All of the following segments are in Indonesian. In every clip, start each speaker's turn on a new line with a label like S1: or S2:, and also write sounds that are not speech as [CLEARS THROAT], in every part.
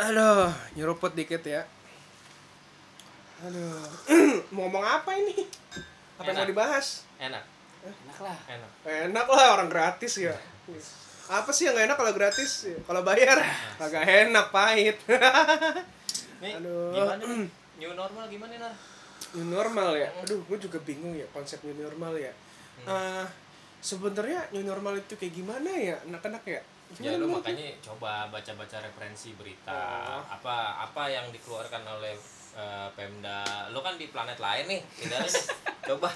S1: Aduh, nyeruput dikit ya. Aduh, [CLEARS THROAT] mau ngomong apa ini? Apa yang mau
S2: Enak.
S1: dibahas?
S2: Enak.
S1: Eh,
S3: enak lah
S2: Enak.
S1: Enak lah orang gratis ya. Apa sih yang gak enak kalau gratis? Kalau bayar agak enak, pahit. [LAUGHS]
S2: Nih,
S1: Aduh.
S2: gimana nih? New normal gimana, Nar?
S1: new normal ya. Aduh, gue juga bingung ya konsep new normal ya. Eh, sebenarnya new normal itu kayak gimana ya? Anak-anak ya.
S2: Ya lu
S1: Gimana menurut
S2: makanya coba baca-baca referensi berita
S1: Oh.
S2: apa apa yang dikeluarkan oleh eh, Pemda. Lu kan di planet lain nih,
S1: [LAUGHS]
S2: tidak nih. Coba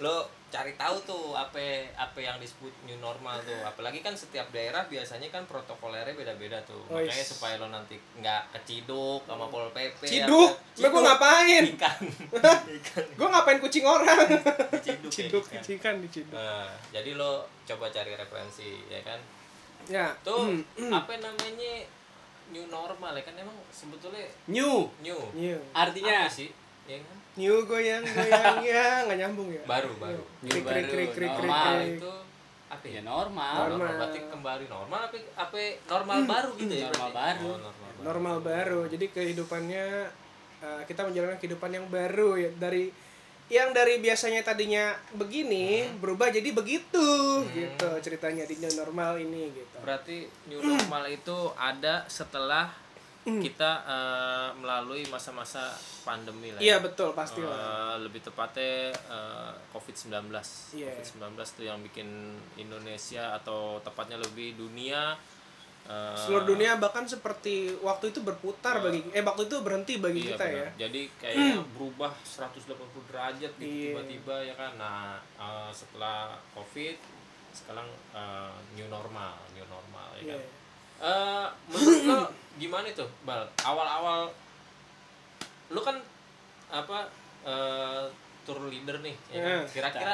S2: lu cari tahu tuh apa apa yang disebut new normal tuh. Apalagi kan setiap daerah biasanya kan protokolernya beda-beda tuh.
S1: Oh,
S2: Makanya
S1: is. Oh.
S2: supaya lu nanti nggak keciduk sama Pol PP.
S1: Ciduk? Lah gue
S2: [LAUGHS]
S1: ngapain?
S2: Ikan. Ikan.
S1: Gue ngapain kucing orang?
S2: Diciduk. ya,
S1: [LAUGHS] Ciduk,
S2: ikan.
S1: kucing kan diciduk.
S2: Nah, jadi lo coba cari referensi ya kan.
S1: Ya.
S2: Tuh
S1: Hmm.
S2: apa namanya new normal ya kan emang sebetulnya
S3: new
S2: new.
S1: New. Iya.
S3: artinya
S2: Apa sih? Ya kan?
S1: New goyang goyang ya, [LAUGHS] nggak nyambung ya.
S2: Baru baru.
S3: New
S1: Krik, krik,
S3: baru,
S1: krik, krik, krik,
S3: normal
S1: krik.
S2: itu apa ya?
S3: ya normal
S1: Iya. Normal. Hmm.
S2: Berarti kembali normal apa apa normal baru gitu ya?
S3: Normal
S2: berarti?
S3: baru.
S2: Oh, normal baru.
S1: normal baru jadi kehidupannya eh, kita menjalani kehidupan yang baru ya dari yang dari biasanya tadinya begini
S3: Hmm.
S1: berubah jadi begitu gitu ceritanya di new normal ini gitu
S2: Berarti new normal itu ada setelah
S1: Hmm.
S2: kita eh, melalui masa-masa pandemi lah. ya.
S1: iya betul pasti lah
S2: Eh, lebih tepatnya eh, COVID-19.
S1: Iya.
S2: COVID-19 itu yang bikin Indonesia atau tepatnya lebih dunia eh,
S3: Ah.
S1: seluruh dunia bahkan seperti waktu itu berputar bagi eh waktu itu berhenti bagi
S2: iya,
S1: kita
S2: benar.
S1: ya
S2: Jadi kayaknya berubah 180 derajat gitu
S1: Iya.
S2: tiba-tiba ya kan. Nah, eh, setelah COVID sekarang eh, new normal, new normal ya
S1: Iya.
S2: kan. Eh, menurut lo gimana tuh, Bal? Awal-awal lu kan apa eh tour leader nih. ya kan?
S1: Iya.
S2: Kira-kira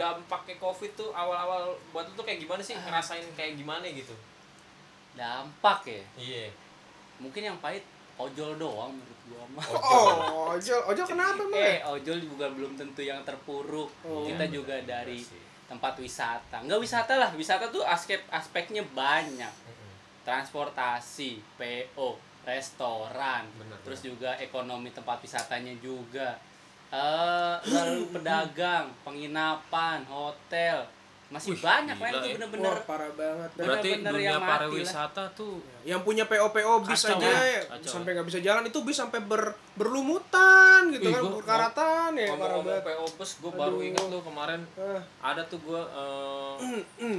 S2: dampaknya Covid tuh awal-awal buat lu tuh kayak gimana sih? Ngerasain kayak gimana gitu?
S3: dampak ya
S2: Iya.
S3: mungkin yang pahit ojol doang menurut gua mah [LAUGHS]
S1: oh ojol ojol kenapa emang ya?
S3: eh ojol juga belum tentu yang terpuruk
S1: Oh.
S3: kita
S2: Iya,
S3: juga
S2: benar,
S3: dari
S2: benar sih.
S3: tempat wisata nggak wisata lah wisata tuh aspek aspeknya banyak
S2: Mm-mm.
S3: transportasi PO restoran
S2: Benar,
S3: terus juga ekonomi tempat wisatanya juga eh lalu
S2: [LAUGHS]
S3: pedagang penginapan hotel masih
S2: Wih,
S3: banyak
S2: gila
S3: lain tuh
S2: ya.
S3: bener-bener
S1: Wah, parah banget dah.
S2: Berarti
S3: Bener-bener
S2: dunia
S3: yang mati lah.
S2: pariwisata tuh
S1: yang punya PO-PO bis
S2: Kacau,
S1: aja
S2: ya.
S1: ya,
S2: Kacau.
S1: sampai nggak bisa jalan itu bis sampai ber- berlumutan gitu
S2: Ih,
S1: kan
S2: gua-
S1: berkaratan ya parah
S2: ngomong-ngomong
S1: banget
S2: PO bus gue baru
S1: Aduh.
S2: ingat tuh kemarin
S1: Ah. Hmm.
S2: ada tuh gue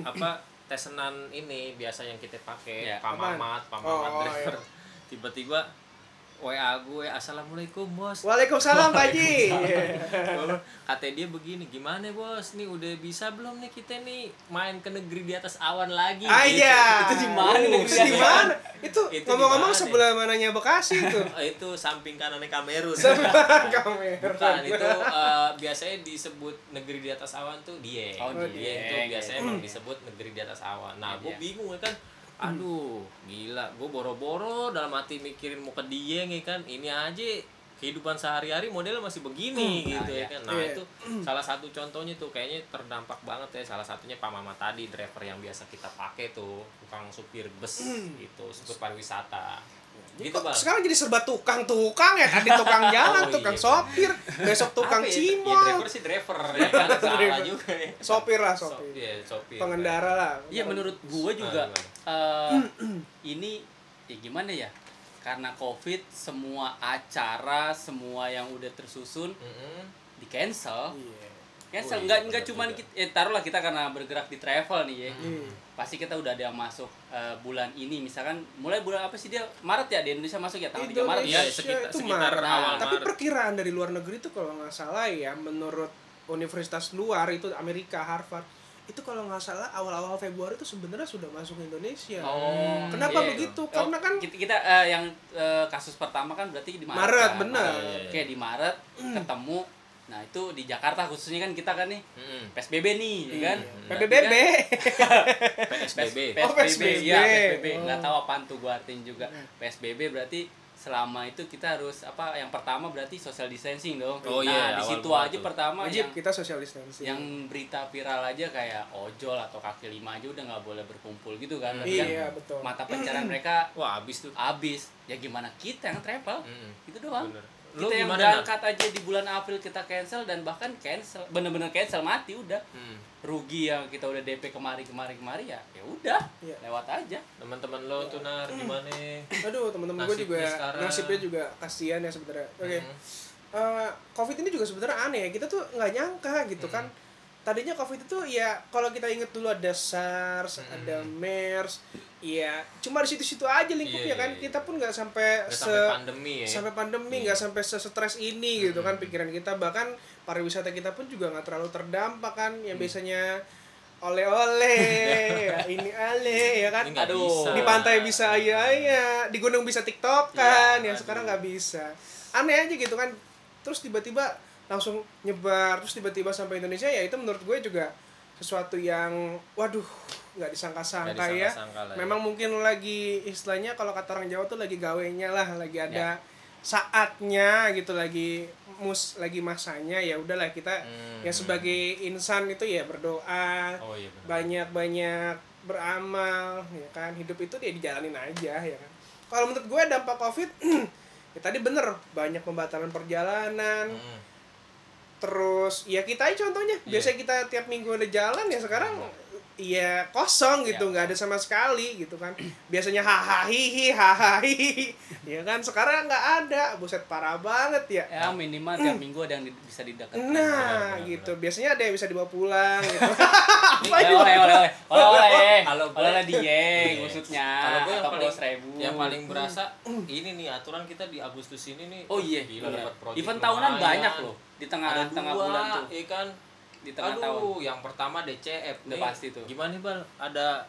S2: apa tesenan ini biasa yang kita pakai
S3: Ya.
S2: pamamat pamamat
S1: Oh, iya.
S2: driver [LAUGHS] tiba-tiba WA gue assalamualaikum bos
S1: Waalaikumsalam Pak Ji.
S2: kata dia begini gimana bos nih udah bisa belum nih kita nih main ke negeri di atas awan lagi Gitu.
S1: Aja.
S3: Itu di mana negeri
S1: Ah, Iya. Oh, Itu di
S3: aja?
S1: mana? Itu
S2: Itu di
S1: ngomong-ngomong
S2: mana?
S1: sebelah mananya Bekasi
S2: [LAUGHS]
S1: itu.
S2: Eh, itu samping kanannya Kamerun
S1: Kamera.
S2: Bukan, itu eh, biasanya disebut negeri di atas awan tuh Dieng.
S3: Oh,
S2: Dieng.
S3: Dieng.
S2: itu biasanya emang disebut negeri di atas awan. Nah,
S3: Iya,
S2: gue
S3: iya.
S2: bingung ya kan. Aduh, gila. Gue boro-boro dalam hati mikirin mau ke Dieng ya kan. Ini aja kehidupan sehari-hari modelnya masih begini gitu ya
S3: iya.
S2: kan. Nah,
S1: Iya.
S2: itu salah satu contohnya tuh kayaknya terdampak banget ya. Salah satunya Pak Mama tadi driver yang biasa kita pakai tuh, tukang supir bus gitu, supir pariwisata. Gitu, Bang.
S1: Iya. Sekarang jadi serba tukang-tukang ya, tadi tukang jalan,
S2: Oh, iya.
S1: tukang sopir, besok tukang
S2: Apa ya? Ya,
S1: cimol.
S2: driver sih driver ya kan. Salah
S1: Driver.
S2: juga ya.
S1: Sopir lah
S2: So-
S1: sopir.
S2: iya, sopir.
S1: Pengendara lah.
S2: Nah,
S3: Iya menurut gua juga eh, [CLEARS THROAT] ini ya gimana ya? Karena Covid semua acara, semua yang udah tersusun
S2: Mm-mm.
S3: di cancel.
S1: Iya.
S2: Iya. Oh,
S3: Cancel
S2: iya,
S3: nggak
S2: benar
S3: nggak cuman
S2: juga.
S3: kita eh, taruhlah kita karena bergerak di travel nih ya.
S1: Hmm.
S3: Pasti kita udah ada yang masuk eh, bulan ini misalkan mulai bulan apa sih dia? Maret ya di Indonesia masuk ya tanggal 3 Maret.
S2: Iya,
S3: ya?
S1: Indonesia
S2: sekitar,
S1: itu
S2: sekitar
S1: Maret.
S2: awal
S1: Tapi
S2: Maret.
S1: perkiraan dari luar negeri itu kalau nggak salah ya, menurut universitas luar itu Amerika Harvard itu kalau nggak salah awal-awal Februari itu sebenarnya sudah masuk Indonesia.
S2: Oh,
S1: Kenapa
S2: iya.
S1: begitu?
S3: Oh,
S1: Karena kan
S3: kita, kita, eh, yang eh, kasus pertama kan berarti di Maret.
S1: Maret,
S3: kan?
S1: benar.
S2: Iya,
S3: Maret. Oke, di Maret ketemu. Nah, itu di Jakarta khususnya kan kita kan nih
S2: Mm-mm.
S3: PSBB nih, ya
S2: Iya.
S3: kan?
S1: PBB.
S2: PSBB.
S3: PSBB,
S1: Oh, PSBB.
S3: ya PSBB.
S1: Oh. Hmm.
S3: Nggak tahu apaan tuh gua artiin juga. PSBB berarti selama itu kita harus apa yang pertama berarti social distancing dong
S2: Oh,
S3: nah
S2: iya,
S3: di
S2: awal
S3: situ
S2: banget
S3: aja
S2: tuh.
S3: pertama
S1: wajib
S3: yang
S1: kita social distancing
S3: yang berita viral aja kayak ojol atau kaki lima aja udah nggak boleh berkumpul gitu kan Tapi kan
S1: iya betul
S3: mata
S1: [CLEARS THROAT]
S3: pencarian mereka
S2: Wah, habis tuh.
S3: habis ya gimana kita yang travel
S2: Mm-mm.
S3: itu doang
S2: Hmm. Bener. Lu
S3: Lu kita yang
S2: gimana, Nan?
S3: berangkat aja di bulan April kita cancel dan bahkan cancel bener-bener cancel mati udah
S2: Hmm.
S3: rugi yang kita udah DP kemari kemari kemari ya ya udah
S1: Iya.
S3: lewat aja
S2: Teman-teman lo tuh nar
S1: Mm.
S2: gimana?
S1: aduh teman-teman gue
S2: Nasibnya
S1: juga
S2: sekarang.
S1: nasibnya juga kasihan ya sebenarnya oke
S2: Hmm.
S1: eh, covid ini juga sebenarnya aneh ya kita tuh nggak nyangka gitu kan
S2: Mm-hmm.
S1: tadinya covid itu ya kalau kita inget dulu ada SARS
S2: Hmm.
S1: ada MERS ya cuma di situ-situ aja lingkupnya
S2: Iya, iya,
S1: kan
S2: iya.
S1: kita pun nggak sampai
S2: Udah
S1: se
S2: sampai pandemi ya.
S1: sampai pandemi nggak sampai stres ini gitu kan pikiran kita bahkan pariwisata kita pun juga nggak terlalu terdampak kan yang
S2: Hmm.
S1: biasanya
S2: [LAUGHS]
S1: oleh-oleh ya, ini ale ya kan
S2: Ini nggak
S3: Aduh,
S2: bisa.
S1: di pantai bisa iya iya di gunung bisa tiktok kan
S2: Iya,
S1: yang sekarang
S2: aduh.
S1: nggak bisa aneh aja gitu kan terus tiba-tiba langsung nyebar terus tiba-tiba sampai Indonesia ya itu menurut gue juga sesuatu yang waduh nggak disangka-sangka
S2: Nggak
S1: ya
S2: disangka-sangka lah ya.
S1: memang mungkin lagi istilahnya kalau kata orang Jawa tuh lagi gawenya lah lagi ada
S2: Ya.
S1: saatnya gitu lagi mus lagi masanya ya udahlah kita
S2: Hmm.
S1: ya sebagai insan itu ya berdoa
S2: Oh iya benar.
S1: banyak-banyak beramal ya kan hidup itu dia dijalanin aja ya kan kalau menurut gue dampak covid [CLEARS THROAT] ya tadi bener banyak pembatalan perjalanan
S2: Hmm.
S1: terus ya kita aja contohnya
S2: Iya.
S1: biasanya kita tiap minggu ada jalan ya sekarang ya kosong gitu
S3: Iya.
S1: nggak ada sama sekali gitu kan biasanya hahaha hihi hahaha hihi. ya kan sekarang nggak ada buset parah banget ya
S3: ya minimal tiap minggu ada yang di- bisa dideketin
S1: nah
S2: benar,
S1: gitu biasanya ada yang bisa dibawa pulang gitu [LAUGHS]
S3: oleh oleh oleh oleh oleh oleh
S2: Kalau gue-
S3: oleh oleh dieng
S2: Iya.
S3: Eh, maksudnya
S2: Kalau gue yang
S3: atau
S2: paling-
S3: ribu
S2: Yang paling berasa
S1: Mm.
S2: ini nih aturan kita di Agustus ini nih.
S3: oh iya
S2: gila
S3: bener.
S2: dapat project
S3: event tahunan
S2: lumayan.
S3: banyak loh di
S2: Ada
S3: tengah tengah
S2: dua,
S3: bulan tuh
S2: iya kan?
S3: di tengah
S2: Aduh,
S3: tahun
S2: yang pertama DCF
S3: Udah
S2: nih.
S3: pasti tuh.
S2: Gimana nih, Bal? Ada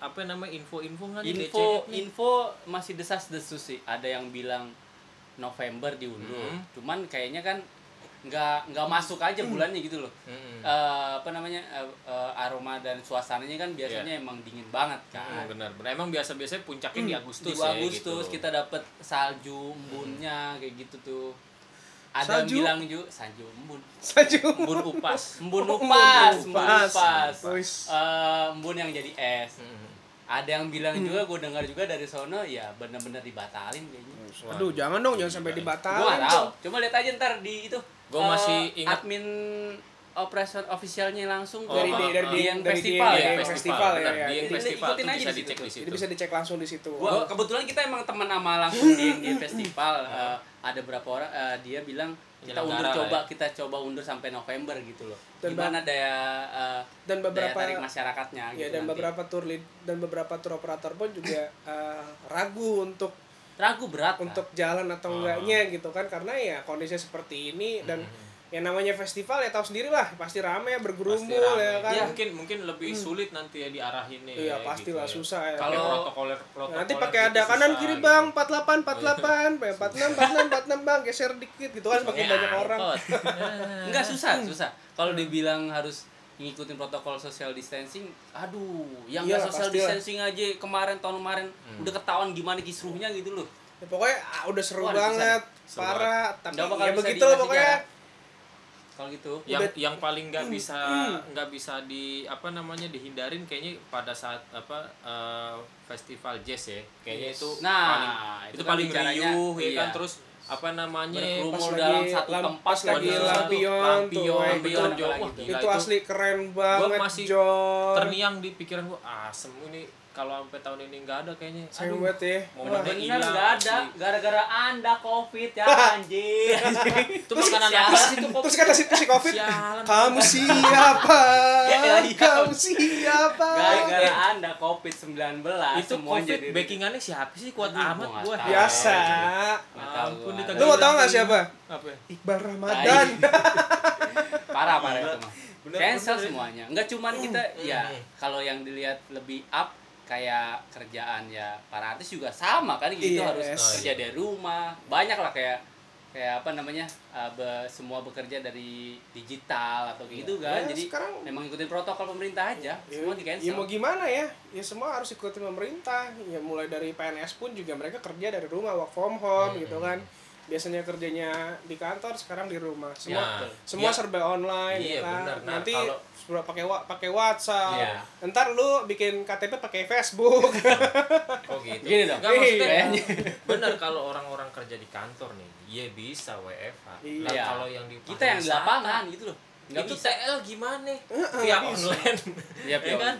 S2: apa namanya info-info nggak nih
S3: info
S2: DCF nih?
S3: info masih desas desus sih ada yang bilang November diundur
S2: Mhm.
S3: cuman kayaknya kan nggak nggak masuk aja
S2: Hmm.
S3: bulannya gitu loh
S2: Mm-mm.
S3: Eh, apa namanya eh, eh, aroma dan suasananya kan biasanya
S2: Iya.
S3: emang dingin banget
S2: Mm,
S1: Ah.
S3: kan
S2: benar. benar. Emang biasa-biasanya puncaknya
S1: Hmm,
S2: di
S3: di
S2: Agustus ya
S3: Agustus
S2: gitu.
S3: kita dapet salju embunnya kayak gitu tuh ada
S1: Salju?
S3: yang bilang juga salju embun
S1: saja
S3: embun upas embun
S1: Oh,
S3: upas
S1: embun
S3: embun
S1: upas.
S3: upas
S1: Wis.
S3: Eh, embun yang jadi es
S2: Mm-mm.
S3: ada yang bilang juga gue dengar juga dari sono ya bener-bener dibatalin kayaknya
S1: Aduh, jangan dong, jangan sampai
S3: gue gak
S1: dibatalin.
S3: tahu
S1: dong.
S3: coba lihat aja ntar di itu
S2: Gua
S3: eh,
S2: masih ingat.
S3: admin operation officialnya langsung
S2: Oh,
S1: Dari
S2: ah,
S1: di, dari
S2: ah.
S1: di,
S3: Yang
S1: dari
S3: festival
S1: di,
S3: ya,
S1: dari festival ya,
S2: benar.
S1: ya.
S2: Dieng
S3: Jadi
S2: festival
S3: ikutin
S2: tuh
S3: aja
S2: bisa
S3: di
S2: dicek
S3: situ.
S2: di situ.
S1: Jadi bisa dicek langsung di situ.
S3: gua kebetulan kita emang temen sama langsung di, di
S2: [LAUGHS]
S3: festival Eh, ada berapa orang eh, dia bilang kita
S2: Penyelenggara
S3: undur
S2: lah
S3: coba
S2: ya.
S3: kita coba undur sampai November gitu loh
S1: Dan
S3: gimana daya eh,
S1: Dan
S3: daya
S1: beberapa
S3: tarik masyarakatnya
S1: ya
S3: gitu
S1: dan
S3: nanti.
S1: beberapa tour lead dan beberapa tour operator pun juga eh, ragu untuk
S3: ragu berat lah.
S1: untuk jalan atau
S2: Ah.
S1: enggaknya gitu kan karena ya kondisinya seperti ini dan yang namanya festival ya tahu sendiri lah pasti rame
S2: Hmm. Pasti
S1: bergerumul
S2: rame.
S1: ya kan. Hmm.
S2: Iya, mungkin mungkin lebih sulit nanti ya diarahinnya.
S1: Iya,
S2: ya,
S1: pastilah
S2: gitu ya.
S1: susah ya.
S2: Kalau
S3: Kalau-
S2: protokoler protokoler
S1: Nah, Nanti pakai
S2: gitu
S1: ada kanan
S2: susah,
S1: kiri
S2: gitu. Iya.
S1: bang 48 48 eh, 46 46 46 bang geser dikit gitu kan semakin
S2: Pakai
S1: banyak orang. [LAUGHS] Hmm.
S2: angkot.
S3: Enggak susah, susah. Kalau dibilang harus ngikutin protokol social distancing, aduh, yang enggak
S1: Iyalah,
S3: social
S1: pastilah.
S3: distancing aja kemarin tahun kemarin
S2: Hmm.
S3: udah ketahuan gimana kisruhnya gitu loh.
S1: Ya, pokoknya ah, udah seru
S3: Wah, udah
S1: banget,
S2: seru
S1: parah. Tapi
S3: Nggak
S1: ya
S3: bakal bisa
S1: begitu loh
S3: dikasih
S1: pokoknya.
S3: jarak. Kalau gitu.
S2: yang yang
S1: Hmm.
S2: paling nggak bisa nggak bisa di apa namanya dihindarin kayaknya pada saat apa eh, festival jazz ya kayaknya itu
S3: Nah,
S2: paling
S3: itu
S2: itu,
S3: kan
S2: paling
S3: bicaranya,
S2: riuh ya kan
S3: iya.
S2: terus apa namanya
S3: Berkerumun
S1: pas
S3: dalam
S1: lagi
S3: satu
S1: lam-
S3: tempat
S1: pas lagi
S3: kondisi satu.
S1: lampion tuh,
S2: gitu. lampion
S1: eh,
S2: lampion
S3: itu-
S2: Jol.
S3: wah,
S2: Wah,
S1: itu,
S2: gila,
S1: asli keren
S2: gua
S1: banget,
S2: masih
S1: John.
S2: terniang di pikiran gua asem ini kalau sampai tahun ini nggak ada kayaknya
S1: Sayang
S2: Aduh,
S1: banget ya.
S2: momennya
S1: Wah,
S3: Bener
S2: hilang
S3: nggak ada,
S2: asli.
S3: gara-gara anda covid ya [LAUGHS] anjir.
S2: itu makanan apa sih itu kok
S1: Terus kata si, si COVID,
S2: Sialan.
S1: kamu
S2: [LAUGHS]
S1: siapa?
S3: Ya, iya.
S1: kamu siapa?
S3: Gara-gara anda covid 19
S2: itu
S3: semua
S2: covid
S3: jadi-
S2: backingannya siapa sih kuat
S3: Aduh,
S2: amat
S3: gua nggak
S2: gua
S3: tahu.
S1: Biasa.
S3: Nggak tahu
S2: Ya Ampun,
S3: gua.
S2: dikagak
S1: Lu mau
S2: bilang
S1: tau gak
S2: ini.
S1: siapa?
S2: apa ya?
S1: Iqbal Ramadan.
S3: [LAUGHS] parah parah itu mah
S2: Bener,
S3: cancel
S2: bener.
S3: semuanya nggak cuman kita ya
S2: mm.
S3: kalau yang dilihat lebih up kayak kerjaan ya para artis juga sama kan gitu
S1: Yes.
S3: harus
S2: Oh,
S3: kerja dari rumah banyak lah kayak kayak apa namanya eh, be- semua bekerja dari digital atau gitu
S2: Iya.
S3: kan
S1: Ya,
S3: jadi
S1: sekarang-
S3: memang ikutin protokol pemerintah aja
S1: Ya,
S3: semua di
S2: Iya,
S1: Ya mau
S3: cancel
S1: gimana ya? Ya semua harus ikutin pemerintah. Ya mulai dari PNS pun juga mereka kerja dari rumah, work from home
S2: Hmm.
S1: gitu kan. Biasanya kerjanya di kantor, sekarang di rumah. Semua
S2: Ya.
S1: semua
S2: Ya.
S1: serba online ya
S2: Iya,
S1: kan.
S2: benar. Nah,
S1: Nanti
S2: kalau- Ya.
S1: sebelum pakai wa- pakai WhatsApp.
S3: Iya.
S1: Ntar lu bikin KTP pakai Facebook.
S2: [LAUGHS] Oh gitu.
S3: Gini dong.
S2: Nggak, maksudnya
S3: Kayaknya.
S2: bener kalau orang-orang kerja di kantor nih, ya bisa WFH. Lah,
S3: Iya.
S2: kalau yang di
S3: kita yang di
S2: pariwisata,
S3: lapangan gitu loh nggak
S2: itu
S3: bisa
S2: TL gimana? Via online.
S3: Iya,
S2: ya
S3: via
S2: kan?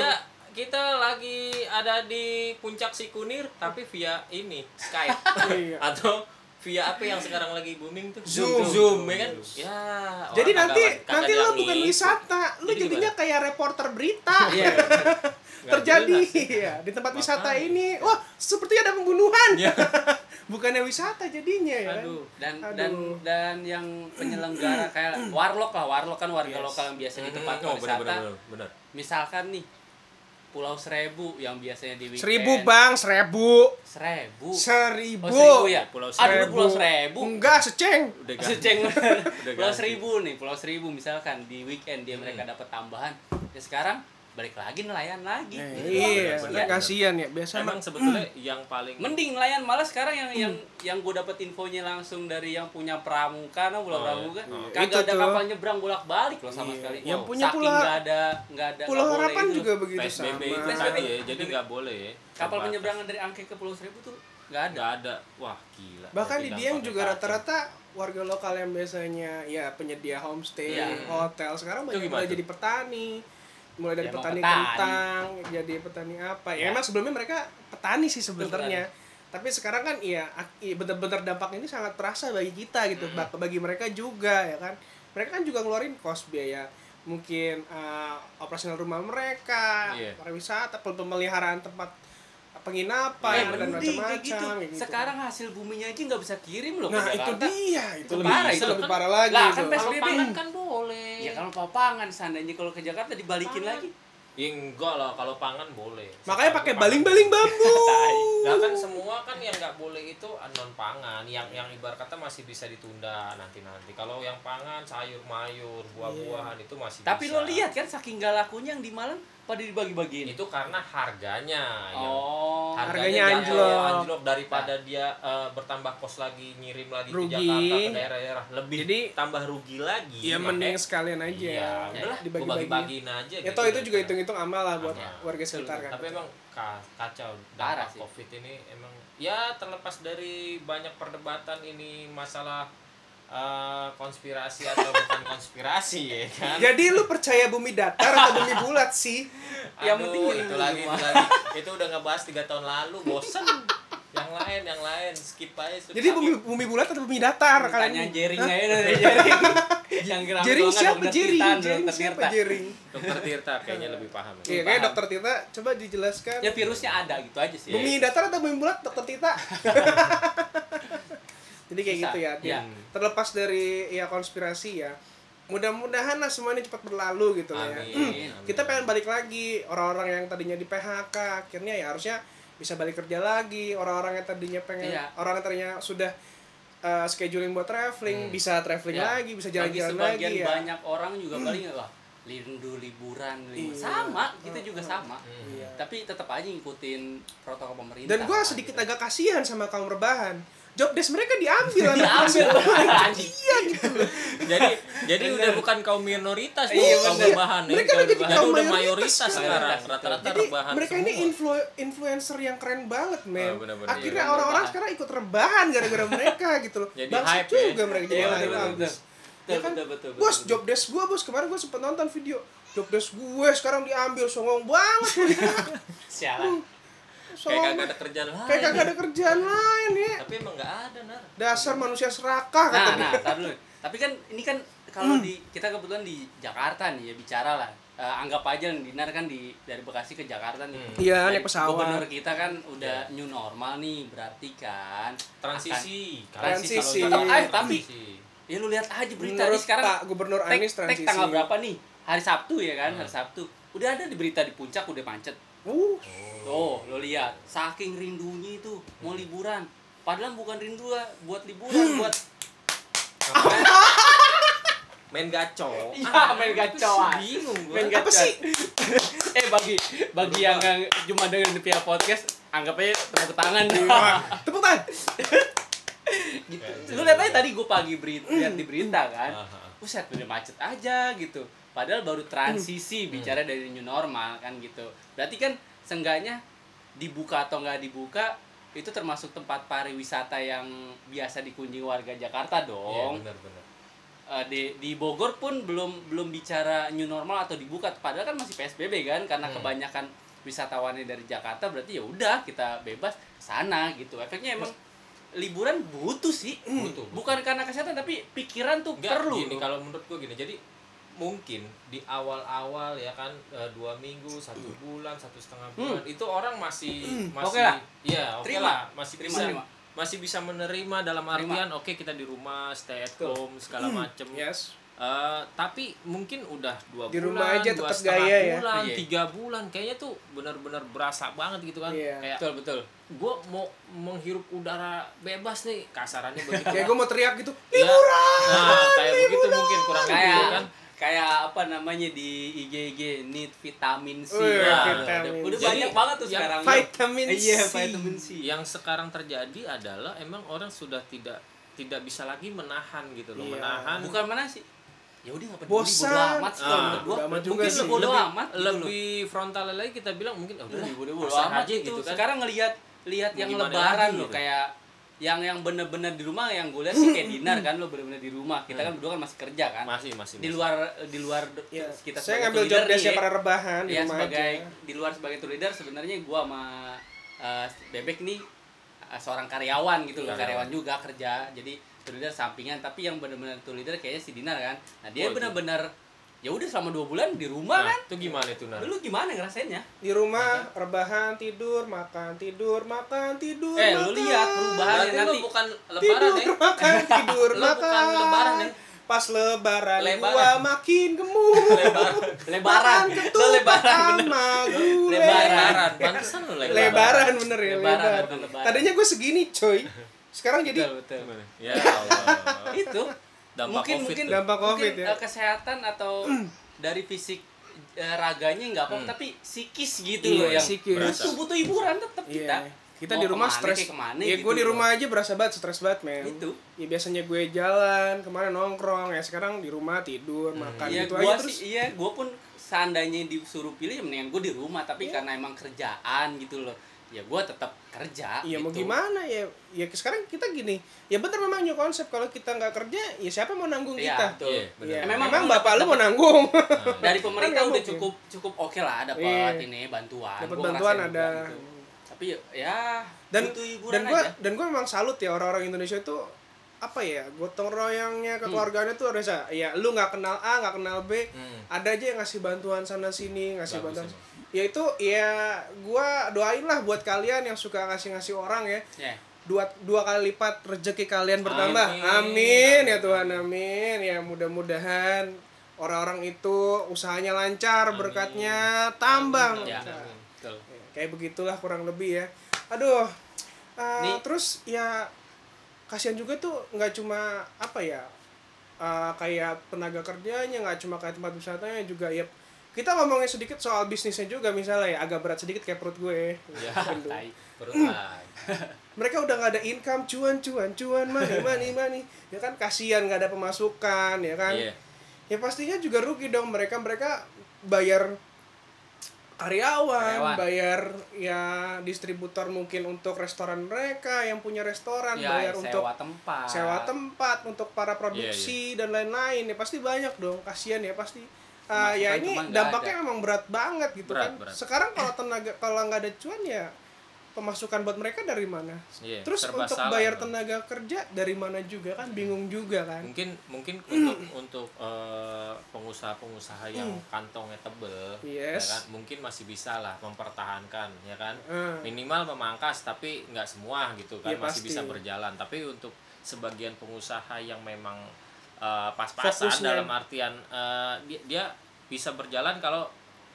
S2: Ya kita lagi ada di puncak Sikunir tapi via ini Skype
S1: [LAUGHS] Iya.
S2: atau via apa yang sekarang lagi booming tuh
S1: Zoom.
S2: Zoom ya kan? Ya. orang
S1: jadi nanti
S2: kagak- kagak
S1: nanti
S2: ada
S1: lu
S2: yang
S1: bukan
S2: ngikut.
S1: wisata, lu
S2: Jadi
S1: jadinya kayak reporter berita.
S3: Iya.
S1: Nggak terjadi
S2: jelas.
S1: ya, di tempat
S2: Makanya.
S1: wisata ini. Wah, sepertinya ada pembunuhan. [LAUGHS] Bukannya wisata jadinya ya. kan?
S2: Aduh.
S3: dan
S1: Aduh.
S3: dan dan yang penyelenggara kayak warlock lah warlock kan warga
S1: Yes.
S3: lokal yang biasanya di tempat
S2: Oh, bener,
S3: wisata
S2: bener, bener, bener.
S3: misalkan nih Pulau Seribu yang biasanya di weekend
S1: Seribu bang, seribu.
S3: seribu
S1: Seribu.
S3: Oh, seribu ya?
S2: Pulau
S3: Ah, dulu Pulau Seribu.
S1: Enggak, seceng.
S2: Udah kan? ganti.
S3: Seceng. [LAUGHS] Pulau
S2: ganti.
S3: Seribu nih, Pulau Seribu misalkan di weekend dia mereka dapat tambahan. Ya sekarang balik lagi nelayan lagi.
S1: Eh,
S3: Gitu.
S1: iya,
S2: benar,
S1: kan
S2: benar.
S1: kasihan ya. Biasa
S2: Emang
S1: emang
S2: sebetulnya yang paling
S3: Mending nelayan malah sekarang yang yang
S1: Hmm.
S3: yang gue dapat infonya langsung dari yang punya pramuka, nah pulau
S2: Oh, iya.
S3: pramuka,
S1: Iya.
S3: kagak
S1: Itu
S3: ada
S1: tuh.
S3: kapal nyebrang bolak-balik loh sama
S1: Iya.
S3: sekali.
S1: Yang
S3: Wow,
S1: punya
S3: saking
S1: Pulau-
S3: nggak ada nggak ada
S1: Pulau
S3: nggak boleh
S1: Harapan
S3: itu.
S1: juga begitu
S2: PSBB itu
S1: Gitu sama.
S2: tadi ya, jadi nggak boleh ya.
S3: kapal
S2: Terbatas.
S3: penyeberangan dari Angke ke Pulau Seribu tuh nggak ada.
S2: nggak ada. Wah, gila.
S1: Bahkan di
S2: Berarti
S1: Dieng
S2: dampaknya
S1: juga
S2: kacau.
S1: rata-rata warga lokal yang biasanya ya penyedia homestay,
S3: Iya.
S1: hotel sekarang
S2: Itu
S1: banyak
S2: gimana
S1: mulai
S2: tuh?
S1: jadi petani. Mulai dari
S3: Ya, emang
S1: petani,
S3: petani.
S1: kentang, jadi petani apa. Ya,
S3: Ya.
S1: emang sebelumnya mereka petani sih sebenarnya. Tapi sekarang kan iya ak- iya, bener-bener dampak ini sangat terasa bagi kita gitu, bak- bagi mereka juga ya kan. Mereka kan juga ngeluarin kos biaya mungkin eh, operasional rumah mereka,
S2: Iya.
S1: pariwisata, pem- pemeliharaan tempat penginapan
S3: Eh,
S1: dan
S3: mending
S1: ya, macam-macam
S3: kayak gitu.
S1: kayak gitu.
S3: Sekarang hasil buminya aja nggak bisa kirim loh. ke
S1: Nah itu
S3: Jakarta.
S1: dia, itu,
S3: Itu
S1: lebih
S3: parah,
S1: itu
S3: itu
S1: lebih
S2: kan-
S1: parah lagi.
S3: Lah,
S1: itu.
S3: kan
S2: Kalau
S3: PSBB.
S2: pangan kan boleh.
S3: Ya kalau mau pangan seandainya kalau ke Jakarta dibalikin
S2: Pangan.
S3: lagi.
S2: Ya enggak lah, kalau pangan boleh.
S1: Makanya
S2: Sekarang
S1: pakai
S2: pangan.
S1: baling-baling bambu.
S2: Lah kan semua kan yang nggak boleh itu non pangan, yang yang ibarat kata masih bisa ditunda nanti-nanti. Kalau yang pangan sayur mayur,
S1: Iya.
S2: buah-buahan itu masih
S3: Tapi
S2: bisa. Iya.
S3: lo lihat kan saking gak lakunya yang di Malang pada dibagi-bagiin.
S2: itu karena harganya yang
S3: Oh.
S1: Harganya
S2: harganya
S1: anjlok. Nah.
S2: jatuh, anjlok daripada dia eh, bertambah kos lagi ngirim lagi
S1: Rugi.
S2: ke Jakarta ke daerah-daerah lebih
S1: Jadi,
S2: tambah rugi lagi
S1: [LAUGHS] Iya mending
S2: makanya-
S1: sekalian aja.
S2: iya udahlah gua
S1: Dibagi-bagi.
S2: bagi-bagiin aja gitu kan.
S1: Ya toh itu juga hitung-hitung amal lah buat
S2: Amal.
S1: warga sekitar kan.
S2: tapi emang ka- kacau dampak
S3: Parah sih.
S2: covid ini emang ya terlepas dari banyak perdebatan ini masalah eh, konspirasi atau
S1: [LAUGHS]
S2: bukan konspirasi ya kan
S1: Jadi lu percaya bumi datar atau bumi bulat sih? Ya,
S3: Yang
S2: Aduh,
S3: penting
S2: itu
S3: ini
S2: lagi,
S3: mah.
S2: itu lagi. Itu udah ngebahas tiga tahun lalu, bosen. yang lain, yang lain, skip aja. sudah.
S1: Jadi bumi bumi bulat atau bumi datar kalian?
S3: Tanya Jering aja dari
S1: [LAUGHS]
S3: Jering. yang geram
S1: Jering
S3: doang kan
S1: siapa
S3: dokter
S1: Jering?
S3: Titan,
S1: Jering
S3: dokter
S1: siapa
S3: Tirta.
S1: Jering?
S2: Dokter Tirta kayaknya lebih paham. ya.
S1: Iya, kayak dokter Tita coba dijelaskan.
S3: Ya virusnya ada gitu aja sih.
S1: Bumi datar atau bumi bulat dokter
S3: [LAUGHS]
S1: Tita? Jadi kayak
S3: Susah.
S1: gitu ya.
S3: Iya.
S1: Terlepas dari ya konspirasi ya. Mudah-mudahan lah semuanya cepat berlalu gitu lah ya.
S2: Amin, amin.
S1: Kita pengen balik lagi orang-orang yang tadinya di PHK akhirnya ya harusnya bisa balik kerja lagi. Orang-orang yang tadinya pengen
S3: Iya.
S1: orang yang tadinya sudah uh, scheduling buat traveling bisa traveling
S3: Ya.
S1: lagi, bisa
S3: Bagi
S1: jalan-jalan lagi
S3: sebagian
S1: ya.
S3: banyak orang juga paling wah lindu liburan liburan.
S1: Iya.
S3: sama kita juga sama
S1: Iya.
S3: tapi tetap aja ngikutin protokol pemerintah
S1: Dan gue sedikit
S3: gitu.
S1: agak kasihan sama kaum rebahan. Job desk mereka diambil
S3: [LAUGHS] diambil
S1: [LAUGHS]
S3: anjing
S2: jadi jadi udah bukan kaum minoritas tuh,
S3: Iya,
S2: kaum
S3: bener.
S2: rebahan ya.
S1: Mereka lagi di
S2: Jadi
S1: kaum
S2: udah
S1: mayoritas
S2: mayoritas
S1: sekarang.
S2: sekarang, rata-rata
S1: Jadi
S2: rebahan
S1: mereka
S2: semua.
S1: ini influ- influencer yang keren banget, men.
S2: Ah, benar-benar.
S1: Akhirnya
S3: Iya,
S1: orang-orang
S3: benar.
S1: sekarang ikut rebahan gara-gara mereka gitu loh.
S2: Jadi
S1: Bangsat
S2: hype ya.
S1: juga mereka jadi
S3: Iya,
S1: hype
S3: benar-benar.
S1: abis.
S3: Betul,
S1: Ya kan?
S3: betul, betul, betul,
S1: Bos,
S3: betul.
S1: job desk gue, bos. Kemarin gue sempet nonton video job desk gue sekarang diambil songong banget lu ya.
S3: sialan
S2: kayak
S1: Songong.
S2: kagak ada kerjaan lain.
S1: Hmm, Kayak kagak ada kerjaan lain ya.
S2: Tapi emang nggak ada nar.
S1: Dasar manusia serakah kata
S3: nah
S1: dia.
S3: nah tar dulu tapi kan ini kan kalau di kita kebetulan di Jakarta nih ya bicara lah Eh, anggap aja yang dinar kan di dari Bekasi ke Jakarta nih
S2: Hmm.
S1: Iya,
S3: Dan
S1: naik pesawat.
S3: gubernur kita kan udah new normal nih berarti kan
S2: Transisi,
S1: Transisi. Tetap
S2: kalau gitu.
S1: aja,
S3: tapi-
S2: Transisi.
S3: akan- ya lu lihat aja berita
S1: Menurut
S3: nih sekarang
S1: Pak Gubernur
S3: tek,
S1: Anies
S3: tek
S1: transisi.
S3: tanggal berapa nih hari Sabtu ya kan
S2: Hmm.
S3: hari Sabtu udah ada di berita di puncak udah macet
S1: Uh,
S3: Tuh, lo lihat, saking rindunya itu mau liburan. Padahal bukan rindu lah buat liburan, buat
S2: Ngapain? main gacok
S3: Iya, main gacoan.
S2: bingung gue
S3: Main
S1: Apa
S3: gacoan.
S1: sih?
S3: [LAUGHS] eh bagi bagi
S2: Lupa.
S3: yang nggak cuma dengerin di via podcast, anggap aja tepuk tangan
S1: Tepuk tangan.
S3: [LAUGHS] gitu.
S2: Ya,
S3: Lu
S2: ya,
S3: lihat
S2: ya.
S3: aja tadi gue pagi beri- lihat di
S2: Hmm.
S3: berita kan.
S2: Aha.
S3: Buset, udah macet aja gitu. Padahal baru transisi
S2: Hmm.
S3: bicara dari new normal kan gitu. Berarti kan seenggaknya dibuka atau nggak dibuka itu termasuk tempat pariwisata yang biasa dikunjungi warga Jakarta
S2: Iya,
S3: dong.
S2: bener bener
S3: Eh, di di Bogor pun belum belum bicara new normal atau dibuka padahal kan masih PSBB kan karena
S2: Hmm.
S3: kebanyakan wisatawannya dari Jakarta berarti ya udah kita bebas ke sana gitu efeknya emang liburan butuh sih
S2: Butuh,
S3: bukan karena kesehatan tapi pikiran tuh
S2: Enggak,
S3: perlu
S2: gini,
S3: loh.
S2: kalau menurut gue gini jadi mungkin di awal-awal ya kan e, dua minggu satu bulan satu setengah bulan itu orang masih masih
S3: Oke lah.
S2: ya oke
S3: Terima.
S2: lah masih
S3: Terima,
S2: bisa
S3: terima.
S2: masih bisa menerima dalam artian oke kita di rumah stay at
S1: Betul.
S2: home segala macem
S1: Yes.
S2: Eh, tapi mungkin udah dua
S1: Di
S2: bulan,
S1: rumah aja
S2: dua
S1: tetap
S2: setengah
S1: gaya ya.
S2: bulan,
S3: Iya.
S2: tiga bulan kayaknya tuh benar-benar berasa banget gitu kan.
S1: Iya.
S2: Kayak
S3: betul betul
S2: gue mau menghirup udara bebas nih kasarannya begitu.
S1: Kayak gue mau teriak gitu.
S2: Ya. Nah, kayak begitu mungkin kurang lebih ya
S3: kayak
S2: kan.
S3: kayak apa namanya di IG IG need vitamin C
S1: Wih,
S3: Nah,
S1: vitamin
S3: udah, udah
S2: C.
S3: banyak banget tuh
S2: Yang
S3: sekarang
S1: Vitamin C.
S3: iya vitamin C
S2: Yang sekarang terjadi adalah emang orang sudah tidak tidak bisa lagi menahan gitu loh,
S1: Iya.
S2: menahan.
S3: bukan mana sih ya udah nggak peduli
S1: Bosan.
S3: bodo amat sih kalau
S2: Ah,
S3: menurut gua.
S1: bodo amat juga
S3: mungkin
S1: sih.
S3: lebih bodo
S2: lebih,
S3: amat gitu loh.
S2: lebih frontal lagi kita bilang mungkin oh, udah
S3: lebih bodo, bodo
S2: pasrah
S3: amat
S2: aja
S3: gitu sekarang ngelihat lihat yang
S2: kan. Gimana
S3: lebaran
S2: lagi
S3: loh
S2: gitu.
S3: kayak yang yang bener-bener di rumah yang gue lihat sih kayak dinner kan lo bener-bener di rumah kita kan berdua kan masih kerja kan
S2: Hmm. masih masih
S3: di luar di luar
S1: Ya, saya
S3: kita sebagai
S1: ngambil
S3: tour
S1: job
S3: leader
S1: desknya
S3: nih,
S1: para rebahan di
S3: ya
S1: rumah
S3: sebagai
S1: aja.
S3: di luar sebagai tour leader sebenarnya gua sama eh, bebek nih eh, seorang karyawan gitu loh
S2: Karyawan.
S3: karyawan juga kerja jadi tour leader sampingan tapi yang benar-benar tour leader kayaknya si Dinar kan nah
S2: Oh,
S3: dia
S2: itu.
S3: benar-benar ya udah selama dua bulan di rumah
S2: Nah,
S3: kan
S2: itu gimana itu nah?
S3: lu gimana ngerasainnya
S1: Di rumah rebahan tidur makan tidur makan tidur.
S3: eh
S1: makan.
S3: lu lihat eh. perubahannya
S2: Berarti lu
S3: nanti
S2: bukan lebaran
S1: tidur
S2: ya?
S3: [LAUGHS]
S1: makan tidur
S2: Lu bukan
S1: makan.
S2: lebaran,
S3: eh.
S2: ya?
S1: Pas lebaran, gua
S2: Lebaran.
S1: makin gemuk.
S2: Lebaran. ya?
S3: lebaran
S1: Makan
S3: lu
S1: ketupat
S3: lebaran bener
S1: sama gulai.
S3: Lebaran.
S2: Lebaran. Pantesan lu lagi
S1: Lebaran bener ya
S3: Lebaran,
S1: lebaran.
S3: betul, lebaran.
S1: Tadinya gue segini coy. Sekarang jadi
S3: betul betul
S2: lebaran. Ya Allah.
S3: itu
S2: Dampak
S3: mungkin
S2: COVID
S3: mungkin
S2: tuh.
S1: Dampak COVID
S3: mungkin,
S1: ya.
S3: eh, kesehatan atau [CLEARS THROAT] dari fisik eh, raganya nggak apa
S2: Hmm.
S3: tapi psikis gitu
S1: Iya,
S3: loh yang
S1: psikis.
S3: butuh butuh hiburan tetap kita
S1: Iya. Kita
S3: Mau
S1: di rumah
S3: kemana,
S1: stres.
S3: kayak kemana
S1: ya gue
S3: gitu
S1: di
S3: loh. Gitu.
S1: rumah aja berasa banget stres banget men.
S3: Itu.
S1: Ya biasanya gue jalan kemana nongkrong ya sekarang di rumah tidur makan
S3: Iya,
S1: gitu aja
S3: gua sih,
S1: terus.
S3: iya, gua pun seandainya disuruh pilih ya mendingan gua di rumah, tapi
S1: Iya.
S3: karena emang kerjaan gitu loh. Ya gua tetap kerja
S1: Iya mau
S3: gitu.
S1: gimana ya? Ya sekarang kita gini. Ya bener memang new konsep kalau kita nggak kerja ya siapa mau nanggung
S3: Iya,
S1: kita?
S3: betul.
S2: Iya, bener.
S1: Ya,
S3: Ya,
S1: memang,
S3: memang Nah,
S1: bapak lu mau
S3: [LAUGHS]
S1: nanggung.
S3: Dari
S1: Kan nggak
S3: pemerintah udah
S1: mungkin.
S3: cukup cukup oke lah dapat
S1: Iya.
S3: ini bantuan.
S1: Dapat
S3: Gua
S1: bantuan
S3: ngerasain
S1: ada.
S3: juga gitu. Tapi ya- ya
S1: dan
S3: butuh hiburan
S1: dan gua
S3: aja.
S1: dan gua memang salut ya orang-orang Indonesia itu apa ya gotong royongnya
S3: Hmm.
S1: kekeluargaannya tuh ada ya lu nggak kenal A nggak kenal B
S2: Hmm.
S1: ada aja yang ngasih bantuan sana sini ngasih
S2: Bagus
S1: bantuan ya itu ya gua doain lah buat kalian yang suka ngasih ngasih orang ya
S3: Ya.
S1: dua dua kali lipat rezeki kalian bertambah
S2: Amin.
S1: amin, ya Tuhan amin ya mudah-mudahan orang-orang itu usahanya lancar berkatnya tambang
S3: Ya.
S1: Nah,
S3: Betul.
S1: Ya, kayak begitulah kurang lebih ya aduh eh,
S3: Nih.
S1: terus ya kasihan juga tuh nggak cuma apa ya eh, kayak tenaga kerjanya nggak cuma kayak tempat wisatanya juga ya kita ngomongin sedikit soal bisnisnya juga misalnya ya agak berat sedikit kayak perut gue
S2: Ya,
S1: Aduh.
S3: Tai.
S2: perut lagi.
S1: mereka udah nggak ada income cuan cuan cuan
S3: [LAUGHS]
S1: money money money ya kan kasihan nggak ada pemasukan ya kan
S2: Iya.
S1: ya pastinya juga rugi dong mereka mereka bayar karyawan,
S3: Karyawan.
S1: bayar ya distributor mungkin untuk restoran mereka yang punya restoran
S3: Ya,
S1: Kan bayar untuk
S3: sewa tempat. Iya,
S1: sewa tempat untuk para produksi dan lain-lain ya pasti banyak dong kasihan ya pasti Ah, ya
S3: Pemasukan
S1: ini
S3: cuma nggak
S1: dampaknya memang berat banget gitu
S2: Berat,
S1: kan
S2: berat.
S1: sekarang kalau
S3: Eh.
S1: tenaga kalau nggak ada cuan ya pemasukan buat mereka dari mana
S2: Iya,
S1: terus
S2: serba
S1: untuk
S2: salah
S1: bayar
S2: dong.
S1: tenaga kerja dari mana juga kan bingung juga kan
S2: mungkin
S1: [CLEARS THROAT]
S2: mungkin untuk untuk eh, pengusaha-pengusaha yang kantongnya tebel
S1: Hmm. Yes.
S2: ya kan mungkin masih bisa lah mempertahankan ya kan
S1: Hmm.
S2: minimal memangkas tapi nggak semua gitu kan
S1: Ya,
S2: masih
S1: pasti.
S2: bisa berjalan tapi untuk sebagian pengusaha yang memang eh,
S1: Fokusnya.
S2: pas-pasan dalam artian eh, dia, dia bisa berjalan kalau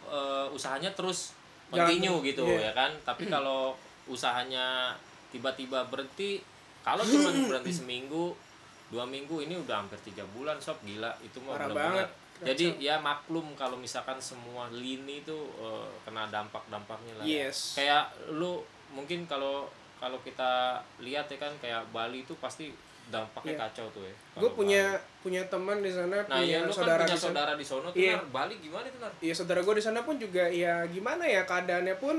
S2: eh, usahanya terus
S1: Jalan
S2: continue
S1: terus,
S2: gitu
S1: iya.
S2: ya kan
S1: [CLEARS THROAT]
S2: tapi kalau
S1: [CLEARS THROAT]
S2: usahanya tiba-tiba berhenti kalau cuma berhenti seminggu dua minggu ini udah hampir tiga bulan sob gila itu mah
S1: Parah
S2: bener-bener.
S1: banget.
S2: jadi ya maklum kalau misalkan semua lini itu eh, kena dampak dampaknya lah ya.
S1: Yes.
S2: kayak lu mungkin kalau kalau kita lihat ya kan kayak Bali itu pasti dampaknya
S1: Iya.
S2: kacau tuh ya
S1: gue
S2: Kalau
S1: punya punya teman di sana
S2: Bali. nah
S3: Iya,
S1: punya
S2: ya lu
S1: saudara
S2: kan
S1: di
S2: punya
S1: sana
S2: saudara di sono tuh
S1: Iya.
S2: Nar. Bali gimana tuh Nar?
S1: Iya saudara gue di sana pun juga ya gimana ya keadaannya pun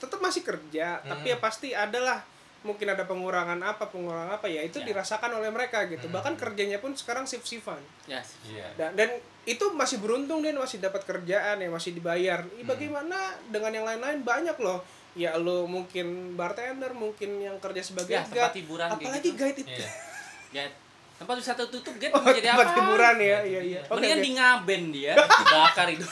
S1: tetap masih kerja tapi
S2: Hmm.
S1: ya pasti adalah mungkin ada pengurangan apa pengurangan apa ya itu
S2: Iya.
S3: Ya.
S1: dirasakan oleh mereka gitu
S2: Hmm.
S1: bahkan kerjanya pun sekarang shift shiftan
S3: ya
S2: iya
S1: dan, dan itu masih beruntung dan masih dapat kerjaan ya masih dibayar
S3: Hmm.
S1: Ih, bagaimana dengan yang lain-lain banyak loh ya lo mungkin bartender mungkin yang kerja sebagai
S3: ya tempat
S1: guide
S3: hiburan kayak
S1: apalagi
S3: gitu.
S1: guide itu
S3: [LAUGHS]
S2: iya
S3: Get. ya. tempat wisata tutup get
S1: [LAUGHS] oh,
S3: jadi
S1: tempat
S3: apa
S1: hiburan ya iya iya Oke,
S3: mendingan
S1: oke.
S3: di ngaben dia
S1: [LAUGHS]
S3: bakar itu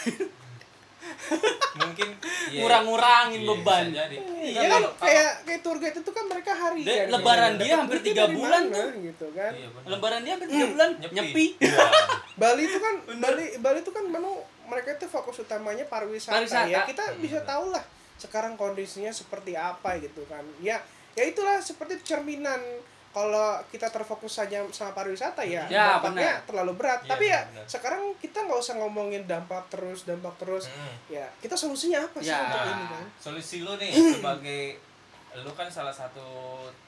S2: mungkin iya.
S3: ngurang-ngurangin
S2: Iya,
S3: beban
S2: bisa jadi
S1: Iya kan kayak kayak tour guide itu kan mereka harian.
S3: Dan
S1: gitu.
S3: lebaran dia
S1: Dapat
S3: hampir
S1: duitnya
S3: tiga
S1: dari
S3: bulan
S1: mana, gitu kan.
S2: Iya, bener.
S3: lebaran dia hampir
S1: Hmm.
S3: tiga bulan nyepi
S2: Iya.
S1: Bali itu kan Bali Bali itu kan memang mereka itu fokus utamanya pariwisata,
S3: Pariwisata.
S1: ya. Kita bisa tahu lah sekarang kondisinya seperti apa gitu kan. Ya ya itulah seperti cerminan kalau kita terfokus saja sama pariwisata ya,
S3: Ya,
S1: dampaknya terlalu berat.
S2: Iya,
S1: Tapi ya
S2: benar.
S1: sekarang kita nggak usah ngomongin dampak terus dampak terus.
S2: Hmm.
S1: Ya kita solusinya apa sih
S3: Ya.
S1: untuk
S2: Nah,
S1: ini kan?
S2: solusi
S3: [CLEARS THROAT]
S2: lu nih sebagai lu kan salah satu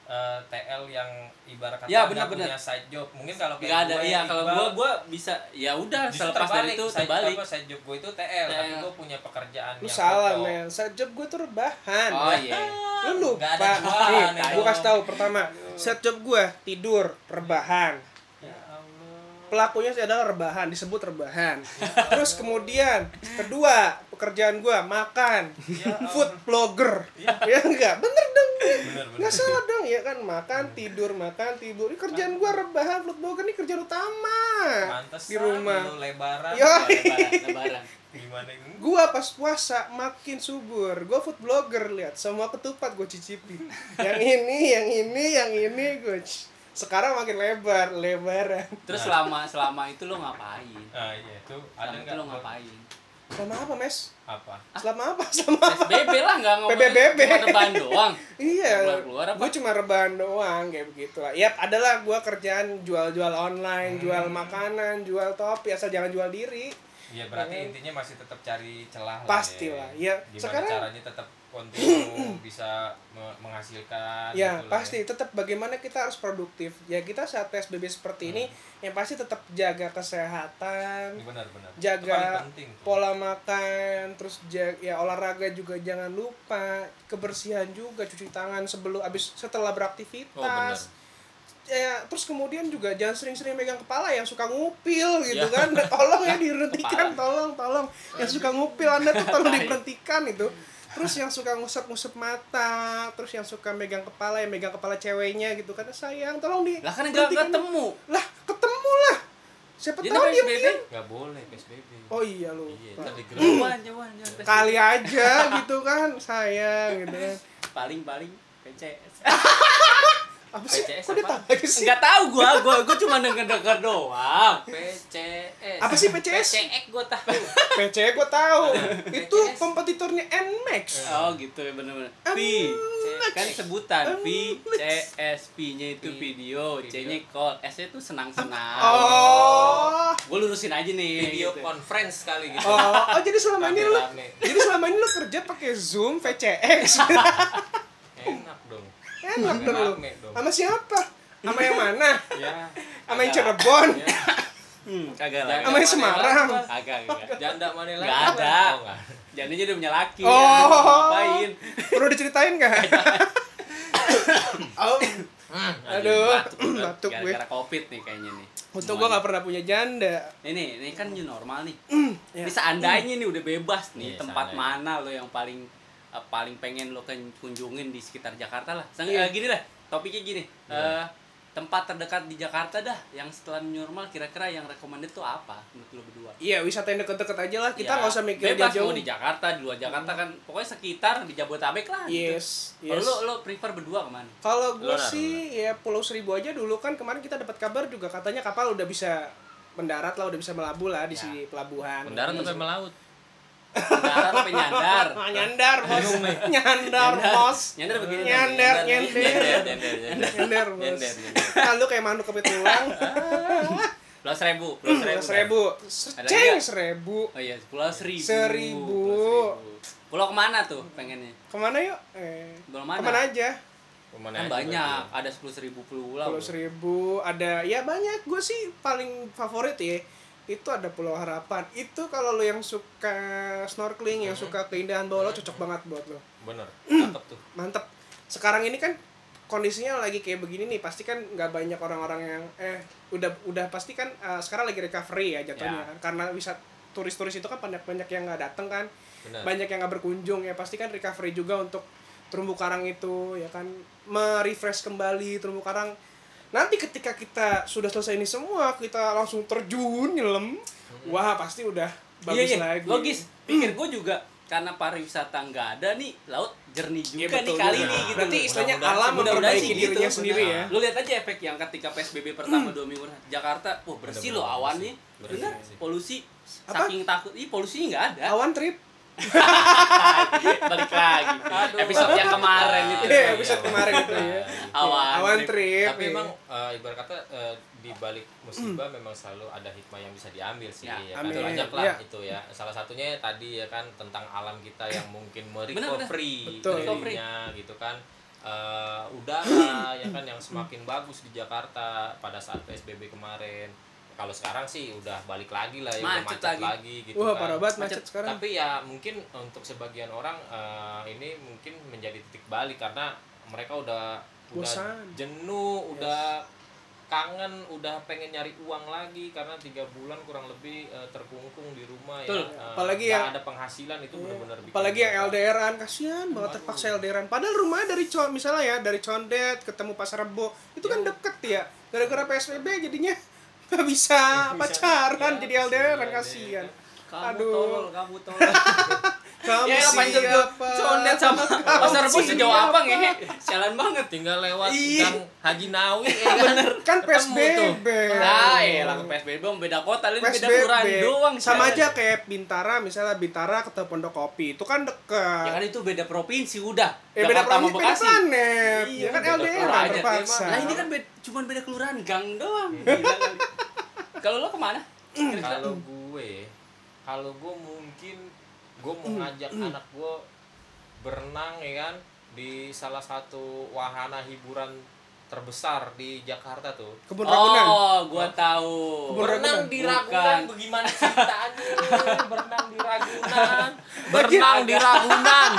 S2: eh, TL yang ibarat kata
S3: Ya,
S2: nggak
S3: benar-benar.
S2: punya side job. Mungkin kalau
S3: nggak
S2: kayak
S3: ada
S2: gue,
S3: iya kalau
S2: Iqbal,
S3: gua gua bisa ya udah
S2: justru
S3: selepas dari itu
S2: side,
S3: terbalik
S2: apa, side job gue itu TL, tapi
S3: TL.
S2: gue punya pekerjaan
S1: Lu
S2: yang
S1: salah
S2: pokok.
S1: men, set job gue tuh rebahan.
S3: oh iya
S1: lu lupa
S2: Nggak ada jualan,
S1: nih
S2: ya
S1: gue
S2: Allah.
S1: kasih tahu pertama set job gue tidur rebahan
S2: Ya Allah.
S1: pelakunya adalah rebahan disebut rebahan terus kemudian kedua pekerjaan gue makan food blogger ya enggak bener dong
S2: Bener, bener.
S1: nggak salah dong ya kan makan tidur makan tidur ini kerjaan gue rebahan food blogger ini kerjaan utama
S2: Pantesan
S1: di rumah
S2: lu lebaran.
S1: Yo.
S3: Oh, lebaran lebaran
S2: Gimana itu?
S1: gua pas puasa makin subur gua food blogger lihat semua ketupat gua cicipi yang ini yang ini yang ini gua c- sekarang makin lebar lebaran
S3: terus selama selama itu lo ngapain
S2: Ah, iya itu ada
S3: selama itu
S2: nggak
S3: lo ngapain
S1: selama apa mes
S2: Apa?
S1: selama apa selama apa
S3: PSBB lah nggak ngomong
S1: PBB.
S3: cuma rebahan doang
S1: iya
S3: Keluar-keluar apa?
S1: gua cuma rebahan doang kayak begitu lah yap adalah gua kerjaan jual-jual online jual makanan jual topi asal jangan jual diri
S2: Iya berarti intinya masih tetap cari celah lah
S1: Eh, Pasti lah, ya.
S2: Gimana
S1: Sekarang-
S2: caranya tetap
S1: [CLEARS THROAT]
S2: kontinu bisa me- menghasilkan
S1: ya
S2: gitu lah
S1: pasti tetap bagaimana kita harus produktif ya kita saat psbb seperti ini yang pasti tetap jaga kesehatan
S2: Ini benar benar. Itu paling
S1: jaga
S2: penting tuh.
S1: pola makan terus jaga, ya olahraga juga jangan lupa kebersihan juga cuci tangan sebelum abis setelah
S2: Oh benar.
S1: beraktivitas ya terus kemudian juga jangan sering-sering megang kepala yang suka ngupil gitu kan [LAUGHS] tolong ya diberhentikan tolong tolong yang suka ngupil anda tuh tolong diberhentikan itu terus yang suka ngusap-ngusap mata terus yang suka megang kepala yang megang kepala ceweknya gitu kan sayang tolong di
S3: lah kan nggak
S1: berhentikan.
S3: ketemu
S1: lah ketemu lah siapa
S3: jadi
S1: tahu dia
S3: PSBB
S2: Enggak boleh PSBB.
S1: Oh iya lu.
S2: Iya, ntar digerak.
S3: jauhan jauhan jauhan
S1: Kali aja gitu kan sayang gitu kan.
S3: paling paling PCS
S1: Apa sih?
S2: PCS
S1: Kok dia
S2: apa?
S1: tahu lagi sih?
S3: nggak tahu gua gua gua cuma denger denger doang
S2: PCS.
S1: Apa sih PCS?
S2: PCX gua
S1: [LAUGHS]
S2: tahu.
S1: PC gua tahu.
S2: Nah,
S1: Itu
S2: PCS.
S1: kompetitornya Nmax.
S3: oh gitu ya bener-bener V kan sebutan V C S P nya itu
S2: P.
S3: video C nya call S nya itu senang senang
S1: Oh.
S3: gua lurusin aja nih
S2: Video
S3: gitu.
S2: conference kali gitu.
S1: iya, Oh, oh jadi selama ini lu
S2: Rame-rame.
S1: jadi selama ini lu kerja pakai Zoom
S2: [LAUGHS]
S1: VCX.
S2: Enak dong.
S1: [CLEARS THROAT] Enak dong lu.
S2: Rame dong.
S1: Sama siapa? Sama yang mana?
S2: Ya.
S1: Sama yang Cirebon?
S3: hmm, kagak
S1: Sama
S2: Jangan
S3: lah
S1: yang
S2: mana
S1: Semarang.
S2: lagi, Mas.
S3: kagak kagak
S2: Janda mana lagi?
S3: Nggak ada.
S2: Oh, nggak.
S3: jadi aja udah punya laki
S1: Oh.
S3: ya, mau ngapain
S1: Perlu diceritain gak?
S3: Iya.
S1: oh,
S2: Hmm,
S1: aduh,
S3: Bener,
S1: [CLEARS THROAT] batuk gue.
S3: gara-gara covid nih kayaknya nih
S1: Untung gue gak pernah punya janda.
S3: ini ini kan new normal nih
S1: Ya.
S3: Ini seandainya nih udah bebas nih
S2: Iya,
S3: tempat
S2: seandainya.
S3: mana lo yang paling eh, paling pengen lo kan- kunjungin di sekitar Jakarta lah. Sang,
S1: Iya.
S3: eh, gini lah, topiknya gini.
S2: Iya.
S3: Eh, tempat terdekat di Jakarta dah yang setelah new normal kira-kira yang recommended tuh apa menurut lo berdua?
S1: Iya, wisata yang deket-deket aja lah. Kita
S3: Ya,
S1: nggak usah mikir
S3: bebas
S1: jauh-jauh.
S3: mau di Jakarta, di luar Jakarta kan pokoknya sekitar di Jabodetabek lah gitu.
S1: Yes,
S3: Kalau
S1: yes.
S3: Lo lo prefer berdua kemana?
S1: Kalau gue
S2: Luar,
S1: sih ya Pulau Seribu aja dulu kan kemarin kita dapat kabar juga katanya kapal udah bisa mendarat lah, udah bisa melabuh lah di
S3: Ya.
S1: si pelabuhan.
S2: Mendarat sampai melaut.
S3: Nyandar apa nyandar?
S1: Ah, [LAUGHS]
S3: [LAUGHS]
S1: nyandar bos nyandar bos
S3: Nyandar begini.
S1: Nyender, nyender.
S2: nyender, nyender.
S1: nyandar bos
S2: Nyender,
S1: ah, lu kayak manuk kepit tulang
S3: [LAUGHS] Plus ribu, plus ribu.
S1: Seribu. seribu
S3: Ada
S1: ceng
S3: nggak?
S1: seribu
S3: Oh iya, plus ribu.
S1: Seribu.
S3: Plus ribu. Pulau kemana tuh pengennya?
S1: kemana yuk eh,
S3: Pulau mana?
S1: kemana aja
S2: Kemana
S3: Kan
S2: aja
S3: banyak,
S2: berarti.
S3: ada sepuluh ribu pulau.
S1: Pulau Seribu ada ya banyak gue sih paling favorit ya itu ada Pulau Harapan itu kalau lo yang suka snorkeling yang suka keindahan bawah laut cocok banget buat lo
S2: Bener, cakep tuh.
S1: mantep sekarang ini kan kondisinya lagi kayak begini nih pasti kan nggak banyak orang-orang yang eh udah udah pasti kan eh, sekarang lagi recovery ya jatuhnya
S3: Ya.
S1: kan. karena wisat turis-turis itu kan banyak banyak yang nggak datang kan
S2: Bener.
S1: banyak yang nggak berkunjung ya pasti kan recovery juga untuk terumbu karang itu ya kan merefresh kembali terumbu karang nanti ketika kita sudah selesai ini semua kita langsung terjun nyelam wah pasti udah bagus
S3: Hmm. iya, iya,
S1: lagi
S3: Logis. Pikir gue juga karena pariwisata nggak ada nih, laut jernih juga
S1: Iya,
S3: nih
S1: betul
S3: kali
S1: juga.
S3: nih gitu.
S1: berarti istilahnya
S2: Mudah-mudahan
S1: alam
S2: sih,
S3: mudah-mudahan
S1: memperbaiki
S3: sih gitu,
S1: dirinya
S3: benar.
S1: sendiri ya Hmm.
S3: Lu lihat aja efek yang ketika PSBB pertama dua minggu Jakarta, wah bersih loh awannya.
S2: Bersih,
S3: Bener,
S2: bersih.
S3: polusi
S1: Apa?
S3: saking takut, ih polusinya nggak ada.
S1: awan trip
S3: Balik lagi.
S2: Aduh.
S3: Episode yang kemarin itu.
S1: Iya, episode kemarin itu ya.
S3: [LAUGHS] Awan,
S1: awan
S3: trip.
S1: trip,
S2: Tapi
S1: iya.
S2: emang eh, ibarat kata eh, di balik
S1: [CLEARS THROAT]
S2: musibah memang selalu ada hikmah yang bisa diambil sih.
S3: Ya,
S2: Ya, kan?
S1: amin.
S2: Banyak lah
S1: Ya.
S2: itu ya. Salah satunya tadi ya kan tentang alam kita yang mungkin merecovery
S1: Betul.
S2: dirinya gitu kan. Eh, udara ya kan yang semakin bagus di Jakarta pada saat PSBB kemarin. Kalau sekarang sih udah balik lagi lah ya udah
S3: Macet
S2: macet,
S3: lagi.
S2: lagi. gitu
S1: wah
S2: kan.
S1: parah banget macet,
S3: Macet.
S1: sekarang
S2: Tapi ya mungkin untuk sebagian orang eh, ini mungkin menjadi titik balik karena mereka udah udah
S1: Bosan.
S2: jenuh, udah kangen, udah pengen nyari uang lagi karena tiga bulan kurang lebih eh, terkungkung di rumah ya.
S3: Betul.
S2: Eh,
S1: Apalagi
S2: nggak
S1: yang- Iya.
S2: ada penghasilan itu benar-benar bikin
S1: apalagi yang
S2: mereka-
S1: LDRan kasihan banget terpaksa LDRan padahal rumahnya dari con misalnya ya dari Condet ketemu Pasar Rebo itu
S3: Iya.
S1: kan deket ya gara-gara PSBB jadinya [LAUGHS] nggak bisa pacaran
S2: Ya,
S3: Iya,
S1: jadi LDRan
S2: kasihan,
S1: kasihan
S3: Kamu
S1: Aduh.
S3: tolol, kamu tolol.
S1: kamu
S3: Ya apa itu
S1: siapa
S3: condet sama pasar rebo sejauh apa ngehe? Jalan banget.
S2: tinggal lewat
S1: Ih.
S2: gang Haji Nawi ya kan.
S1: kan
S2: Ketemu tuh.
S1: PSBB
S3: Nah, ya lah PSBB bang, beda kota, lu beda kelurahan doang.
S1: sama
S3: jalan.
S1: aja kayak Bintara misalnya Bintara ke Pondok Kopi itu kan
S3: Ya
S1: deket
S3: kan itu beda provinsi udah.
S1: eh beda
S3: Jakarta sama
S1: provinsi beda
S3: Bekasi.
S1: planet
S3: Iya,
S1: ya kan
S3: beda
S1: LDRan
S3: kelurahan.
S1: terpaksa
S3: Lah ini kan bed- cuman beda kelurahan gang
S1: [LAUGHS]
S3: doang. Gila kali. Kalau lo kemana? Kira-kira.
S2: kalau gue kalau gue mungkin gue mau ngajak anak gue berenang ya kan di salah satu wahana hiburan terbesar di Jakarta tuh
S1: kebun ragunan
S3: Oh, gua tahu.
S1: Kebun
S2: berenang di
S3: Bukan.
S2: Ragunan bagaimana ceritanya berenang di Ragunan
S1: Bagi-
S2: berenang di Ragunan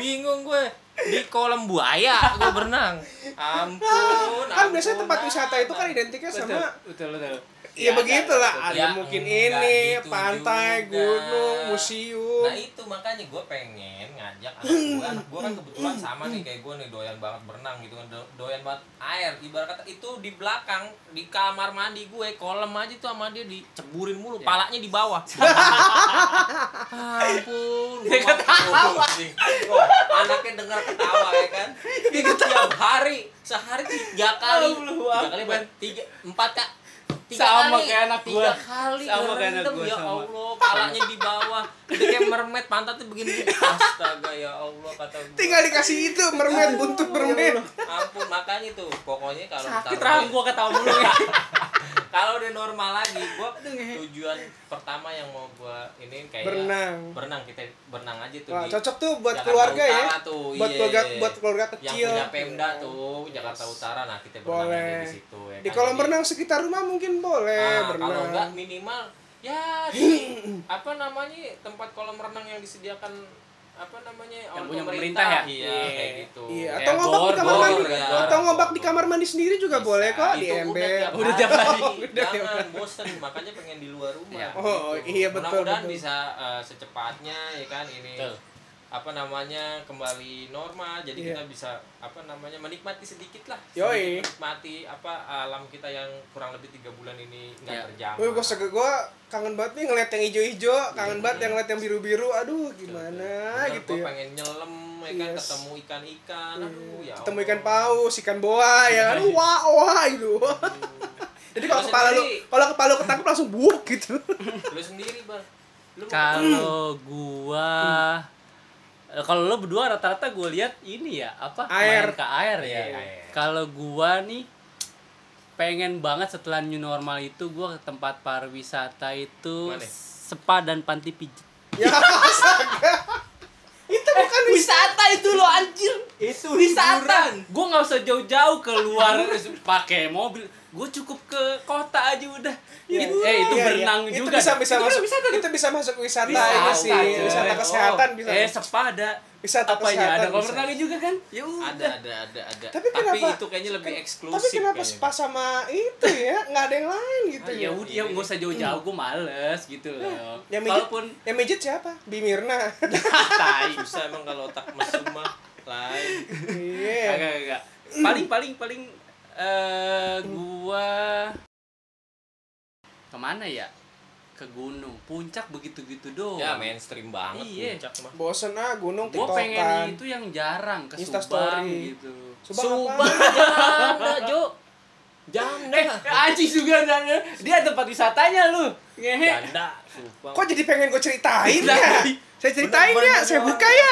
S2: bingung gue di kolam buaya gue berenang ampun
S1: kan biasanya
S2: ampun,
S1: tempat
S2: ah.
S1: wisata itu kan identiknya
S3: Betul,
S1: sama
S3: betul, betul.
S1: ya, begitulah
S3: betul.
S1: ada
S2: Iya, Ya,
S1: mungkin
S2: enggak
S1: ini
S2: gitu
S1: pantai
S2: juga.
S1: gunung museum
S2: Nah itu makanya gue pengen ngajak anak gue, anak gue kan kebetulan sama nih kayak gue nih doyan banget berenang gitu kan, do- doyan banget air. Ibarat kata itu di belakang di kamar mandi gue kolam aja tuh sama dia diceburin mulu,
S3: Ya.
S2: palanya di
S3: [LAUGHS]
S2: bawah. Ampun, gue ketawa. anaknya dengar ketawa ya kan? Itu tiap hari, sehari tiga kali,
S3: Allah
S2: tiga kali,
S3: Akbar.
S2: tiga, empat kak.
S3: Sama kayak anak
S2: tiga
S3: gua.
S2: kali
S3: Sama kayak anak
S2: rendem,
S3: gua,
S2: ya
S3: sama. [LAUGHS]
S2: Allah. Allah palanya di bawah dia kayak mermaid pantatnya begini astaga ya Allah kata gue
S1: tinggal dikasih itu
S2: Iya,
S1: mermaid buntut mermaid
S2: ampun makanya tuh pokoknya kalau
S3: Sakit
S2: ntar
S3: rahang
S2: udah-
S3: gua ketawa mulu ya.
S2: [LAUGHS] kalau udah normal lagi gua tujuan pertama yang mau gua ini kayak
S1: Berenang.
S2: berenang kita berenang aja tuh
S1: Wah,
S2: di
S1: cocok tuh buat
S2: Jakarta
S1: keluarga ya
S2: Utara tuh,
S1: buat
S2: iya.
S1: keluarga buat keluarga
S2: yang
S1: kecil
S2: punya Pemda tuh Jakarta Utara nah kita berenang aja
S1: boleh
S2: di situ ya
S1: di
S2: kan.
S1: kolam
S2: Jadi-
S1: renang sekitar rumah mungkin boleh
S2: Nah, kalau enggak
S1: berenang
S2: minimal ya
S1: [CLEARS THROAT]
S2: di apa namanya tempat kolam renang yang disediakan apa namanya
S3: Yang
S2: oleh
S3: punya pemerintah ya?
S2: iya
S3: Iya.
S2: kayak gitu
S1: Iya,
S3: Ya,
S1: atau ngobak
S3: gor,
S1: di kamar
S3: gor,
S1: mandi,
S2: ya.
S1: atau ngobak
S2: Gor,
S1: di
S2: gor.
S1: kamar mandi sendiri juga
S2: Bisa.
S1: boleh kok di
S2: Itu
S1: ember.
S3: Udah
S2: tiap
S3: [LAUGHS] tiap
S2: hari.
S3: hari.
S1: Udah tiap
S2: jangan bosen makanya pengen di luar rumah Gitu.
S3: Iya.
S1: Oh, iya, betul,
S2: mudah-mudahan
S1: betul.
S2: bisa eh, secepatnya ya kan ini
S3: Betul.
S2: apa namanya kembali normal jadi
S1: Iya.
S2: kita bisa apa namanya menikmati sedikit lah
S1: Yoi.
S2: Sedikit menikmati apa alam kita yang kurang lebih tiga bulan ini
S3: Iya.
S2: nggak terjamah
S1: Wih, gue sege gue kangen banget nih ngeliat yang ijo-ijo, kangen banget yang ngeliat yang biru-biru. Aduh, gimana
S2: Bener,
S1: gitu
S2: gua
S1: ya.
S2: pengen nyelam ya kan
S1: Yes.
S2: ketemu ikan-ikan aduh ya
S1: Ketemu
S2: Allah.
S1: ikan paus, ikan boa ya.
S3: Iya.
S1: Aduh, wah, wah gitu. [LAUGHS] Jadi kalau
S2: Lu
S1: kepala lu,
S2: sendiri.
S3: [LAUGHS]
S1: kalau kepala lu ketangkep langsung buk gitu.
S2: lu sendiri bang
S3: Kalau
S1: Hmm.
S3: gua eh, kalau lo berdua rata-rata gua lihat ini ya apa
S1: Air.
S3: main ke air ya.
S2: Iya, air.
S3: Kalau gua nih pengen banget setelah new normal itu gua ke tempat pariwisata itu
S2: Mana?
S3: spa dan panti pijit.
S1: ya astaga itu bukan
S3: wisata itu lo anjir
S1: itu
S3: wisata gue nggak usah jauh-jauh keluar [LAUGHS] pakai mobil gue cukup ke kota aja udah It- eh itu berenang
S1: Iya. itu
S3: juga
S1: bisa bisa
S3: Itu kan
S1: masuk
S3: wisata
S1: itu bisa masuk wisata,
S3: Wisata,
S1: ini sih
S3: coy.
S1: wisata kesehatan bisa
S3: eh spa ada
S1: Wisata
S3: apanya
S1: kesehatan
S3: ada kolam
S1: bisa.
S3: renangnya juga kan ya
S2: ada
S3: udah
S2: ada ada ada
S1: Tapi kenapa-
S2: itu kayaknya lebih
S1: Kan-
S2: eksklusif
S1: tapi kenapa
S2: kayaknya.
S1: spa sama itu ya nggak ada yang lain gitu
S3: Ah, ya udah ya nggak usah jauh-jauh gue males gitu loh
S1: Hmm. yang mijit,
S3: walaupun
S1: yang mijit siapa Bimirna
S3: tai
S2: susah emang kalau otak mesum mah lain
S1: iya
S3: agak agak paling paling paling eh gua kemana ya ke gunung puncak begitu gitu doang
S2: ya mainstream banget
S3: Iya.
S2: puncak mah
S1: [LAUGHS] bosen ah gunung
S3: gua
S1: tiktokan
S3: pengen itu yang jarang ke
S1: Insta
S3: Subang
S1: story.
S3: gitu
S1: Subang apa?
S3: janda jo janda Eh, aji juga janda dia tempat wisatanya lu ngehe
S2: janda sumpah
S1: Ya, kok jadi pengen gue ceritain
S3: Lah, iya.
S1: ya saya ceritain ya saya buka ya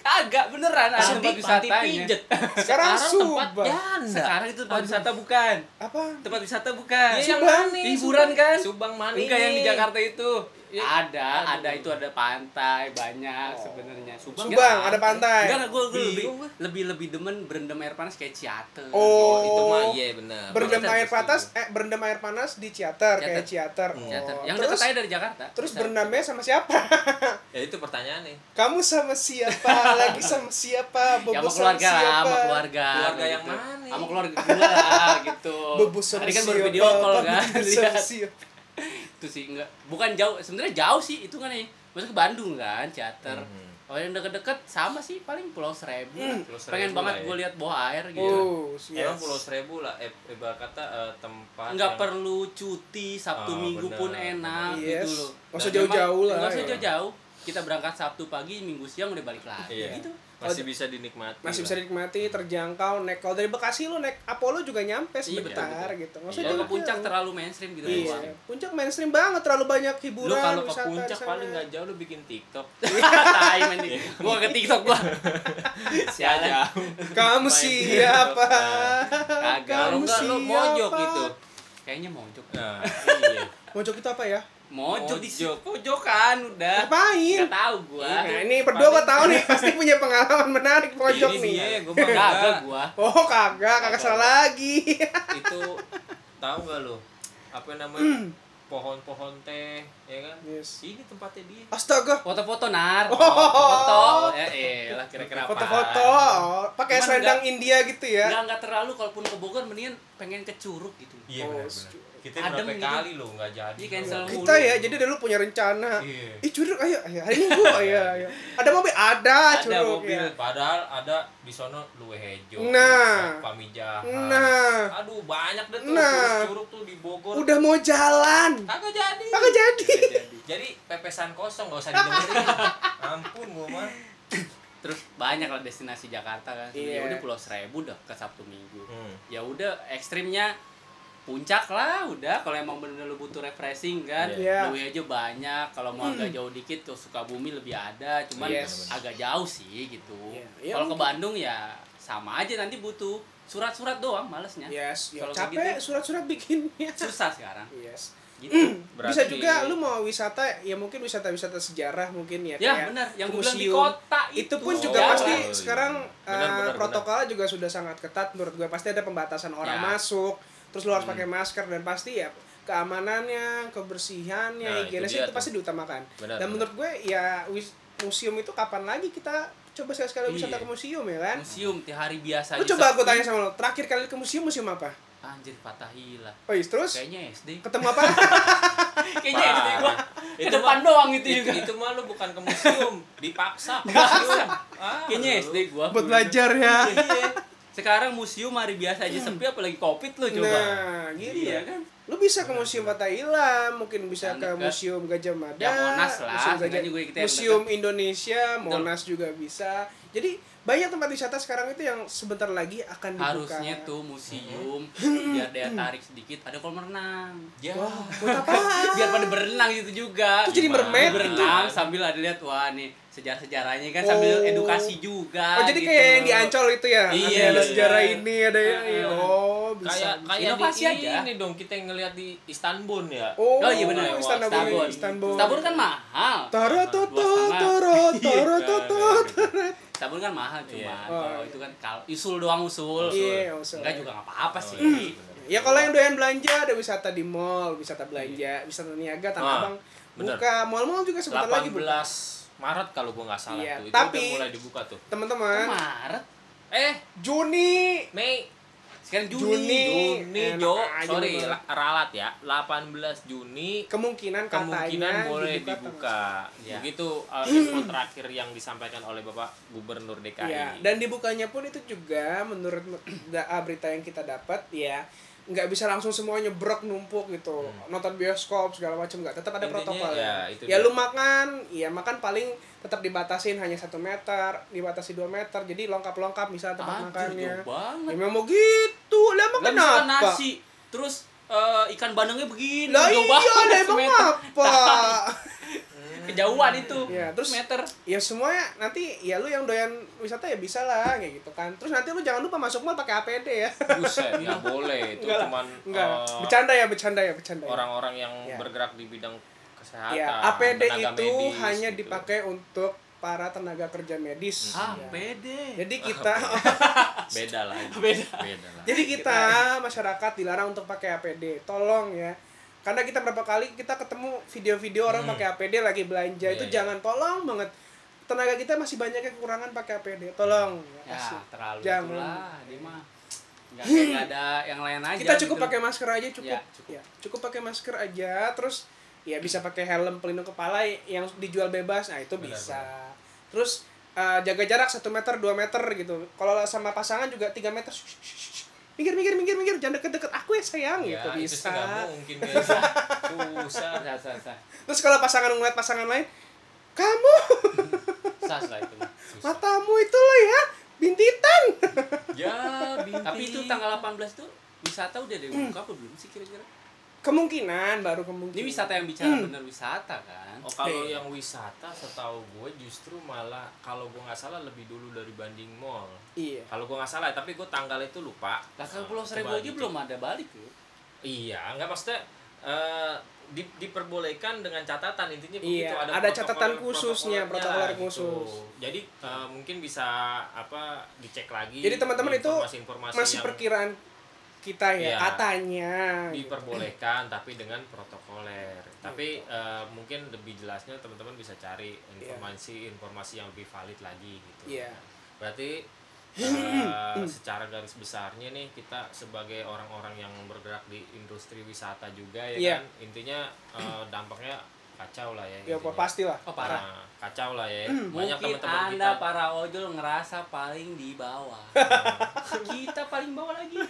S3: agak beneran ada tempat wisatanya [LAUGHS] ya,
S2: pijet
S1: sekarang
S2: tempat
S1: Subang
S2: janda
S3: sekarang itu tempat wisata bukan
S1: apa
S3: tempat wisata bukan
S2: Iya, yang
S1: Subang.
S2: mana?
S3: Hiburan kan?
S2: Subang mana?
S3: Enggak yang di Jakarta itu.
S2: Ya,
S3: Ada,
S2: aduh. Oh.
S3: ada itu ada pantai banyak sebenarnya.
S1: Subang ada pantai
S3: Enggak, gue lebih
S2: Bingung gua.
S3: lebih lebih demen berendam air panas kayak Ciater.
S2: Oh,
S1: Oh.
S2: itu mah iya benar.
S1: berendam
S2: Benar,
S1: air
S2: setuju.
S1: panas eh berendam air panas di ciater kayak ciater oh.
S3: Ciater. Yang dekat
S1: terus
S3: aja dari Jakarta.
S1: terus
S3: Bisa.
S1: berendamnya sama siapa [LAUGHS]
S2: Ya itu pertanyaan nih.
S1: kamu sama
S3: [LAUGHS]
S1: siapa lagi sama siapa
S3: Ya,
S1: bobo sama
S3: sama keluarga lah,
S1: siapa
S3: sama keluarga.
S2: Keluarga
S3: gitu.
S2: yang mana?
S3: Sama keluarga gue lah [LAUGHS] gitu.
S1: bobo sama
S3: Tadi
S1: siapa
S3: kan baru video call
S1: Bobo
S3: [LAUGHS] kan.
S1: sama
S3: lihat.
S1: siapa.
S3: Itu sih enggak. Bukan jauh, sebenarnya jauh sih itu kan ya. Maksudnya ke Bandung kan, Ciater.
S2: Mhm.
S3: Oh yang deket-deket sama sih paling Pulau Seribu.
S2: Pulau Seribu
S3: Pengen
S2: lah
S3: banget
S2: ya.
S3: gue lihat bawah air gitu.
S1: oh yes.
S2: Emang Pulau Seribu lah, eh, ibarat kata eh, tempat
S3: nggak
S2: yang-
S3: perlu cuti sabtu
S2: Ah,
S3: minggu
S2: benar,
S3: pun
S2: benar.
S3: enak
S1: Yes.
S3: gitu loh
S1: Nggak usah
S3: Dan memang-
S1: jauh-jauh lah,
S3: nggak usah
S1: ya.
S3: jauh-jauh kita berangkat sabtu pagi minggu siang udah balik lagi
S2: Iya.
S3: gitu
S2: Masih bisa dinikmati.
S1: Oh, masih
S3: Iya.
S2: lah.
S1: bisa dinikmati terjangkau naik kalau dari Bekasi lu naik Apollo juga nyampe sebentar
S3: Iya, betul,
S1: gitu maksudnya
S3: kalau ke
S1: jauh-jauh.
S3: puncak terlalu mainstream gitu
S1: iya
S3: doang.
S1: puncak mainstream banget terlalu banyak hiburan
S3: lu kalau ke
S1: wisata di
S3: puncak
S1: sana.
S3: paling
S2: Paling nggak jauh lu bikin TikTok.
S3: [LAUGHS] tai main di- gua ke tiktok gua sialan
S1: kamu
S3: Main
S1: siapa
S3: Nah, kagak
S1: Kamu
S3: kalau nggak lu
S1: siapa?
S3: mojok gitu kayaknya mojok
S1: [LAUGHS]
S2: Nah, iya.
S1: mojok itu apa ya
S3: mojok di
S2: Mojok. Iya.
S3: pojokan udah
S1: ngapain
S3: nggak tahu gua
S1: Nah, ini berdua gua tahu nih pasti punya pengalaman menarik pojok
S2: Ini dia,
S1: nih.
S2: gua mah
S3: kagak
S1: [LAUGHS]
S2: nggak.
S3: gua
S1: Oh, kagak, kagak salah lagi.
S2: itu tahu nggak lu? Apa
S1: [CLEARS THROAT]
S2: namanya? Pohon-pohon teh, ya kan?
S1: Yes.
S2: Ini tempatnya dia.
S1: Astaga.
S3: foto-foto nar
S1: Oh.
S3: foto eh lah kira-kira apa
S1: Foto-foto oh, pakai
S3: Cuman
S1: selendang India gitu ya.
S3: nggak nggak terlalu kalaupun ke Bogor mendingan pengen ke Curug gitu
S2: Iya
S1: Oh,
S2: benar-benar.
S1: setuju.
S2: Kita berapa
S3: Adem gitu.
S2: kali lo nggak jadi.
S3: Iya, cancel.
S1: Kita ya, jadi dulu punya rencana.
S2: Iya.
S1: Ih, curug ayo, ayo hari Minggu ayo, ayo. Ada mobil ada,
S3: Ada
S1: curug
S3: mobil.
S1: ya.
S2: Padahal ada di sono luwe hejo,
S1: Nah.
S2: pamijahan.
S1: Nah,
S2: Aduh banyak deh tuh
S1: Nah.
S2: curug tuh di Bogor.
S1: udah mau jalan.
S2: Kagak jadi.
S1: Kagak jadi.
S2: Jadi pepesan kosong
S1: [LAUGHS]
S2: gak usah didengerin. Ampun gua mah.
S3: terus banyak lah destinasi Jakarta kan
S1: Iya. Hmm.
S3: ya udah Pulau Seribu udah ke Sabtu Minggu ya udah ekstrimnya puncak lah udah kalau emang bener-bener lu butuh refreshing kan
S1: Iya. Hmm.
S3: lu aja banyak kalau mau agak jauh dikit ke Sukabumi lebih ada cuman
S1: Yes.
S3: agak jauh sih gitu
S1: Iya. Iya,
S3: kalau ke
S1: mungkin.
S3: Bandung ya sama aja nanti butuh surat-surat doang malesnya
S1: Yes, ya
S3: Kalau
S1: capek
S3: kayak
S1: surat-surat bikinnya.
S3: susah sekarang
S1: Yes.
S3: gitu
S1: Hmm, Bisa juga lu mau wisata, ya mungkin wisata-wisata sejarah mungkin ya.
S3: Ya
S1: kayak
S3: benar, yang
S1: ke
S3: gue bilang di
S1: museum.
S3: kota
S1: itu
S3: itu, Ya,
S1: pun
S2: Oh,
S1: juga
S2: iya.
S1: pasti
S2: Oh, iya.
S1: sekarang
S2: Benar,
S1: eh,
S2: benar,
S1: protokolnya juga sudah sangat ketat menurut gue pasti ada pembatasan orang
S3: Ya.
S1: masuk terus lu harus
S2: Hmm.
S1: pakai masker dan pasti ya keamanannya kebersihannya
S2: Nah, itu
S1: higienisnya
S2: dia
S1: itu,
S2: tuh.
S1: pasti diutamakan
S2: Benar,
S1: dan
S2: benar.
S1: menurut gue ya wis- museum itu kapan lagi kita coba sekali-sekali wisata
S3: Iya.
S1: ke museum ya kan
S3: museum di hari biasa
S1: lu
S3: aja
S1: coba aku
S3: sepi.
S1: tanya sama lu terakhir kali ke museum museum apa
S3: Anjir Fatahila.
S1: oh iya, terus
S3: Kayaknya SD.
S1: ketemu
S2: [LAUGHS]
S1: apa
S3: Kayaknya SD gua. Ke
S2: Itu
S3: depan
S2: mah-
S3: doang itu
S2: itu,
S1: Iya.
S3: [LAUGHS] juga.
S2: itu mah lu bukan ke museum, dipaksa. ke
S3: Dipaksa.
S2: museum. Ah,
S3: Kayaknya
S2: lu.
S3: SD gua.
S1: buat belajar ya
S3: Iya. Sekarang museum hari biasa aja sepi apalagi Covid lu coba.
S1: nah gitu
S3: Iya kan?
S1: lu bisa ke museum Fatahila mungkin bisa
S3: Yang
S1: ke
S3: dekat.
S1: museum Gajah Mada
S3: Ya, Monas
S1: museum,
S3: lah,
S1: Gajah-
S3: seenggaknya gue ikut yang
S1: Museum Indonesia Monas juga bisa jadi banyak tempat wisata sekarang itu yang sebentar lagi akan dibuka
S3: harusnya tuh museum biar daya tarik sedikit ada kolam renang
S4: Ya.
S1: wah buat apa
S3: biar pada berenang gitu juga
S1: Terus jadi mermaid gitu?
S3: berenang sambil ada lihat wah nih sejarah sejarahnya kan sambil
S1: Oh.
S3: edukasi juga
S1: oh jadi
S3: gitu.
S1: kayak yang di Ancol itu ya
S3: Iya,
S1: ada
S3: iya.
S1: sejarah ini ada yang
S3: Iya.
S1: oh [LAUGHS] bisa
S4: Kayak
S1: bisa.
S4: kayak
S3: Inovasi
S4: di
S3: aja.
S4: ini dong kita yang ngelihat di Istanbul ya.
S1: oh,
S3: Oh, iya benar.
S1: Istanbul
S3: Istanbul.
S1: Istanbul
S3: sabun kan mahal
S1: tara tara
S3: [LAUGHS]
S1: tara
S3: Iya,
S1: tara
S3: sabun kan mahal cuman
S4: Iya.
S1: Oh,
S3: kalau
S1: iya.
S3: itu kan kalau usul doang usul
S1: Iya, usul.
S3: enggak juga nggak apa-apa sih
S1: Ya kalau yang doyan belanja ada wisata di mall, wisata belanja, wisata niaga, tanah
S4: Ah,
S1: abang.
S4: bener.
S1: Buka mall-mall juga sebentar lagi
S4: 18
S1: buka.
S4: Maret kalau gua nggak salah
S1: Iya,
S4: tuh. Itu
S1: tapi-
S4: udah mulai dibuka tuh.
S1: Teman-teman,
S3: Maret
S4: Eh,
S1: Juni.
S4: Mei
S3: sekarang
S1: Juni.
S3: Juni,
S4: Juni
S1: Enak
S4: Jo,
S1: aja
S4: sorry,
S1: bener.
S4: la- ralat ya. 18 Juni
S1: Kemungkinan katanya
S4: kemungkinan boleh
S1: dibuka
S4: dibuka.
S3: Iya.
S4: gitu Begitu [CLEARS THROAT] uh, info terakhir yang disampaikan oleh Bapak Gubernur
S1: tanggal-
S4: DKI.
S1: Iya, dan dibukanya pun itu juga menurut da- ah, berita yang kita dapat ya nggak bisa langsung semuanya brok numpuk gitu nonton bioskop segala macam nggak tetap ada
S4: Hmm. Intinya,
S1: protokol
S4: ya, itu
S1: ya
S4: dia.
S1: lu makan ya makan paling tetap dibatasin hanya satu meter dibatasi dua meter jadi lengkap lengkap misalnya tempat
S3: Anjir,
S1: makannya
S3: jauh banget
S1: Ya memang gitu. Lah emang
S3: Lah
S1: kenapa?
S3: misalkan nasi, terus eh, ikan bandengnya begini,
S1: Lah iya,
S3: jauh
S1: lah
S3: banget,
S1: emang
S3: semeter.
S1: apa?
S3: [LAUGHS] Kejauhan itu.
S1: Iya, terus-
S3: meter.
S1: ya semuanya nanti ya lu yang doyan wisata ya bisa lah kayak gitu kan. Terus nanti lu jangan lupa masuk mall pakai APD ya. [LAUGHS]
S4: Buset, nggak [LAUGHS] boleh itu
S1: Enggak lah.
S4: cuman
S1: Enggak.
S4: uh,
S1: bercanda ya, bercanda ya, bercanda. ya.
S4: orang-orang yang
S1: Ya.
S4: bergerak di bidang kesehatan.
S1: ya, APD
S4: tenaga
S1: itu
S4: medis,
S1: hanya
S4: gitu.
S1: dipakai untuk para tenaga kerja medis.
S3: Ah,
S1: Ya.
S3: pede.
S1: Jadi kita
S4: [LAUGHS] beda
S1: [LAUGHS]
S4: lah.
S3: Beda.
S4: Beda lah.
S1: Jadi kita masyarakat dilarang untuk pakai APD. Tolong ya. Karena kita berapa kali kita ketemu video-video orang pakai APD lagi belanja
S4: Hmm. Iya,
S1: itu
S4: iya.
S1: jangan tolong banget. Tenaga kita masih banyak yang kekurangan pakai APD. Tolong ya.
S3: Ya,
S1: kasih.
S3: terlalu
S1: Jangan.
S3: itulah, dia mah. Nggak kayak nggak ada yang lain aja.
S1: Kita cukup
S3: gitu.
S1: pakai masker aja cukup.
S3: Ya,
S1: Ya, cukup. pakai masker aja terus ya bisa pakai helm pelindung kepala yang dijual bebas. Nah, itu
S4: Benar,
S1: bisa. Terus eh, jaga jarak 1 meter, 2 meter gitu. Kalau sama pasangan juga 3 meter. Shh, shh, shh, shh. Minggir, minggir, minggir, minggir. Jangan deket-deket aku ya sayang
S4: Ya,
S1: gitu
S4: itu sih
S1: bisa.
S4: nggak mungkin guys. Susah.
S3: Sah, sah, sah.
S1: Terus kalau pasangan ngeliat pasangan lain, kamu
S3: Sah lah itu. mah.
S4: Susah.
S1: matamu itu loh ya bintitan. [LAUGHS]
S4: Ya, binti.
S3: Tapi itu tanggal 18 tuh wisata udah dibuka apa belum sih kira-kira?
S1: Kemungkinan baru kemungkinan.
S3: Ini wisata yang bicara
S1: Hmm.
S3: bener wisata kan.
S4: Oh, kalau
S1: Iya.
S4: yang wisata setahu gue justru malah kalau gue nggak salah lebih dulu dari banding mall.
S1: Iya.
S4: Kalau gue nggak salah, tapi gue tanggal itu lupa.
S3: Lah kalau
S4: Nah,
S3: Pulau Seribu
S4: coba
S3: aja
S4: dicek.
S3: belum ada balik tuh.
S4: Iya, nggak maksudnya eh, di- diperbolehkan dengan catatan intinya gitu.
S1: [LAUGHS]
S4: begitu
S1: Iya,
S4: ada,
S1: ada catatan
S4: protokol-
S1: khususnya,
S4: protokolnya
S2: gitu.
S1: protokol khusus.
S4: Jadi eh, mungkin bisa apa dicek lagi.
S1: Jadi teman-teman itu
S4: Iya, informasi-informasi
S1: Masih
S4: yang
S1: perkiraan kita ya
S4: Iya.
S1: katanya. gitu.
S4: diperbolehkan tapi dengan protokoler. Tapi eh, mungkin lebih jelasnya teman-teman bisa cari informasi-informasi yang lebih valid lagi gitu.
S1: Iya.
S4: Berarti eh, secara garis besarnya nih kita sebagai orang-orang yang bergerak di industri wisata juga ya
S1: Iya.
S4: kan intinya eh, dampaknya kacau lah ya.
S1: Ya
S4: intinya.
S1: pastilah.
S3: Oh
S4: Nah,
S3: parah.
S4: kacau lah ya. Banyak
S3: Mungkin
S4: teman-teman kita.
S3: Anda para ojol ngerasa paling di bawah. kita paling bawah lagi.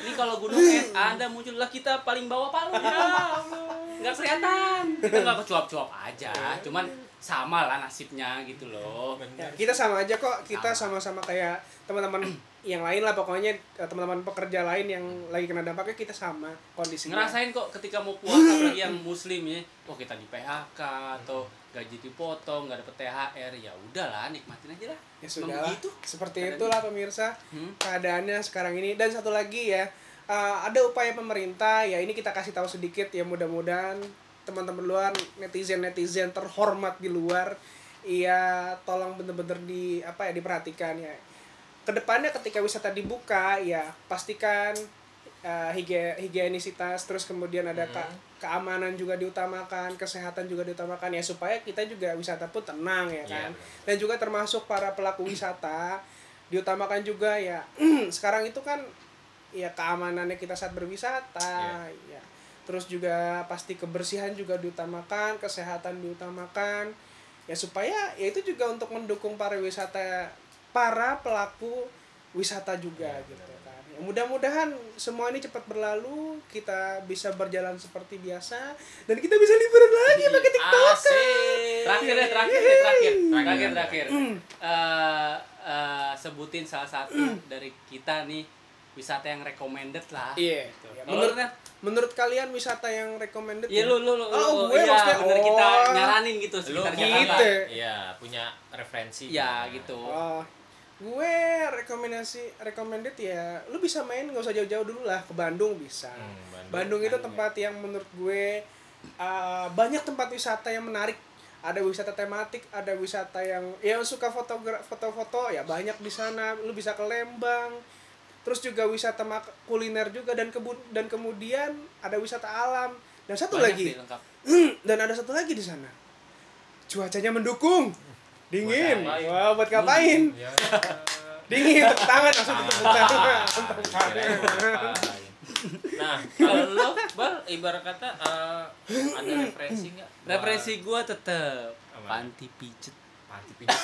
S3: Ini kalau gunung es Anda muncul lah kita paling bawah palu. Ya Allah. Nggak kelihatan. Kita nggak kecuap-cuap aja. Cuman sama lah nasibnya gitu loh.
S1: Ya, kita sama aja kok. Kita sama-sama kayak teman-teman yang lain lah pokoknya eh, teman-teman pekerja lain yang lagi kena dampaknya kita sama kondisinya.
S3: Ngerasain kok ketika mau puasa bagi yang muslim ya. Wah kita di PHK atau gaji dipotong, nggak dapet THR. Ya udahlah nikmatin aja lah.
S1: Ya
S3: Emang
S1: sudah lah.
S3: begitu.
S1: Seperti
S3: Keadaannya.
S1: itulah pemirsa
S3: Hmm.
S1: keadaannya sekarang ini dan satu lagi ya eh, ada upaya pemerintah ya ini kita kasih tahu sedikit ya mudah-mudahan teman-teman luar netizen netizen terhormat di luar ya tolong bener-bener di apa ya diperhatikan ya kedepannya ketika wisata dibuka ya pastikan eh, hige- higienisitas terus kemudian ada ke- keamanan juga diutamakan kesehatan juga diutamakan ya supaya kita juga wisata pun tenang ya
S4: Iya,
S1: kan
S4: benar.
S1: dan juga termasuk para pelaku wisata diutamakan juga ya [CLEARS THROAT] sekarang itu kan ya keamanannya kita saat berwisata ya terus juga pasti kebersihan juga diutamakan kesehatan diutamakan ya supaya ya itu juga untuk mendukung pariwisata para pelaku wisata juga
S4: Ya,
S1: gitu
S4: benar-benar.
S1: kan Ya, mudah-mudahan semua ini cepat berlalu kita bisa berjalan seperti biasa dan kita bisa liburan lagi pakai tiktok kan. Iya. Mm.
S3: Asik. Terakhir deh, terakhir deh, terakhir. Terakhir, terakhir. Eh, eh, sebutin salah satu
S1: Mm.
S3: dari kita nih wisata yang recommended lah.
S1: Iya.
S3: Gitu.
S1: Iya,
S3: Kalau
S1: menurut-
S3: lu, Ren?
S1: Menurut kalian wisata yang recommended? ya?
S3: Iya lu lu lu.
S1: Oh,
S3: lu-
S1: gue
S3: iya,
S1: maksudnya,
S3: bener kita
S1: oh.
S3: nyaranin gitu
S2: lu
S3: sekitar
S1: gitu.
S3: Jakarta.
S1: ya?
S2: iya punya referensi
S3: Iya gitu.
S1: Oh, gue rekomendasi recommended ya, lu bisa main nggak usah jauh-jauh dulu lah ke Bandung bisa.
S2: Hmm, Bandung.
S1: Bandung itu
S3: kan
S2: Bandung
S1: tempat yang menurut gue uh, banyak tempat wisata yang menarik. Ada wisata tematik, ada wisata yang yang suka fotogra- foto-foto ya banyak di sana. Lu bisa ke Lembang. Terus juga wisata mak- kuliner juga dan kebun dan kemudian ada wisata alam. Dan satu
S3: Banyak
S1: lagi,
S3: sih lengkap.
S1: Hmm, dan ada satu lagi di sana. Cuacanya mendukung. Dingin.
S2: Buat ngapain?
S1: Wah, buat ngapain?
S2: ya
S1: Dingin, tepuk tangan langsung tepuk
S3: Ah.
S1: tangan. Tepuk
S2: Kirain
S1: tangan.
S2: apa. nah kalau lo bal ibarat kata eh, ada referensi nggak buat
S3: Referensi gua tetep
S2: Apa?
S3: panti pijet
S2: panti pijat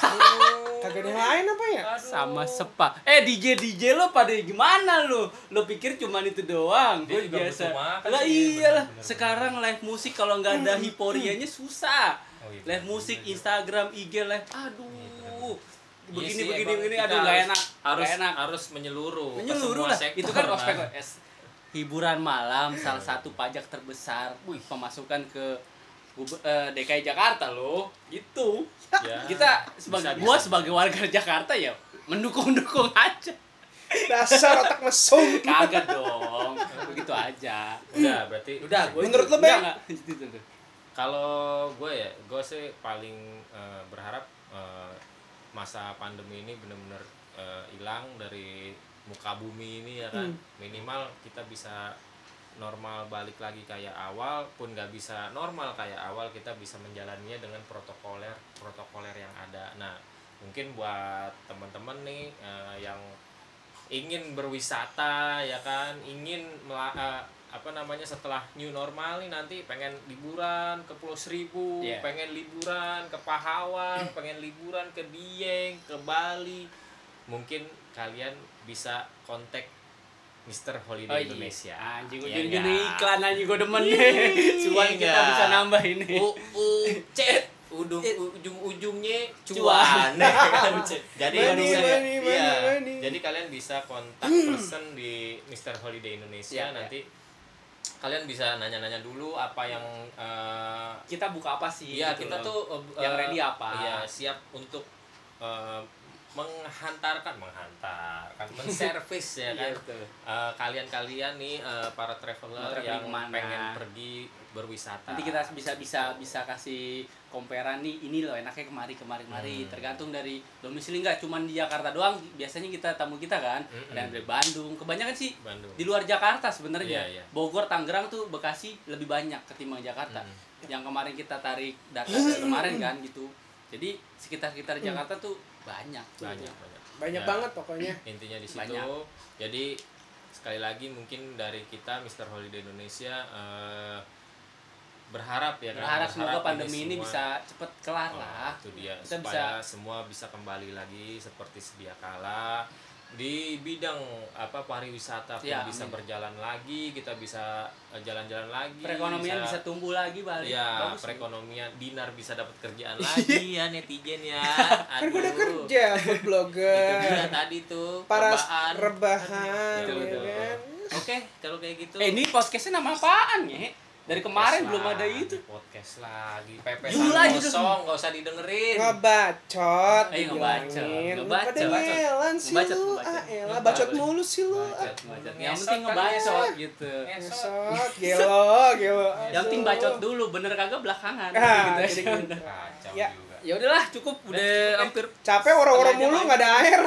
S1: Kagak ada yang lain apa ya?
S2: Aduh.
S3: sama spa. Eh DJ DJ lo pada gimana lo? Lo pikir cuman itu doang?
S2: Dia
S3: Gue
S2: juga
S3: biasa.
S2: butuh makan
S3: Lah
S2: sih,
S3: iyalah,
S2: bener-bener.
S3: sekarang live musik kalau nggak ada hiporianya susah.
S2: Oh, iya,
S3: Live
S2: bener
S3: musik
S2: juga.
S3: Instagram, IG live.
S2: bener-bener.
S3: Aduh.
S2: Iya
S3: Begini
S2: sih,
S3: begini
S2: emang
S3: begini
S2: kita
S3: aduh nggak
S2: harus-
S3: enak.
S2: harus
S3: Harus enak.
S2: harus menyeluruh ke
S3: Menyeluruh
S2: semua
S3: lah.
S2: sektor,
S3: Itu kan ospek
S2: kan.
S3: es. Hiburan malam salah satu pajak terbesar pemasukan ke gub- eh, DKI Jakarta loh. Gitu.
S2: Ya.
S3: Kita sebagai
S2: Bisa,
S3: gua
S2: bisa.
S3: sebagai warga Jakarta ya mendukung-dukung [LAUGHS] aja.
S1: Dasar otak mesum.
S3: Kagak dong. Begitu aja.
S2: udah berarti
S3: Udah, gue
S1: Menurut lo, Bang?
S3: Gitu,
S2: kalau gue ya gue sih paling eh, berharap eh, masa pandemi ini benar-benar eh, hilang dari muka bumi ini ya kan minimal kita bisa normal balik lagi kayak awal pun nggak bisa normal kayak awal kita bisa menjalaninya dengan protokoler protokoler yang ada nah mungkin buat teman-teman nih eh, yang ingin berwisata ya kan ingin mela- eh, apa namanya setelah new normal nih nanti pengen liburan ke Pulau Seribu
S3: Iya.
S2: pengen liburan ke
S3: [CLEARS THROAT]
S2: Pahawang pengen liburan ke Dieng ke Bali mungkin kalian bisa kontak Mr. Holiday
S3: Oh, iya.
S2: Indonesia
S3: Anjing gue
S2: Iya
S3: jadi
S2: nggak?
S3: jadi iklan anjing gue demen deh. [LAUGHS] Cuan
S2: Iya
S3: kita
S2: nggak?
S3: bisa nambah ini.
S2: U U C Udung, ujung-ujungnya
S3: Cuan.
S2: cuan. [LAUGHS] jadi
S1: Money,
S2: bisa-
S1: money, money,
S2: iya.
S1: money.
S2: Jadi kalian bisa kontak person di Mr. Holiday Indonesia
S3: Iya,
S2: nanti kalian bisa nanya-nanya dulu apa yang eh,
S3: Kita buka apa sih?
S2: Iya,
S3: gitu
S2: kita
S3: loh.
S2: tuh eh,
S3: Yang
S2: eh,
S3: ready apa?
S2: Iya, siap untuk eh, menghantarkan, [LAUGHS] menghantarkan, menservis ya
S3: Iya,
S2: kan.
S3: betul.
S2: Eh, kalian-kalian nih eh, para
S3: Mau
S2: traveler
S3: traveling
S2: yang
S3: kemana?
S2: pengen pergi berwisata.
S3: Nah. Nanti kita bisa bisa bisa kasih komperan nih ini loh enaknya kemari kemari kemari
S2: Hmm.
S3: tergantung dari domisili nggak cuman di Jakarta doang biasanya kita tamu kita kan
S2: Mm-mm.
S3: dan dari Bandung kebanyakan sih
S2: Hmm. Bandung.
S3: di luar Jakarta sebenarnya
S2: Iya, iya.
S3: Bogor Tangerang tuh Bekasi lebih banyak ketimbang Jakarta
S2: Hmm.
S3: yang kemarin kita tarik data dari kemarin kan gitu jadi sekitar sekitar Jakarta tuh banyak
S2: Hmm. banyak banyak
S1: Banyak
S2: Ya,
S1: banget pokoknya.
S2: intinya di situ
S3: Banyak.
S2: jadi sekali lagi mungkin dari kita Mr. Holiday Indonesia eh, berharap ya kan,
S3: berharap semoga pandemi ini,
S2: semua-
S3: bisa cepet kelar
S2: Oh,
S3: lah
S2: itu dia
S3: Kita
S2: supaya semua bisa kembali lagi seperti sedia kala di bidang apa pariwisata pun
S3: Ya,
S2: bisa
S3: amin.
S2: berjalan lagi kita bisa eh, jalan-jalan lagi
S3: perekonomian bisa tumbuh lagi balik
S2: ya
S3: Bagus nih.
S2: perekonomian dinar bisa dapat kerjaan lagi ya netizen ya
S1: Kan gue udah
S2: Aduh.
S1: kerja, food
S2: Itu
S3: Iya,
S2: dia
S1: blogger.
S2: tadi tuh
S1: Eh, Para
S2: rebahan.
S1: rebahan,
S2: Betul,
S1: ya
S2: betul.
S1: kan?
S2: Oke, kalau kayak gitu.
S3: Eh ini podcastnya nama apaan ya? Dari kemarin belum ada itu.
S2: Podcast lagi. Pepesan
S3: Judul aja tuh.
S2: kosong, nggak usah didengerin.
S1: Ngebacot,
S3: Eh, ngebacot,
S1: dibilangin. Lu
S3: ngebacot,
S1: pada
S3: ngebacot.
S1: ngelan sih
S3: Ngebacot,
S1: lu,
S3: ngebacot.
S1: ah elah,
S2: Ngebacot.
S1: bacot mulu sih lu. ah.
S3: Yang
S2: Ngesot
S3: penting
S2: kan,
S3: ngebacot
S2: ngesot.
S3: gitu.
S2: Ngesot.
S1: Ngesot, gelo, gelo.
S3: Yang penting
S1: Aduh.
S3: bacot dulu, bener kagak belakangan.
S1: Ah,
S3: gitu
S1: jadi
S3: aja.
S1: gitu.
S2: Kacau
S1: Ya.
S2: juga.
S3: Ya udahlah, cukup udah hampir.
S1: Capek woro-woro
S3: Setengah jam
S1: mulu
S3: aja.
S1: nggak ada
S2: Ya,
S1: air.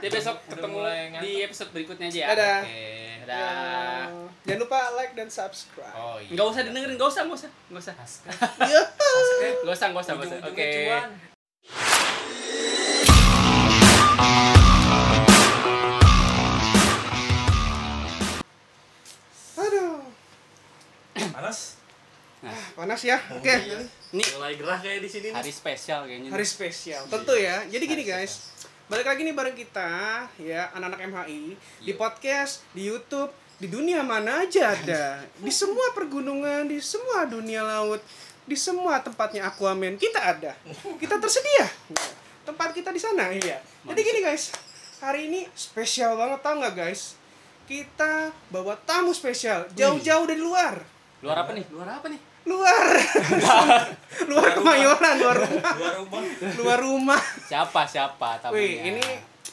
S3: Jadi besok
S2: Udah
S3: ketemu
S2: mulai
S3: di
S2: ngantuk.
S3: episode berikutnya aja ya.
S1: Dadah.
S2: Oke.
S3: Dadah.
S1: Ya. Jangan lupa like dan subscribe.
S2: Oh iya.
S3: Enggak usah didengerin, enggak usah, enggak usah, enggak usah. [LAUGHS] Enggak usah, enggak usah, nggak usah.
S2: Ujung-ujungnya
S3: Oke.
S2: cuan.
S1: Aduh,
S4: Panas?
S1: panas ya. Oke.
S3: Nih,
S4: Mulai gerah kayak di sini nih.
S3: hari spesial kayaknya.
S1: hari spesial tentu ya jadi gini guys balik lagi nih bareng kita ya anak-anak MHI di podcast di YouTube di dunia mana aja ada di semua pergunungan di semua dunia laut di semua tempatnya Aquaman kita ada kita tersedia tempat kita di sana iya jadi gini guys hari ini spesial banget tau nggak guys kita bawa tamu spesial jauh-jauh dari luar
S3: Luar apa nih? Luar apa nih?
S1: luar [LAUGHS] luar kemayoran luar rumah
S4: Luar rumah.
S1: luar rumah
S3: Siapa siapa tamunya?
S1: wih ini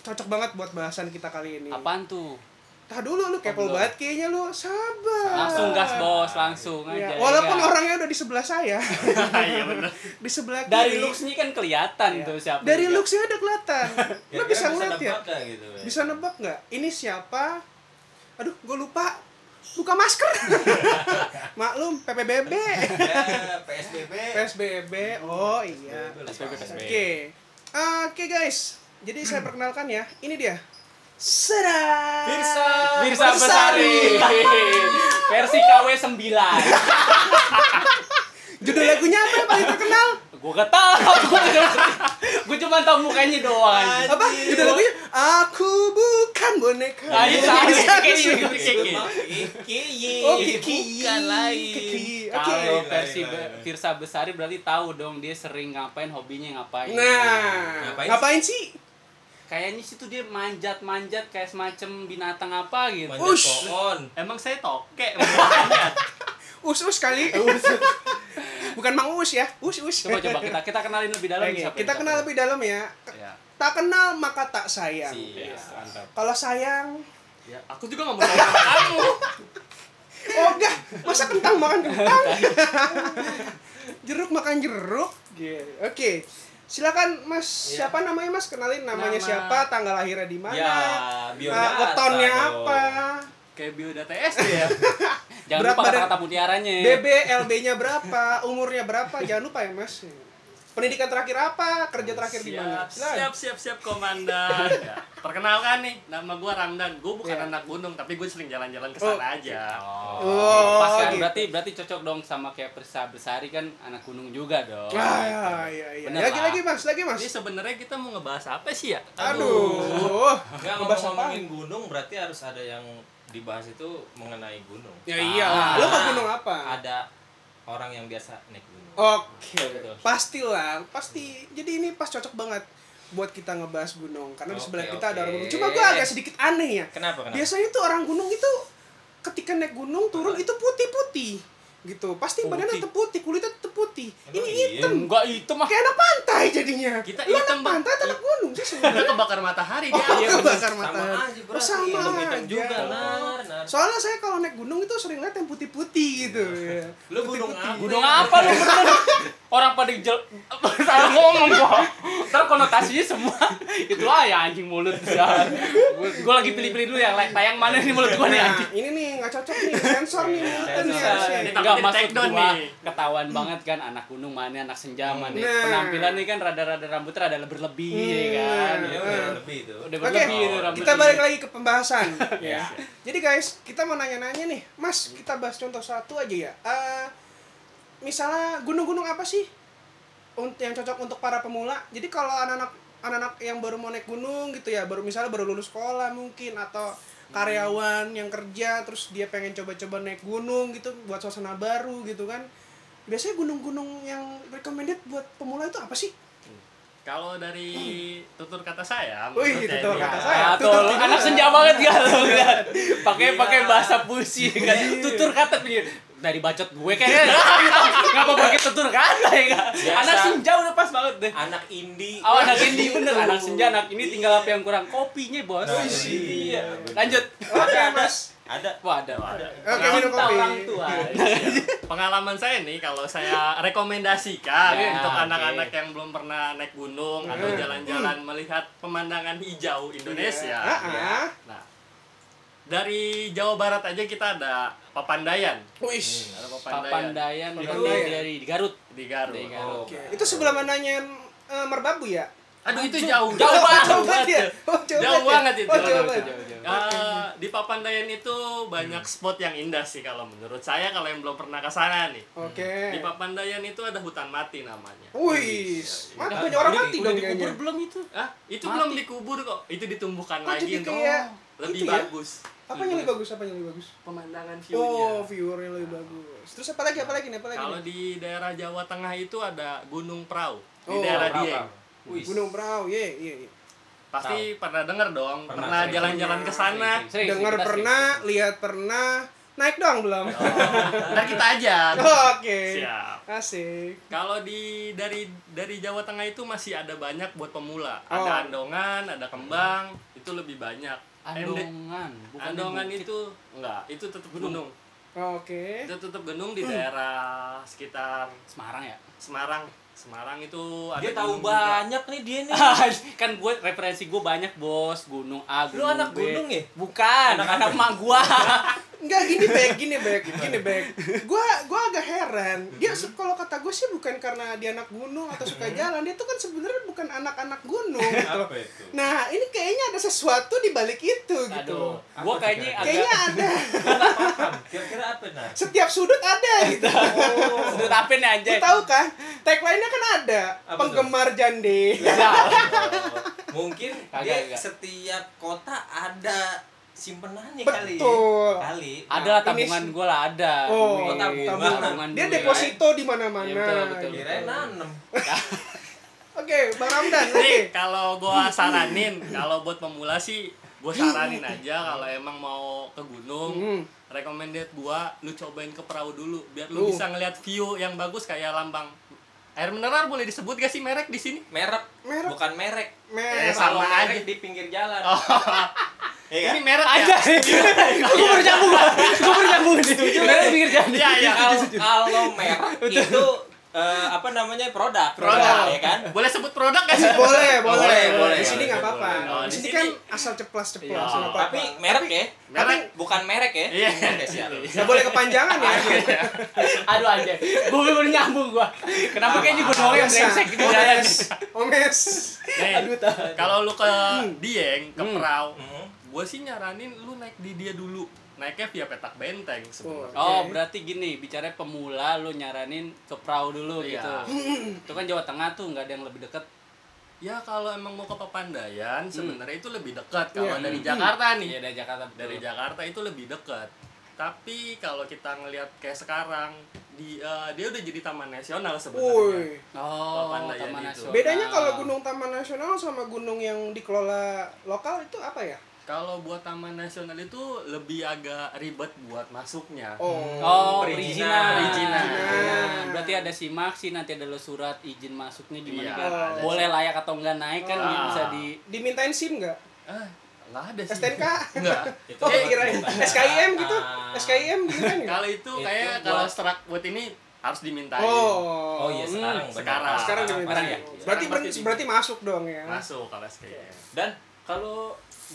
S1: cocok banget buat bahasan kita kali ini
S3: apaan tuh?
S1: Tah dulu lu kepo
S3: belum.
S1: banget kayaknya lu sabar.
S3: Langsung gas bos, langsung
S1: Ya,
S3: aja.
S1: walaupun
S3: ya.
S1: orangnya udah di sebelah
S3: [LAUGHS]
S1: saya.
S4: Iya benar.
S1: di sebelah kiri.
S3: dari looks-nya kan kelihatan
S1: Ya.
S3: tuh siapa.
S1: Dari
S3: juga. Ya,
S1: looks-nya udah
S3: [LAUGHS]
S1: kelihatan. lu
S2: Kira-kira
S1: bisa ngeliat ya?
S2: nebak nggak gitu ya?
S1: Bisa nebak nggak? Ini siapa? Aduh, gue lupa. Buka
S3: [LAUGHS]
S1: masker. Maklum PPBB.
S2: ya PSBB
S1: PSBB. Oh iya.
S2: PSBB
S1: Oke. Oke guys. Jadi saya perkenalkan ya. Ini dia. Sedap.
S2: Pirsa
S3: Mirsa Besari. [LAUGHS] Versi KW 9.
S1: Judul lagunya apa yang paling terkenal?
S3: Gua gak tahu. [LAUGHS] Gua cuma tahu mukanya doang. anjing.
S1: apa judul lagunya aku bukan boneka Iya,
S3: Iya. Nah, itu sama
S1: Bisa,
S3: kayak
S1: bisa.
S3: gitu, Iya, kayak gitu.
S2: Kiki
S1: oh kiki
S2: bukan lain
S1: Kiki. oke
S3: Kalau
S4: Lain,
S3: versi
S4: lain,
S3: Be-
S4: lain.
S3: Firsa Besari berarti tahu dong dia sering ngapain, hobinya ngapain.
S1: nah
S2: Ngapain
S1: ngapain sih
S3: Kayaknya situ dia manjat-manjat kayak semacam binatang apa gitu.
S2: Manjat
S1: Ush.
S2: pohon
S3: Emang saya tokek.
S1: us us
S3: [LAUGHS]
S1: kali bukan mang us ya us us
S3: coba coba kita kita kenalin lebih dalam
S1: Oke, kita kenal lebih dalam ya
S3: Ya.
S1: tak kenal maka tak sayang
S2: Iya, mantap
S1: kalau sayang
S3: ya. Aku juga nggak mau ngomong sama kamu.
S1: oh enggak masa kentang makan kentang jeruk makan jeruk Oke, silakan mas
S2: Iya.
S1: siapa namanya mas kenalin namanya
S3: Nama.
S1: siapa tanggal lahirnya di mana
S2: ya
S1: Nah,
S2: biodata
S1: wetonnya
S2: dong.
S1: apa?
S3: Kayak biodata SD
S1: [LAUGHS]
S3: ya. Jangan
S1: Berat
S3: lupa
S1: badan-
S3: kata-kata mutiaranya.
S1: BB, LB-nya berapa? Umurnya berapa? Jangan lupa ya, Mas. Pendidikan terakhir apa? Kerja terakhir di mana?
S4: Siap,
S1: Silakan.
S4: siap, siap, siap,
S1: [LAUGHS]
S4: komandan. Ya. Perkenalkan nih, nama gue Ramdan. Gue bukan
S1: Iya.
S4: anak gunung, tapi gue sering jalan-jalan ke sana
S1: Oh.
S4: aja.
S1: Oh,
S3: Pas kan
S1: gitu.
S3: berarti berarti cocok dong sama kayak Firsa Besari kan anak gunung juga dong.
S1: Ah, ya, ya, ya.
S3: Bener
S1: Lagi
S3: lah.
S1: lagi, Mas. Lagi, Mas.
S4: Ini sebenarnya kita mau ngebahas apa sih ya?
S1: Anu. Aduh.
S2: Nggak,
S1: Ngebahas
S2: ngomongin gunung berarti harus ada yang dibahas itu mengenai gunung Ah.
S1: Ya iyalah. Lo ke gunung apa?
S2: ada orang yang biasa naik gunung
S1: Oke.
S2: Iya, Betul.
S1: Pastilah, pasti. Jadi ini pas cocok banget buat kita ngebahas gunung karena di
S2: Oke,
S1: sebelah kita ada
S2: oke.
S1: orang gunung. Cuma gua agak sedikit aneh ya.
S2: kenapa kenapa
S1: Biasanya tuh orang gunung itu ketika naik gunung turun itu putih-putih gitu. Pasti badannya
S3: Putih.
S1: tetap putih, kulitnya tetap putih.
S2: Emang
S1: ini
S2: iya?
S1: hitam.
S3: Enggak itu mah
S1: Kayak anak pantai jadinya.
S4: Kita
S1: Lu
S4: hitam,
S1: anak
S4: Bang.
S1: pantai atau anak gunung sih
S4: Udah
S1: sebenarnya.
S4: kebakar matahari
S1: Oh,
S4: dia.
S1: iya, kebakar
S2: sama
S1: matahari.
S2: aja
S1: Oh,
S2: berarti
S1: sama
S2: hitam hitam
S1: aja.
S2: juga
S1: Oh.
S2: nar nar
S1: Soalnya saya kalau naik gunung itu sering lihat yang putih-putih
S2: [LAUGHS]
S1: gitu. ya.
S2: lu gunung apa
S3: gunung
S1: gitu.
S3: apa lu bener? Orang pada jel [LAUGHS] salah ngomong gua. Ntar konotasinya semua [LAUGHS] itu lah ya anjing mulut. Gua, gua lagi pilih-pilih dulu yang lain. Tayang mana nih mulut gua nih
S1: Nah,
S3: anjing.
S1: ini nih nggak cocok nih, sensor nih ya, mulutnya nih
S2: Iya, Sensor.
S1: harusnya.
S4: Ini
S3: Enggak
S4: takutnya
S3: maksud
S4: di-take down
S3: gua
S4: nih.
S3: ketahuan banget kan anak gunung mana anak senja mana.
S1: Nah. Iya.
S3: Penampilannya kan rada-rada rambut rada berlebih ya kan.
S2: ya udah lebih itu
S3: Udah
S1: Oke,
S3: berlebih itu rambut.
S1: kita balik lagi ke pembahasan. ya. Jadi guys, kita mau nanya-nanya nih, Mas, kita bahas contoh satu aja ya. Eh, misalnya gunung-gunung apa sih unt- yang cocok untuk para pemula? Jadi kalau anak-anak anak-anak yang baru mau naik gunung gitu ya, baru misalnya baru lulus sekolah mungkin atau karyawan yang kerja terus dia pengen coba-coba naik gunung gitu buat suasana baru gitu kan. Biasanya gunung-gunung yang recommended buat pemula itu apa sih?
S4: Kalau dari tutur kata saya,
S1: Wih,
S4: menurut saya iya.
S1: tutur
S4: ini-
S1: kata saya.
S3: Ah, tuh,
S1: Tutur
S3: lu
S1: kata.
S3: anak senja banget kan lu kan. Pakai
S4: Iya.
S3: pakai bahasa puisi kan. Tutur kata punya dari bacot gue kayaknya [LAUGHS] ngapa pakai tutur kata ya kan.
S2: Biasa.
S3: Anak senja udah pas banget deh.
S2: anak indie
S3: Oh, anak ini bener anak senja anak ini tinggal apa yang kurang kopinya bos.
S2: Nah,
S1: iya.
S3: Lanjut.
S1: Oke, Mas.
S2: ada
S3: Wah ada.
S1: Oke, minum
S3: Cinta
S1: kopi.
S3: orang tua.
S4: pengalaman saya nih kalau saya rekomendasikan
S3: Ya,
S4: untuk
S3: oke.
S4: anak-anak yang belum pernah naik gunung atau jalan-jalan melihat pemandangan hijau Indonesia.
S1: Iya. Ah, ah.
S4: Nah, dari Jawa Barat aja kita ada Papandayan.
S1: Wih.
S4: Ada Papandayan,
S3: Papandayan itu
S1: Papandayan.
S3: dari di Garut.
S4: di Garut.
S3: Di Garut.
S1: Oke, itu sebelum nanyain eh, merbabu ya?
S4: Oh. Aduh itu jauh.
S3: Jauh banget.
S1: Jauh banget ya? Oh,
S4: Jauh banget
S1: ya?
S4: itu.
S1: Oh, jauh
S4: Jauh,
S1: banget.
S4: Ah, di Papandayan itu banyak spot yang indah sih kalau menurut saya kalau yang belum pernah ke sana nih.
S1: Oke.
S4: Di Papandayan itu ada hutan mati namanya.
S1: Wih, mati banyak orang
S2: Udah
S1: mati
S2: di-
S1: dong
S3: Udah dikubur
S1: kayaknya.
S3: belum itu?
S4: Ah, itu
S3: Mati.
S4: belum dikubur kok. Itu ditumbuhkan
S1: Oh,
S4: lagi
S1: jadi
S4: untuk
S1: kayak
S4: lebih
S1: itu ya?
S4: bagus.
S1: Apa yang lebih bagus? Apa yang lebih bagus?
S4: Pemandangan
S1: Oh,
S4: view-nya.
S1: viewernya lebih bagus. Terus apa lagi? Apa lagi? nih? Apa lagi?
S4: ya. Kalau
S1: nih?
S4: di daerah Jawa Tengah itu ada Gunung Prau. Di
S1: Oh,
S4: daerah
S2: Prau,
S4: Dieng.
S2: Prau. Wih.
S1: Gunung Prau, ye, ye, ye.
S4: Pasti pernah denger dong,
S2: Pernah,
S4: pernah
S2: sering.
S4: jalan-jalan ke sana.
S3: Sering, sering,
S1: Dengar
S3: kita sering.
S1: pernah, lihat pernah, naik doang belum?
S4: Nah, kita aja.
S1: [LAUGHS] Oh, Oke.
S4: Siap.
S1: Asik.
S4: Kalau di dari dari Jawa Tengah itu masih ada banyak buat pemula.
S1: Oh.
S4: Ada Andongan, ada Kembang, itu lebih banyak. MD
S3: Andongan, bukan
S4: Andongan
S3: di Bukit.
S4: itu enggak, itu tetap gunung.
S1: Oke.
S4: Itu tetap gunung di daerah sekitar
S3: Semarang ya.
S4: Semarang. Semarang itu ada
S2: Dia tahu
S4: gunung juga.
S2: banyak nih dia nih.
S3: Iya. [LAUGHS] kan gue referensi gue banyak bos gunung A
S2: Lu
S3: gunung
S2: anak
S3: B.
S2: gunung ya?
S3: bukan anak anak mak gue
S1: Enggak gini baik, gini baik, gini baik. Gua gua agak heran. Dia se- kalau kata gue sih bukan karena dia anak gunung atau suka jalan, dia tuh kan sebenarnya bukan anak-anak gunung gitu loh.
S2: Apa itu?
S1: Nah, ini kayaknya ada sesuatu di balik itu gitu.
S3: aduh
S2: Apa
S3: gue
S2: sih
S3: kayaknya
S2: kira-kira?
S1: Kayaknya
S3: agak
S1: ada.
S2: Kira-kira apa nah?
S1: Setiap sudut ada gitu.
S3: sudut apa nih
S1: Lu
S3: ya, anjay
S1: tahu kan? Tagline-nya kan ada.
S2: Apa tuh?
S1: Penggemar jande.
S2: [LAUGHS] Mungkin
S3: Kagak,
S2: dia
S3: kagak.
S2: setiap kota ada simpenannya kali. ya.
S1: Betul.
S2: Kali.
S3: ada
S1: Ini
S3: tabungan
S1: sih-
S3: gue lah ada
S1: Oh,
S2: Tabungan.
S1: tabungan. Dia
S3: dulu,
S1: deposito di mana-mana.
S3: Iya, betul, betul.
S1: gitu.
S2: Kirain nanem.
S1: Oke, Bang Ramdan.
S4: Jadi
S1: Oke.
S4: kalau gua saranin, kalau buat pemula sih gua saranin aja kalau emang mau ke gunung,
S1: Hmm.
S4: recommended gua lu cobain ke perahu dulu biar
S1: Uh.
S4: lu bisa ngelihat view yang bagus kayak lambang air mineral boleh disebut gak sih merek di sini?
S2: Merek.
S1: Merek.
S2: Bukan merek.
S1: Merah.
S4: Eh,
S2: Kalau
S4: sama
S2: merek
S4: aja.
S2: di pinggir jalan.
S4: Ini merek
S3: aja
S4: ya?
S3: gue baru nyambung gue baru nyambung setuju kan pikir jadi
S4: Iya,
S3: [LAUGHS]
S4: iya.
S2: Kalau kalau merek itu eh, apa namanya produk.
S4: Produk.
S2: ya kan?
S4: Boleh sebut produk gak sih?
S1: [LAUGHS] boleh, boleh,
S2: Boleh,
S1: boleh.
S2: boleh.
S1: Di sini nggak
S2: Boleh,
S1: apa-apa.
S4: boleh. Oh,
S1: di
S4: di
S1: sini
S4: sini-
S1: kan asal ceplas-ceplos,
S4: Iya.
S1: nggak apa-apa.
S2: Tapi merek ya.
S4: Merek.
S2: Bukan merek ya.
S4: Iya.
S2: Oke, siap.
S4: [LAUGHS]
S1: Nggak boleh kepanjangan ya.
S3: aduh anjay gue baru nyambung gue kenapa kayaknya gue doang yang
S1: Biasa.
S3: brengsek gitu jalan
S1: Omes, omes.
S4: Nih, kalau lu ke Dieng, ke
S3: Hmm.
S4: perahu,
S2: Hmm.
S4: gua sih nyaranin lu naik di dia dulu. Naiknya via petak benteng sebenarnya.
S3: Oh,
S1: Oke.
S3: berarti gini, bicara pemula lu nyaranin ke perahu dulu
S4: Iya.
S3: gitu. Itu kan Jawa Tengah tuh nggak ada yang lebih deket.
S4: Ya kalau emang mau ke Papandayan sebenarnya itu lebih dekat kalau
S1: Hmm. Iya.
S4: dari Jakarta nih.
S3: Iya, dari Jakarta. betul.
S4: dari Jakarta itu lebih dekat. Tapi kalau kita ngelihat kayak sekarang di eh, dia udah jadi taman nasional sebenarnya.
S1: Woi.
S3: Oh,
S4: Papandayan
S3: Taman
S4: itu.
S3: Nasional.
S1: Bedanya kalau gunung taman nasional sama gunung yang dikelola lokal itu apa ya?
S4: Kalau buat taman nasional itu lebih agak ribet buat masuknya.
S1: Oh.
S3: Oh,
S2: Perizinan.
S3: perizinan.
S4: Perizinan.
S3: Perizinan. Berarti ada simak sih nanti ada lo surat izin masuknya gimana
S4: Iya,
S3: kan.
S1: Oh, ada
S3: Boleh layak atau enggak naik kan
S4: Ah.
S3: bisa di
S1: Dimintain SIM nggak?
S4: Ah, nggak ada sih.
S1: STNK? [LAUGHS]
S4: Enggak.
S2: Itu
S1: Oh,
S2: buat [LAUGHS]
S1: kirain.
S2: bukan.
S1: SKIM gitu?
S2: Ah.
S1: SKIM gitu kan
S4: [LAUGHS]
S1: nggak?
S4: Kalau itu
S2: Itu
S4: kayak
S2: buat-
S4: kalau struk buat ini harus dimintain.
S1: Oh. Hmm.
S2: Oh iya sekarang. benar.
S4: sekarang.
S1: Sekarang
S4: Sekarang
S1: dimintain.
S2: ya?
S1: Berarti
S4: Sekarang pasti
S1: berarti masuk dong ya.
S4: Masuk kalau SKIM.
S2: Dan kalau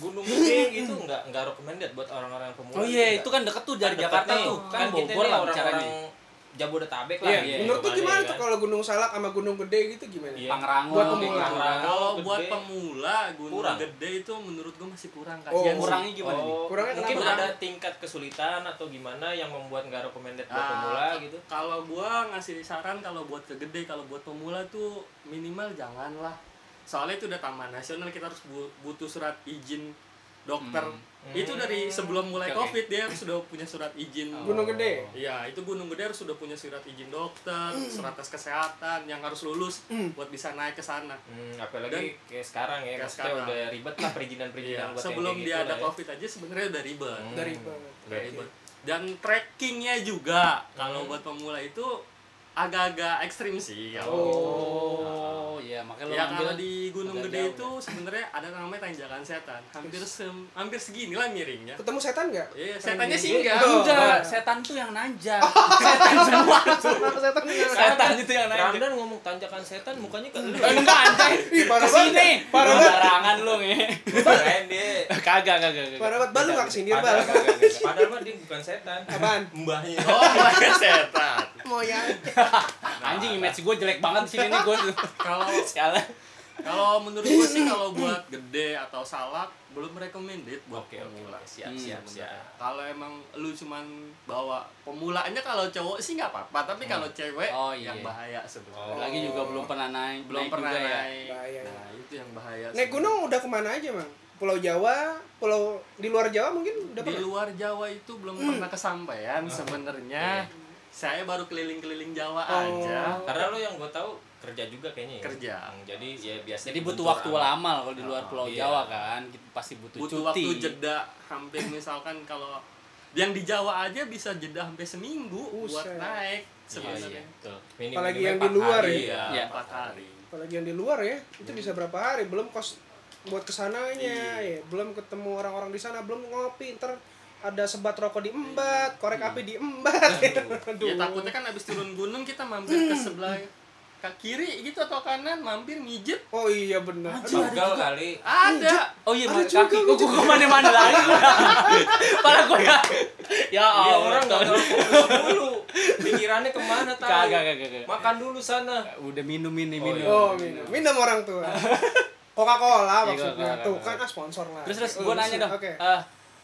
S2: gunung gede gitu nggak nggak recommended buat orang-orang pemula.
S3: Oh iya, itu kan deket tuh dari Jakarta tuh. Kan Bogor lah
S2: orang-orang
S3: bicaranya.
S2: Jabodetabek lah.
S1: Iya,
S3: Iya,
S1: menurut tuh
S2: tuh
S1: gimana tuh kalau gunung salak sama gunung gede gitu gimana?
S2: Iya.
S3: Pangrango,
S1: Buat pemula.
S3: kayak gitu.
S4: Kalau
S2: Gede.
S4: buat pemula gunung
S2: Kurang.
S4: gede itu menurut gua masih kurang
S1: Oh,
S4: kajian. sih.
S3: kurangnya gimana nih?
S2: Oh,
S1: Kurangnya
S2: mungkin
S1: kenapa?
S2: ada tingkat kesulitan atau gimana yang membuat nggak recommended buat
S4: Ah,
S2: pemula gitu.
S4: Kalau gua ngasih saran kalau buat ke gede, kalau buat pemula tuh minimal janganlah. Soalnya itu udah taman nasional kita harus bu- butuh surat izin dokter.
S2: Hmm.
S4: Itu dari sebelum mulai
S3: Oke, oke.
S4: Covid dia sudah punya surat izin.
S3: Oh.
S1: Gunung gede.
S4: Iya, itu Gunung Gede harus sudah punya surat izin dokter, surat tes kesehatan yang harus lulus buat bisa naik ke sana.
S2: Hmm, apalagi kayak sekarang ya,
S4: kayak
S2: maksudnya
S4: sekarang.
S2: udah ribet lah perizinan-perizinan
S4: Iya,
S2: buat yang
S4: sebelum
S2: kayak
S4: dia
S2: gitu
S4: ada
S2: lah ya.
S4: Covid aja sebenarnya udah ribet.
S2: Hmm.
S1: Dari banget.
S4: Udah
S2: Oke.
S4: ribet. Dan trekkingnya juga kalau
S2: Hmm.
S4: buat pemula itu agak-agak ekstrim sih.
S1: Oh.
S4: kalau
S2: Oh.
S3: Oh, iya makanya lo
S4: ya
S3: ngambil
S4: kalau di Gunung
S3: agak
S4: Gede
S3: jauh
S2: ya.
S4: itu sebenarnya ada namanya tanjakan setan. Hampir sem- hampir segini lah miringnya.
S1: Ketemu setan nggak?
S4: Iya, setannya
S1: Tanjakan.
S4: sih enggak.
S1: Iya.
S3: Enggak, setan tuh yang
S1: [LAUGHS]
S3: nanjak. setan semua.
S1: setan nggak?
S3: [LAUGHS] Setan itu yang nanjak.
S2: Ramdan ngomong tanjakan setan mukanya ke
S1: [LAUGHS]
S2: lu.
S3: Eh, Enggak anjay.
S1: Ih, parah
S3: Kesini.
S1: banget. Parah banget.
S3: Barangan lu nge.
S2: Keren deh.
S3: Kagak, kagak, kagak.
S1: Parah banget. Balu nggak kesini, Bal.
S2: Padahal, padahal mah dia bukan setan.
S1: Apaan?
S2: Mbahnya.
S4: Oh, [LAUGHS] bukan setan.
S1: Mau yang
S3: Anjing image gue jelek banget sini nih
S1: [LAUGHS]
S3: gue.
S4: Kalau
S3: Sialan.
S4: kalau menurut gue sih
S1: [CLEARS THROAT]
S4: kalau buat gede atau salak belum recommended buat
S2: Oke, oke.
S4: pemula.
S2: Siap,
S3: Hmm,
S2: siap,
S4: Sebenarnya.
S2: siap.
S4: Kalau emang lu cuman bawa pemulaannya kalau cowok sih nggak apa-apa, tapi kalau cewek
S3: Oh, iya.
S4: yang bahaya sebenarnya.
S2: Hmm. Oh.
S3: Lagi juga belum pernah naik,
S4: Belum
S3: naik
S4: pernah
S3: juga ya.
S4: naik.
S1: Bahaya.
S4: Nah, itu yang bahaya.
S1: naik
S4: sebenarnya.
S1: gunung udah kemana aja mang? Pulau Jawa, pulau di luar Jawa mungkin udah
S4: di
S1: pernah. Hmm.
S4: luar Jawa itu belum pernah
S2: Oh,
S4: kesampaian sebenarnya. Saya baru keliling-keliling Jawa
S1: Oh.
S4: aja.
S2: Karena lo yang gue tahu kerja juga kayaknya ya
S4: Kerja.
S2: Hmm, jadi ya biasanya
S3: Jadi butuh
S2: kebentur
S3: waktu
S2: sama-
S3: lama lah kalau di luar
S4: Oh,
S3: Pulau
S2: iya.
S3: Jawa kan, Gitu, pasti butuh,
S4: butuh
S3: cuti.
S4: waktu jeda hampir misalkan kalau yang di Jawa aja bisa jeda hampir seminggu buat
S1: Buset.
S4: naik
S2: Iya, iya,
S4: sebenarnya.
S2: betul. Minim-
S1: Apalagi
S2: minimnya
S1: yang di
S2: empat
S1: luar
S2: hari,
S1: ya.
S2: ya.
S3: Iya.
S4: Empat hari.
S1: apalagi yang di luar ya itu bisa berapa hari belum kos buat kesananya ya
S3: Iya.
S1: belum ketemu orang-orang di sana belum ngopi ntar ada sebat rokok
S3: Iya.
S1: diembat korek api diembat [LAUGHS] Aduh.
S4: Ya takutnya kan abis turun gunung kita mampir ke sebelah ke kiri gitu atau kanan mampir mijet
S1: oh iya benar Aduh,
S2: Pegel kali.
S4: ada
S3: Oh iya,
S1: Ada
S3: malah kaki
S1: juga,
S3: kok
S1: wujud. [LAUGHS]
S3: kemana-mana lagi. Pala gue ya.
S1: Iya,
S3: Ya
S2: Dia
S3: Allah,
S2: Iya, orang nggak
S3: Ton.
S2: tahu fokus dulu. Pikirannya kemana tahu?
S3: [LAUGHS] Kagak, kagak, kagak.
S2: Makan dulu sana.
S3: Udah minum ini,
S2: Oh,
S3: minum.
S1: oh minum minum orang
S3: [LAUGHS]
S1: tua Coca-Cola
S3: Iya,
S1: maksudnya
S3: Coca-Cola.
S1: tuh kan ah, sponsor lah
S3: Terus terus
S1: Oh,
S3: gue nanya
S1: bisa.
S3: dong.
S1: oke
S3: eh,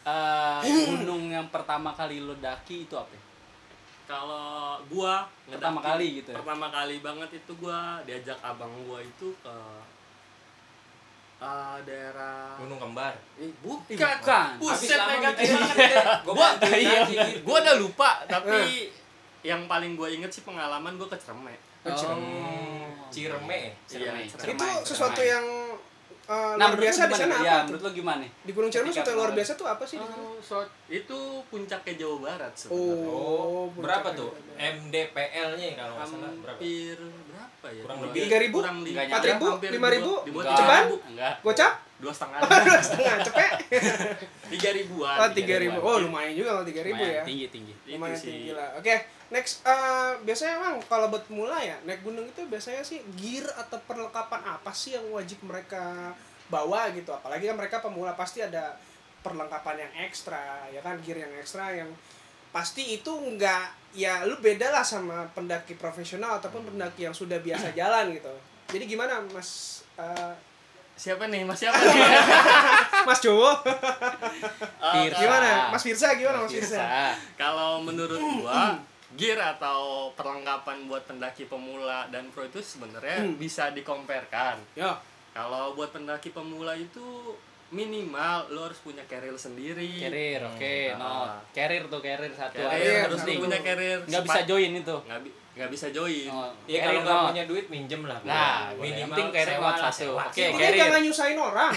S3: eh, gunung yang pertama kali lo daki itu
S1: Iya,
S3: apa?
S4: kalau gua
S3: Pertama
S4: ngedaki-
S3: kali gitu ya?
S4: pertama kali banget itu gua diajak abang gua itu ke eh, daerah
S2: Gunung
S3: [LAUGHS]
S2: kembar.
S4: eh,
S3: bukan.
S4: bukan
S3: gitu
S2: Habis
S4: buset
S2: lama
S4: negatif
S2: mikir banget
S4: banget ya.
S2: ya. Gua bantuin
S3: Iya,
S2: lagi gitu.
S4: gue udah lupa
S3: Eh.
S4: tapi yang paling gue inget sih pengalaman gue ke Cermek
S1: Oh,
S2: Hmm, Cireme.
S3: Ciremai.
S4: Iya,
S1: itu
S4: Ciremai,
S1: sesuatu
S3: Ciremai.
S1: yang uh, luar
S3: Nah, menurut
S1: biasa
S3: lu
S1: di
S3: gimana?
S1: sana
S3: Ya,
S1: apa tuh?
S3: menurut lo gimana?
S1: di Gunung Ciremai
S3: ketika
S1: sesuatu yang luar
S3: kemarin.
S1: biasa tuh apa sih di sana?
S4: Oh, so- itu puncaknya Jawa Barat sebenarnya
S1: Oh,
S2: Oh, berapa
S1: puncak
S2: tuh?
S1: Jawa Barat.
S2: MDPL-nya ya, kalau nggak salah berapa?
S1: iya.
S4: hampir berapa ya
S2: Kurang
S4: Dua-
S2: lebih.
S1: 3.000?
S4: kurang li-
S3: Nggak
S4: hampir
S1: nyampe. 4.000?
S4: di bawah-
S1: 5.000?
S4: di bawah
S1: Enggak.
S4: 3.000.
S1: Ceban?
S3: Enggak. [LAUGHS]
S1: Gocap?
S4: dua setengah
S1: [LAUGHS] Dua setengah cepet.
S4: tiga ribuan
S1: Oh, tiga ribu. Oh, lumayan juga kalau tiga ribu
S3: Lumayan
S1: ya.
S3: Tinggi tinggi.
S1: Lumayan tinggi lah. Oke, next eh, biasanya emang kalau buat pemula ya naik gunung itu biasanya sih gear atau perlengkapan apa sih yang wajib mereka bawa gitu? Apalagi kan mereka pemula pasti ada perlengkapan yang ekstra ya kan gear yang ekstra yang pasti itu enggak ya lu beda lah sama pendaki profesional ataupun pendaki yang sudah biasa jalan gitu. Jadi gimana Mas eh,
S4: siapa nih mas siapa nih [LAUGHS]
S1: Mas Jowo? [LAUGHS]
S3: Firsa.
S1: Gimana? Mas Firsa gimana Mas Firsa?
S4: kalau menurut gua gear atau perlengkapan buat pendaki pemula dan pro itu sebenarnya bisa dikomparkan
S1: Ya.
S4: kalau buat pendaki pemula itu minimal lo harus punya keril sendiri
S3: Carrier, oke. No,
S4: Ah.
S3: carrier tuh carrier satu.
S4: Carrier, harus
S1: satu.
S4: lu punya carrier
S3: Enggak bisa
S4: Sepat-
S3: join itu.
S4: nggak bi- nggak bisa join
S3: Oh,
S2: Iya
S3: carrier
S2: kalau nggak
S3: not.
S2: punya duit minjem lah.
S3: Nah,
S2: Boleh.
S3: boleh. Yang
S2: minimal
S3: penting carrier
S2: sewa
S3: not
S2: lah,
S3: satu.
S2: sewa.
S3: Oke,
S1: Intinya
S3: carrier.
S1: jangan nyusahin orang.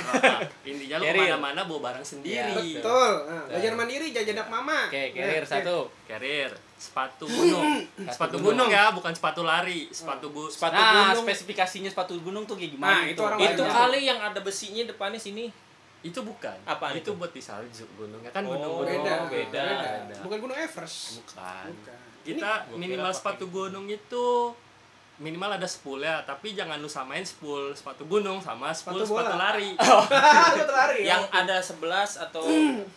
S4: intinya lo
S3: Carrier.
S4: kemana-mana bawa barang sendiri
S1: Betul. Nah, belajar mandiri jajan dak mama. Nah,
S3: Oke, carrier satu.
S4: carrier sepatu gunung sepatu gunung ya bukan sepatu lari sepatu bu
S3: Sepatu
S4: sepatu
S3: nah,
S1: gunung.
S3: spesifikasinya sepatu gunung tuh
S1: Nah,
S3: kayak gimana? gitu?
S1: itu orang
S3: Itu
S2: Itu
S1: lain.
S3: kali
S2: kali yang ada besinya depannya sini.
S4: itu bukan
S2: Apaan
S4: itu
S2: itu?
S4: buat di salju gunungnya kan
S2: Oh,
S4: gunung gunung
S1: Beda,
S2: beda.
S4: Beda.
S1: Bukan gunung Everest.
S4: bukan
S1: Bukan.
S4: kita
S2: Ini-
S4: minimal
S2: gua kira
S4: sepatu gunung itu minimal ada spool ya tapi jangan lu samain spool sepatu gunung sama spool
S1: Sepatu bola. Oh,
S4: sepatu lari
S1: Lu terlari. ya?
S2: Yang ada 11 atau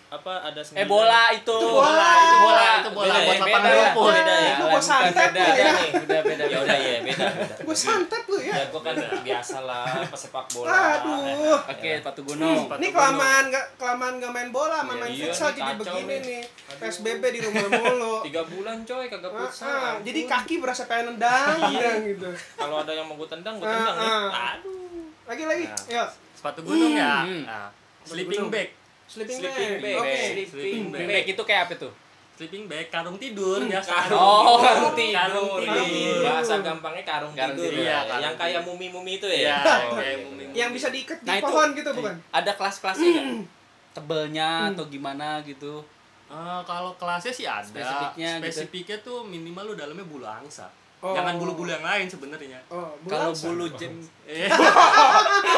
S2: apa ada 9.
S3: Eh bola itu.
S1: Itu Hmm. bola,
S3: itu bola, itu bola
S2: Beda
S3: buat
S2: ya,
S3: lapangan
S2: beda ya,
S3: rumput.
S2: beda ya.
S1: Eh, Lu gua
S3: Bukan,
S1: santet
S3: beda,
S1: lu
S3: beda
S1: ya.
S3: nih. Udah beda
S2: Ya
S3: beda.
S2: udah ya beda. beda.
S1: Gue santet lu ya.
S2: Ya [LAUGHS] gua kan biasa lah pesepak bola. eh,
S1: Aduh.
S3: Oke, sepatu gunung.
S4: Sepatu
S1: Ini
S4: gunung.
S1: kelamaan nggak kelamaan nggak main bola, sama
S2: Iya,
S1: main
S2: iya,
S1: futsal
S2: nih,
S1: jadi
S2: kacau
S1: begini
S2: nih.
S1: nih.
S2: Aduh.
S1: PSBB di rumah mulu.
S2: Tiga bulan coy kagak
S1: Ah, ah,
S2: futsal. ampun.
S1: jadi kaki berasa pengen nendang nendang gitu.
S2: kalau ada yang mau gue tendang, gue tendang
S1: Ah,
S2: nih.
S1: ah.
S2: Aduh.
S1: Lagi lagi.
S4: Nah.
S1: Yuk.
S4: sepatu gunung ya
S3: Hmm.
S4: nah,
S1: Sepatu
S4: sleeping
S1: gunung.
S4: bag
S1: Sleeping
S2: Sleeping
S1: bag.
S2: bag.
S1: Oke.
S2: Sleeping
S4: sleeping
S3: Bag.
S4: bag
S3: Bag itu kayak apa tuh?
S4: sleeping bag karung tidur biasa
S2: Karung.
S3: Oh,
S4: karung
S3: karung tidur.
S4: karung tidur.
S2: Bahasa gampangnya karung,
S3: Karung
S2: tidur.
S4: tidur.
S2: ya.
S4: Iya, karung
S2: yang kayak mumi-mumi itu ya.
S4: Iya,
S2: Oh,
S4: kayak
S2: iya,
S4: mumi-mumi.
S2: benar.
S1: Yang bisa diikat di
S3: Nah, itu-
S1: pohon gitu bukan?
S3: Ada kelas-kelasnya nggak? Tebelnya atau gimana gitu?
S4: Eh, kalau kelasnya sih ada.
S3: Spesifiknya gitu.
S4: Spesifiknya tuh minimal lu dalamnya bulu angsa.
S1: Oh.
S4: Jangan bulu-bulu yang lain sebenarnya.
S1: Oh, bulan
S3: Kalau
S1: sa-
S3: bulu jem
S4: Eh,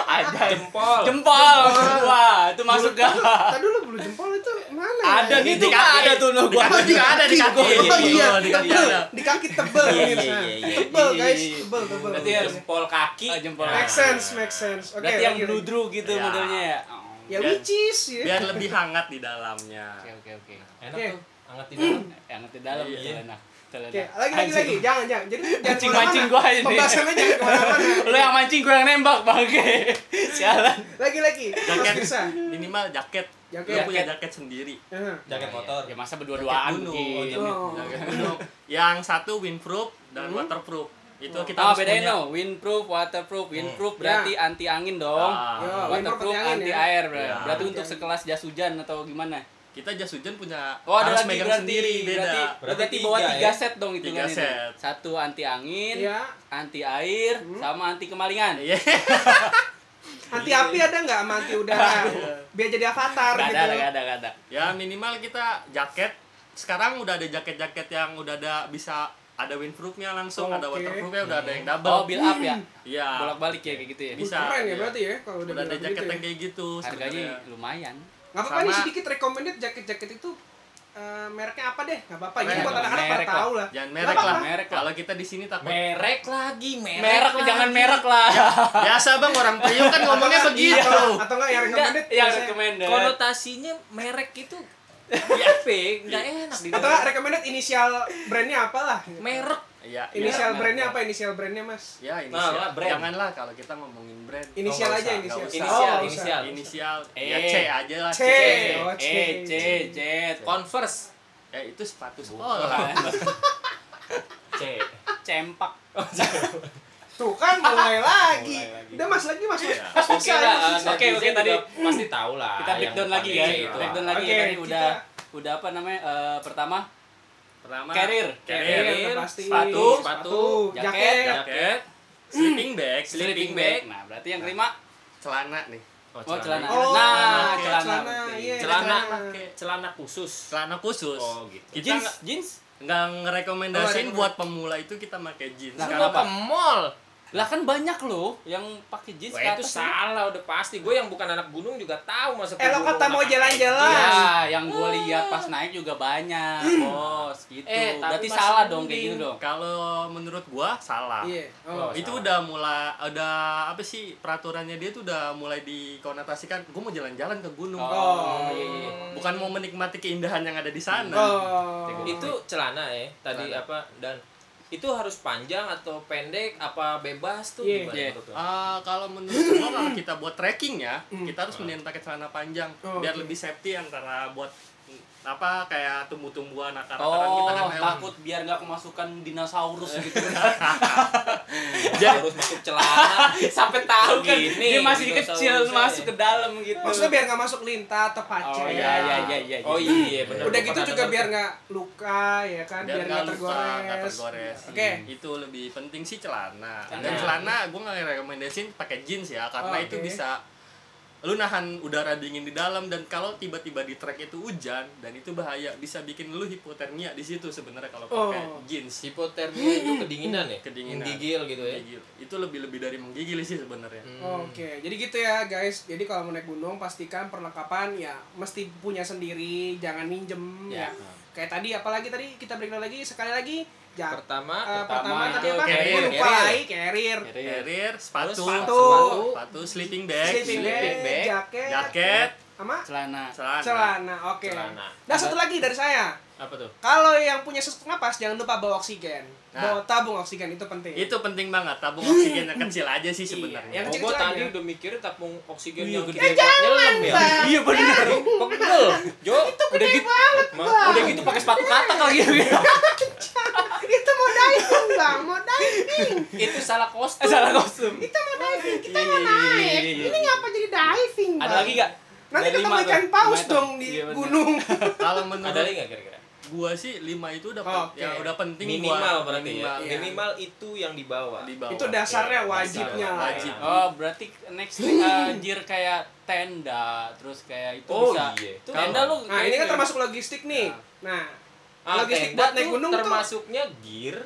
S3: ada
S2: Jempol.
S3: jempol. Wah, itu masuk gak?
S1: Tadi lu bulu jempol itu mana?
S3: Ada
S1: ya?
S3: nih
S4: Di
S3: tuh
S4: kaki.
S3: ada tuh lo gua.
S4: Di kaki ada, di kaki.
S1: Oh
S4: Iya,
S1: iya,
S4: di
S1: di
S4: kaki
S1: kaki
S4: ada.
S1: di kaki tebel
S2: Iya, iya,
S1: pemirsa.
S2: iya, iya.
S1: Tebel
S3: Iya,
S1: guys,
S3: iya, iya.
S1: tebel tebel.
S2: Berarti
S1: tebel.
S2: jempol kaki.
S3: Ah, jempol
S1: Make sense, make sense. Oke.
S3: Berarti yang
S1: lagi, lagi.
S3: bludru gitu
S4: Ya.
S3: modelnya ya. Oh.
S1: Ya
S4: Biar-
S1: which is ya.
S4: biar lebih hangat di dalamnya.
S3: Oke, oke, oke.
S2: Enak
S1: Oke.
S2: tuh. Anget di dalam.
S3: Yang di dalam
S4: Iya.
S3: tuh enak. Tuh
S1: Oke,
S3: enak.
S1: lagi lagi
S3: Anjing.
S1: lagi. Jangan jangan. Jadi jangan
S3: Mancing-
S1: kemana-mana.
S3: mancing gua ini.
S1: Pembahasannya jangan kemana-mana.
S3: Lo yang mancing gue yang nembak bangke. Sialan.
S1: Lagi lagi. Mas
S4: Jaket.
S1: Firsa.
S4: Minimal jaket.
S1: Jaket.
S4: Lu punya
S3: Jaket.
S4: jaket sendiri.
S1: Aha.
S2: Jaket motor.
S3: Ya masa berdua-duaan
S4: Jaket gunung.
S3: mungkin.
S1: Oh.
S4: Jaket gunung. Yang satu windproof dan waterproof. Itu kita
S3: Hmm? Oh,
S4: harus
S3: bedain
S4: punya.
S3: lo, windproof, waterproof. Windproof berarti anti angin dong.
S4: Ah,
S1: Ya. Yo, windproof
S3: waterproof
S1: anti angin
S3: anti
S1: ya.
S3: air bro.
S4: Ya.
S3: berarti untuk sekelas jas hujan atau gimana
S4: kita jas hujan punya
S3: Oh ada
S4: harus
S3: lagi
S4: megang
S3: berarti
S4: sendiri beda.
S3: berarti
S2: Berarti
S3: berarti bawa
S2: tiga,
S3: tiga
S2: ya?
S3: set dong itu
S4: Tiga set.
S3: Satu anti angin,
S1: Iya. Hmm?
S3: anti air, sama anti kemalingan.
S4: Iya.
S1: Anti api ada nggak sama anti udara? Biar jadi avatar
S3: Gak
S1: gitu.
S3: ada, gak ada, gak ada.
S4: ya minimal kita jaket. Sekarang udah ada jaket-jaket yang udah ada bisa ada windproofnya langsung, ada
S1: Oke. Hmm.
S4: waterproofnya udah ada yang
S3: Oh
S4: double.
S3: build up ya,
S4: Iya.
S3: bolak-balik ya kayak gitu ya.
S1: Wih,
S4: Bisa,
S1: Keren ya
S4: iya.
S1: berarti ya kalau udah,
S4: Udah ada
S1: bilang
S4: jaket
S1: gitu ya.
S4: yang kayak gitu.
S3: Harganya
S4: sebenarnya.
S3: lumayan.
S1: Gak apa-apa nih
S4: Sama-
S1: sedikit recommended jaket-jaket itu eh, mereknya apa deh? Gak apa-apa. Jadi
S4: Merek,
S1: buat anak-anak pada
S3: merek lah.
S1: tahu lah.
S4: Jangan
S1: Nggak
S4: merek
S1: apa-apa.
S4: lah.
S3: Merek lah.
S4: Kalau kita di sini takut
S2: merek lagi merek,
S3: Merek
S2: lagi.
S3: jangan merek lah.
S4: Biasa bang orang Priuk kan ngomongnya
S1: Atau-
S4: begitu.
S1: Iya. Atau, atau nggak yang
S3: Enggak,
S1: recommended?
S3: yang
S1: biasanya.
S3: [LAUGHS] recommended.
S2: Ya, konotasinya merek itu
S3: Ya.
S2: apa nggak enak di
S1: Atau nggak recommended inisial brandnya apa lah?
S2: merek
S4: Iya. iya.
S1: Inisial
S2: merek.
S1: brandnya apa? Inisial brandnya mas?
S4: Ya,
S2: Nah,
S4: inisial.
S2: lah, brand.
S4: Janganlah kalau kita ngomongin brand.
S1: Inisial
S4: nggak
S1: aja,
S4: usah,
S1: inisial.
S4: nggak usah.
S2: inisial
S1: Oh,
S2: inisial
S4: Inisial.
S3: Eh.
S4: Ya C aja lah.
S1: C. Oh, C.
S3: eh C C
S2: converse
S4: Ya itu sepatu sekolah.
S2: c
S3: cempak.
S1: Tuh kan mulai lagi.
S3: Mulai lagi.
S1: Udah mas lagi mas.
S4: Iya.
S1: Mas
S2: Oke
S1: bisa,
S2: lah,
S1: mas bisa.
S3: Oke,
S2: oke
S3: oke,
S2: oke
S3: tadi
S2: tadi pasti tahu lah.
S3: Kita breakdown lagi ya.
S2: pakai itu.
S3: Breakdown lagi
S1: Oke,
S3: ya tadi
S1: kita-
S3: udah udah apa namanya? eh, pertama
S4: Pertama.
S3: Carrier.
S4: Carrier.
S1: Iya, udah pasti.
S3: sepatu,
S1: sepatu,
S3: jaket,
S1: jaket,
S4: Jaket. Sleeping bag.
S3: Hmm. sleeping bag. Nah, berarti yang kelima
S4: Celana nih.
S3: oh celana.
S1: Oh,
S3: nah,
S1: oke,
S3: celana.
S1: celana,
S3: berarti.
S1: iya.
S2: celana
S1: Celana.
S2: celana khusus.
S4: Celana khusus.
S2: Oh, gitu.
S4: Kita
S3: Jeans,
S4: nggak-
S3: jeans.
S4: nggak
S1: Oh,
S4: ngerekomendasin
S1: rekomend-
S4: buat pemula itu kita pakai
S2: Nah,
S4: jeans.
S3: Lah,
S4: Karena
S3: kenapa?
S2: mall?
S3: Lah kan banyak loh yang pakai jeans
S2: Wah,
S3: ke
S2: itu
S3: atas.
S2: salah udah pasti. Gue yang bukan anak gunung juga tahu masuk.
S1: Eh, lo kata mau
S2: gitu.
S1: jalan-jalan.
S3: Ya, yang gue lihat pas naik juga banyak. Bos, gitu.
S2: Eh, tapi
S3: Berarti
S2: masih
S3: salah dong kayak
S2: mending.
S3: gitu dong.
S4: Kalau menurut gua salah.
S1: Iya. Oh.
S2: Oh,
S4: itu
S2: salah.
S4: udah mulai ada apa sih peraturannya dia tuh udah mulai dikonotasikan gue mau jalan-jalan ke gunung
S1: Oh.
S3: iya, iya.
S4: bukan mau menikmati keindahan yang ada di sana
S1: Oh.
S2: Itu celana ya. Tadi
S4: Celana.
S2: apa dan itu harus panjang atau pendek apa bebas tuh
S1: Iya.
S2: gimana
S3: Iya.
S2: menurut lo?
S4: Ah, kalau menurut gua kalau kita buat trekking ya kita harus mending pakai celana panjang
S1: Hmm. Oh,
S4: biar
S1: oke.
S4: lebih safety antara buat mm, apa kayak tumbuh-tumbuhan akar-akaran kita kan
S3: Oh,
S4: lewat.
S3: takut biar nggak kemasukan dinosaurus gitu.
S4: Jadi-
S2: harus masuk celana
S3: [LAUGHS] Sampai tahu kan
S2: Gini,
S3: dia masih
S2: dinosaurus
S3: kecil
S2: ya.
S3: masuk ke dalam gitu.
S1: Maksudnya biar nggak masuk lintah atau
S3: Oh
S1: pacar.
S3: iya iya iya iya.
S2: Oh iya benar.
S1: Udah gitu juga biar nggak luka ya kan,
S4: biar
S1: biar nggak
S4: nggak luka, nggak
S1: tergores.
S4: tergores. Iya.
S1: Oke.
S4: itu lebih penting sih celana dan
S2: Celana.
S4: celana gue nggak rekomendasin pakai jeans ya karena
S1: Oh,
S4: itu
S1: oke.
S4: bisa lu nahan udara dingin di dalam dan kalau tiba-tiba di trek itu hujan dan itu bahaya bisa bikin lu hipotermia di situ sebenarnya kalau pakai
S1: Oh.
S4: jeans
S2: hipotermia itu
S3: Hmm.
S2: kedinginan ya?
S4: Kedinginan.
S2: Menggigil gitu ya. Hmm,
S4: Menggigil. itu lebih lebih dari menggigil sih sebenarnya
S1: Oke, jadi gitu ya guys. Jadi kalau mau naik gunung pastikan perlengkapan ya mesti punya sendiri, jangan minjem ya.
S3: Ya.
S1: Kayak tadi apalagi tadi kita breakdown lagi sekali lagi jak
S2: Pertama,
S1: eh,
S3: pertama
S1: pertama tadi
S3: itu
S1: apa?
S4: carrier,
S1: Gue lupa
S2: carrier.
S1: lagi, carrier.
S3: ya.
S4: carrier sepatu
S2: iya. Terus sepatu.
S4: sepatu, sepatu, sleeping bag
S1: Sleeping
S2: sleeping
S1: bag,
S2: bag,
S1: jaket,
S4: jaket
S1: sama
S3: Celana.
S4: celana,
S1: celana. Oke.
S2: Celana.
S1: Nah, satu lagi dari saya.
S2: apa tuh?
S1: Kalau yang punya sesak napas jangan lupa bawa oksigen.
S4: Nah.
S1: Bawa tabung oksigen itu penting.
S4: itu penting banget tabung oksigen yang kecil aja
S1: Iya.
S4: sih
S1: Yang
S4: sebenarnya
S2: Oh,
S1: kecil
S2: gua
S1: aja.
S2: tadi udah mikir tabung oksigen
S3: Iya,
S2: yang
S3: gede
S2: gede banget nyelam ya. [LAUGHS]
S1: Bang.
S3: Iya benar.
S2: Pegel. Jo,
S3: Udah gitu udah gitu pakai sepatu katak lagi.
S1: [LAUGHS] itu mau diving, Bang. Mau diving.
S2: itu salah kostum.
S3: Salah kostum.
S1: Kita mau diving, kita
S3: Iya,
S1: mau
S3: iya, iya,
S1: naik.
S3: iya, iya.
S1: Ini ngapa jadi diving, Bang?
S3: Ada lagi nggak?
S1: Nanti
S3: Ada
S1: ketemu
S3: lima
S1: ikan
S3: tuh,
S1: paus
S3: lima itu.
S1: dong di
S3: Iya, benar.
S1: gunung.
S4: kalau
S2: Ada
S4: menurut
S2: lagi nggak kira-kira?
S4: gua sih lima itu udah
S1: Oh,
S4: pen- yang
S1: oke.
S4: udah penting
S2: Minimal
S4: gua.
S2: berarti ya.
S4: Minimal,
S1: Iya.
S2: Minimal itu yang dibawa.
S4: di
S3: Iya,
S4: bawah. Iya.
S1: itu dasarnya wajibnya lah.
S4: Wajib.
S3: Oh, berarti
S1: [LAUGHS]
S3: next thing anjir kayak tenda, terus kayak itu
S2: Oh,
S3: bisa.
S2: iya.
S3: Itu Tenda lu
S1: Nah, ini kan
S3: Iya.
S1: termasuk logistik nih. Nah,
S2: Ah,
S1: logistik
S2: tenda
S1: buat naik
S2: tuh
S1: gunung tuh.
S2: termasuknya gear.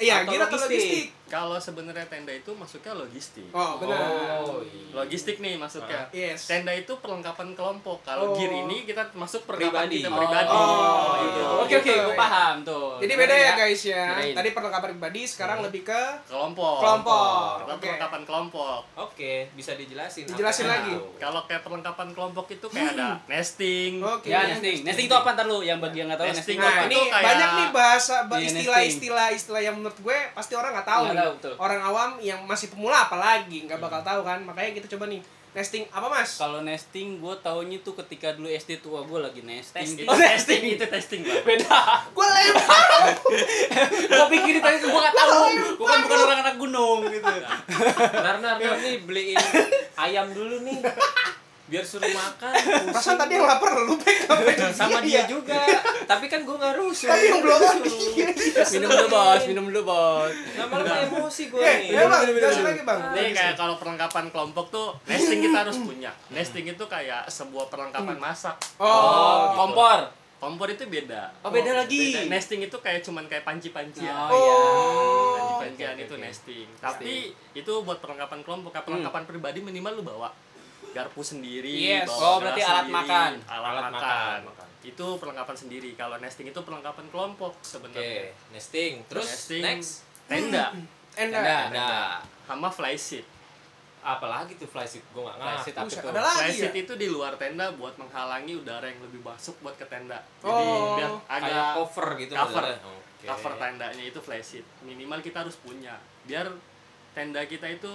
S1: Iya,
S2: atau
S1: kira atau
S2: logistik?
S1: logistik.
S4: Kalau sebenarnya tenda itu masuknya logistik.
S1: Oh, benar.
S2: Oh, iya.
S4: Logistik nih masuknya.
S1: Ah. Yes.
S4: Tenda itu perlengkapan kelompok.
S1: Oh.
S4: Kalau gear ini kita masuk perlengkapan
S2: Pribadi.
S4: kita pribadi.
S1: Oh,
S4: Gitu.
S1: iya.
S3: Oke oke,
S1: Gitu.
S3: gua paham tuh.
S1: Jadi beda ya guys ya.
S3: Iya. Bedain. Iya.
S1: Tadi perlengkapan pribadi, sekarang lebih ke
S4: Kelompok.
S1: Kelompok.
S4: Kita
S1: Oke.
S4: perlengkapan kelompok. Nah,
S2: Oke, bisa dijelasin.
S1: Dijelasin
S2: Apa Nah,
S1: lagi. Hmm.
S2: itu?
S4: Kalau kayak perlengkapan kelompok itu kayak ada nesting.
S1: Oke.
S3: Ya, nesting. Nesting itu apa ntar lu yang bagi yang enggak tahu nesting
S4: Nesting
S3: itu
S1: Nah,
S3: apa?
S1: ini
S4: Itu kayak-
S1: banyak nih bahasa ba-
S3: Iya,
S1: istilah-istilah istilah yang menurut gue pasti orang nggak tahu
S3: Nggak
S1: nih.
S3: tahu, Hmm. betul.
S1: Orang awam yang masih pemula apalagi nggak bakal tahu kan. Makanya kita coba nih nesting apa Mas?
S3: Kalau nesting gue taunya tuh ketika dulu SD tua gue lagi nesting.
S4: Itu
S3: Oh,
S4: testing, itu testing Bang.
S3: beda.
S1: Gue
S3: [LAUGHS]
S1: lempar.
S3: gue pikir tadi gue gak tahu. Gue kan bukan orang anak gunung gitu.
S1: [LAUGHS]
S2: Nar, nar, nar, nih beliin ayam dulu nih.
S4: biar suruh makan
S1: Perasaan tadi yang lapar lu Pek sampai jam
S2: sama
S1: segini
S2: dia juga tapi kan gue nggak rusuh
S1: Iya, Tapi yang belum
S3: minum dulu bos minum dulu bos
S2: lama-lama emosi gue
S1: Eh,
S2: nih
S1: ya bang, jelasin lagi bang
S4: Nih Iya, kayak kalau perlengkapan kelompok tuh nesting kita harus punya. Nesting itu kayak sebuah perlengkapan masak.
S3: oh kompor
S4: Kompor itu beda.
S3: oh beda lagi
S4: Beda. Nesting itu kayak cuman kayak panci-pancian.
S3: oh iya
S2: iya,
S4: Panci-pancian
S3: oke, Hmm.
S4: itu
S3: oke.
S4: nesting. Tapi itu buat perlengkapan kelompok, Kalau perlengkapan pribadi minimal lu bawa garpu sendiri,
S2: Yes.
S4: bawa
S3: Oh,
S4: gelas
S3: berarti alat
S4: sendiri,
S3: makan.
S4: alat,
S2: Alat
S4: makan.
S2: makan.
S4: Itu perlengkapan sendiri. Kalau nesting itu perlengkapan kelompok sebenarnya.
S2: oke nesting terus
S4: Nesting,
S2: next
S4: tenda
S1: Enak
S3: Enak.
S2: ada
S4: sama flysheet.
S2: apalagi tuh flysheet gue nggak
S3: Flash
S2: ngerti
S3: it apa
S1: Buset,
S3: tuh?
S1: ada lagi ya
S4: Flysheet itu di luar tenda buat menghalangi udara yang lebih masuk buat ke tenda. Jadi
S1: Oh.
S4: biar
S2: kayak
S4: agak
S2: cover gitu
S4: cover.
S2: modelnya. Oke.
S4: cover tendanya itu flysheet. Minimal kita harus punya biar tenda kita itu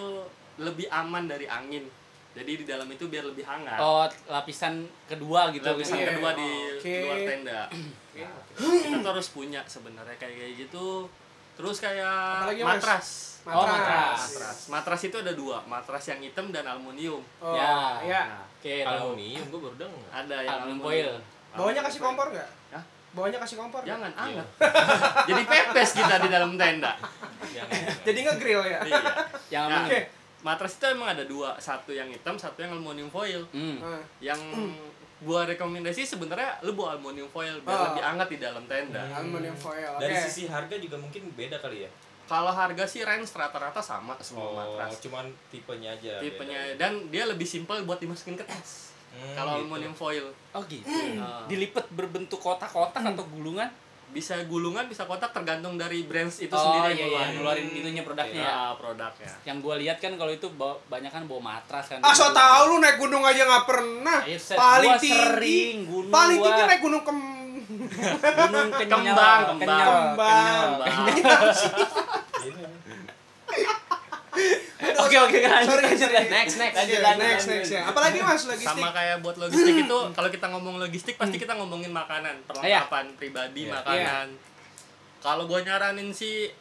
S4: lebih aman dari angin. Jadi di dalam itu biar lebih hangat.
S3: oh lapisan kedua gitu
S4: lapisan
S1: Iya.
S4: kedua di
S1: Oke.
S4: luar tenda. Nah, kita tuh harus punya sebenarnya kayak kayak gitu. Terus kayak
S1: Apalagi, Mas?
S4: matras.
S3: Oh, matras.
S4: Matras. Matras itu ada dua, matras yang hitam dan aluminium.
S1: Oh,
S3: Ya.
S1: ya.
S4: Nah,
S3: oke tahu
S2: aluminium gue baru denger
S4: ada yang
S3: aluminium foil
S1: Bawahnya kasih kompor nggak?
S4: nah, Hah?
S1: Bawahnya kasih kompor nggak?
S4: Jangan
S2: Iya.
S4: anget. [LAUGHS] Jadi pepes kita di dalam tenda.
S2: Iya,
S1: Jadi nge-grill ya?
S4: Iya.
S3: yang
S4: Nah,
S3: aluminium
S4: matras itu emang ada dua, satu yang hitam, satu yang aluminium foil.
S3: hmm.
S1: Ah.
S4: Yang gua rekomendasi sebenarnya lu bawa aluminium foil
S3: Ah.
S4: biar
S1: Oh.
S4: lebih anget di dalam tenda.
S3: Iya.
S1: Aluminium foil, oke.
S2: dari sisi harga juga mungkin beda kali ya
S4: Kalau harga sih range rata-rata sama semua
S2: oh
S4: matras.
S2: cuman tipenya aja
S4: Tipenya dan dia lebih simpel buat dimasukin ke tas.
S2: Hmm, gitu.
S4: Kalau aluminium foil
S3: oh gitu
S1: Hmm.
S3: dilipet berbentuk kotak-kotak atau gulungan
S4: bisa gulungan, bisa kotak tergantung dari brands itu
S3: Oh, iya,
S4: sendiri yang
S3: iya,
S4: ngeluarin.
S3: ngeluarin itunya produknya ya.
S4: Nah, produknya.
S3: yang gua lihat kan kalau itu bawa- banyak kan bawa matras kan
S1: Ah, so tau lu naik gunung aja nggak pernah.
S3: Ayo, set.
S1: paling
S3: Gua sering
S1: tinggi,
S3: gunung,
S1: paling
S3: gua.
S1: tinggi naik gunung kem
S3: gunung
S1: [LAUGHS]
S3: kenyal
S4: Kembang, kembang.
S3: kenyal,
S1: Kembang.
S3: kenyal. [LAUGHS]
S2: Iya.
S3: oke oke lanjut
S1: Sorry,
S3: lanjut,
S1: sorry.
S3: lanjut. next next
S1: Next,
S3: lanjut
S1: ya,
S3: lanjut,
S1: next,
S3: lanjut.
S1: next ya. Apalagi mas logistik.
S4: sama kayak buat logistik
S1: [CLEARS THROAT]
S4: itu kalau kita ngomong logistik pasti kita ngomongin makanan
S1: Iya.
S4: perlengkapan pribadi
S2: Iya.
S4: makanan kalau gue nyaranin sih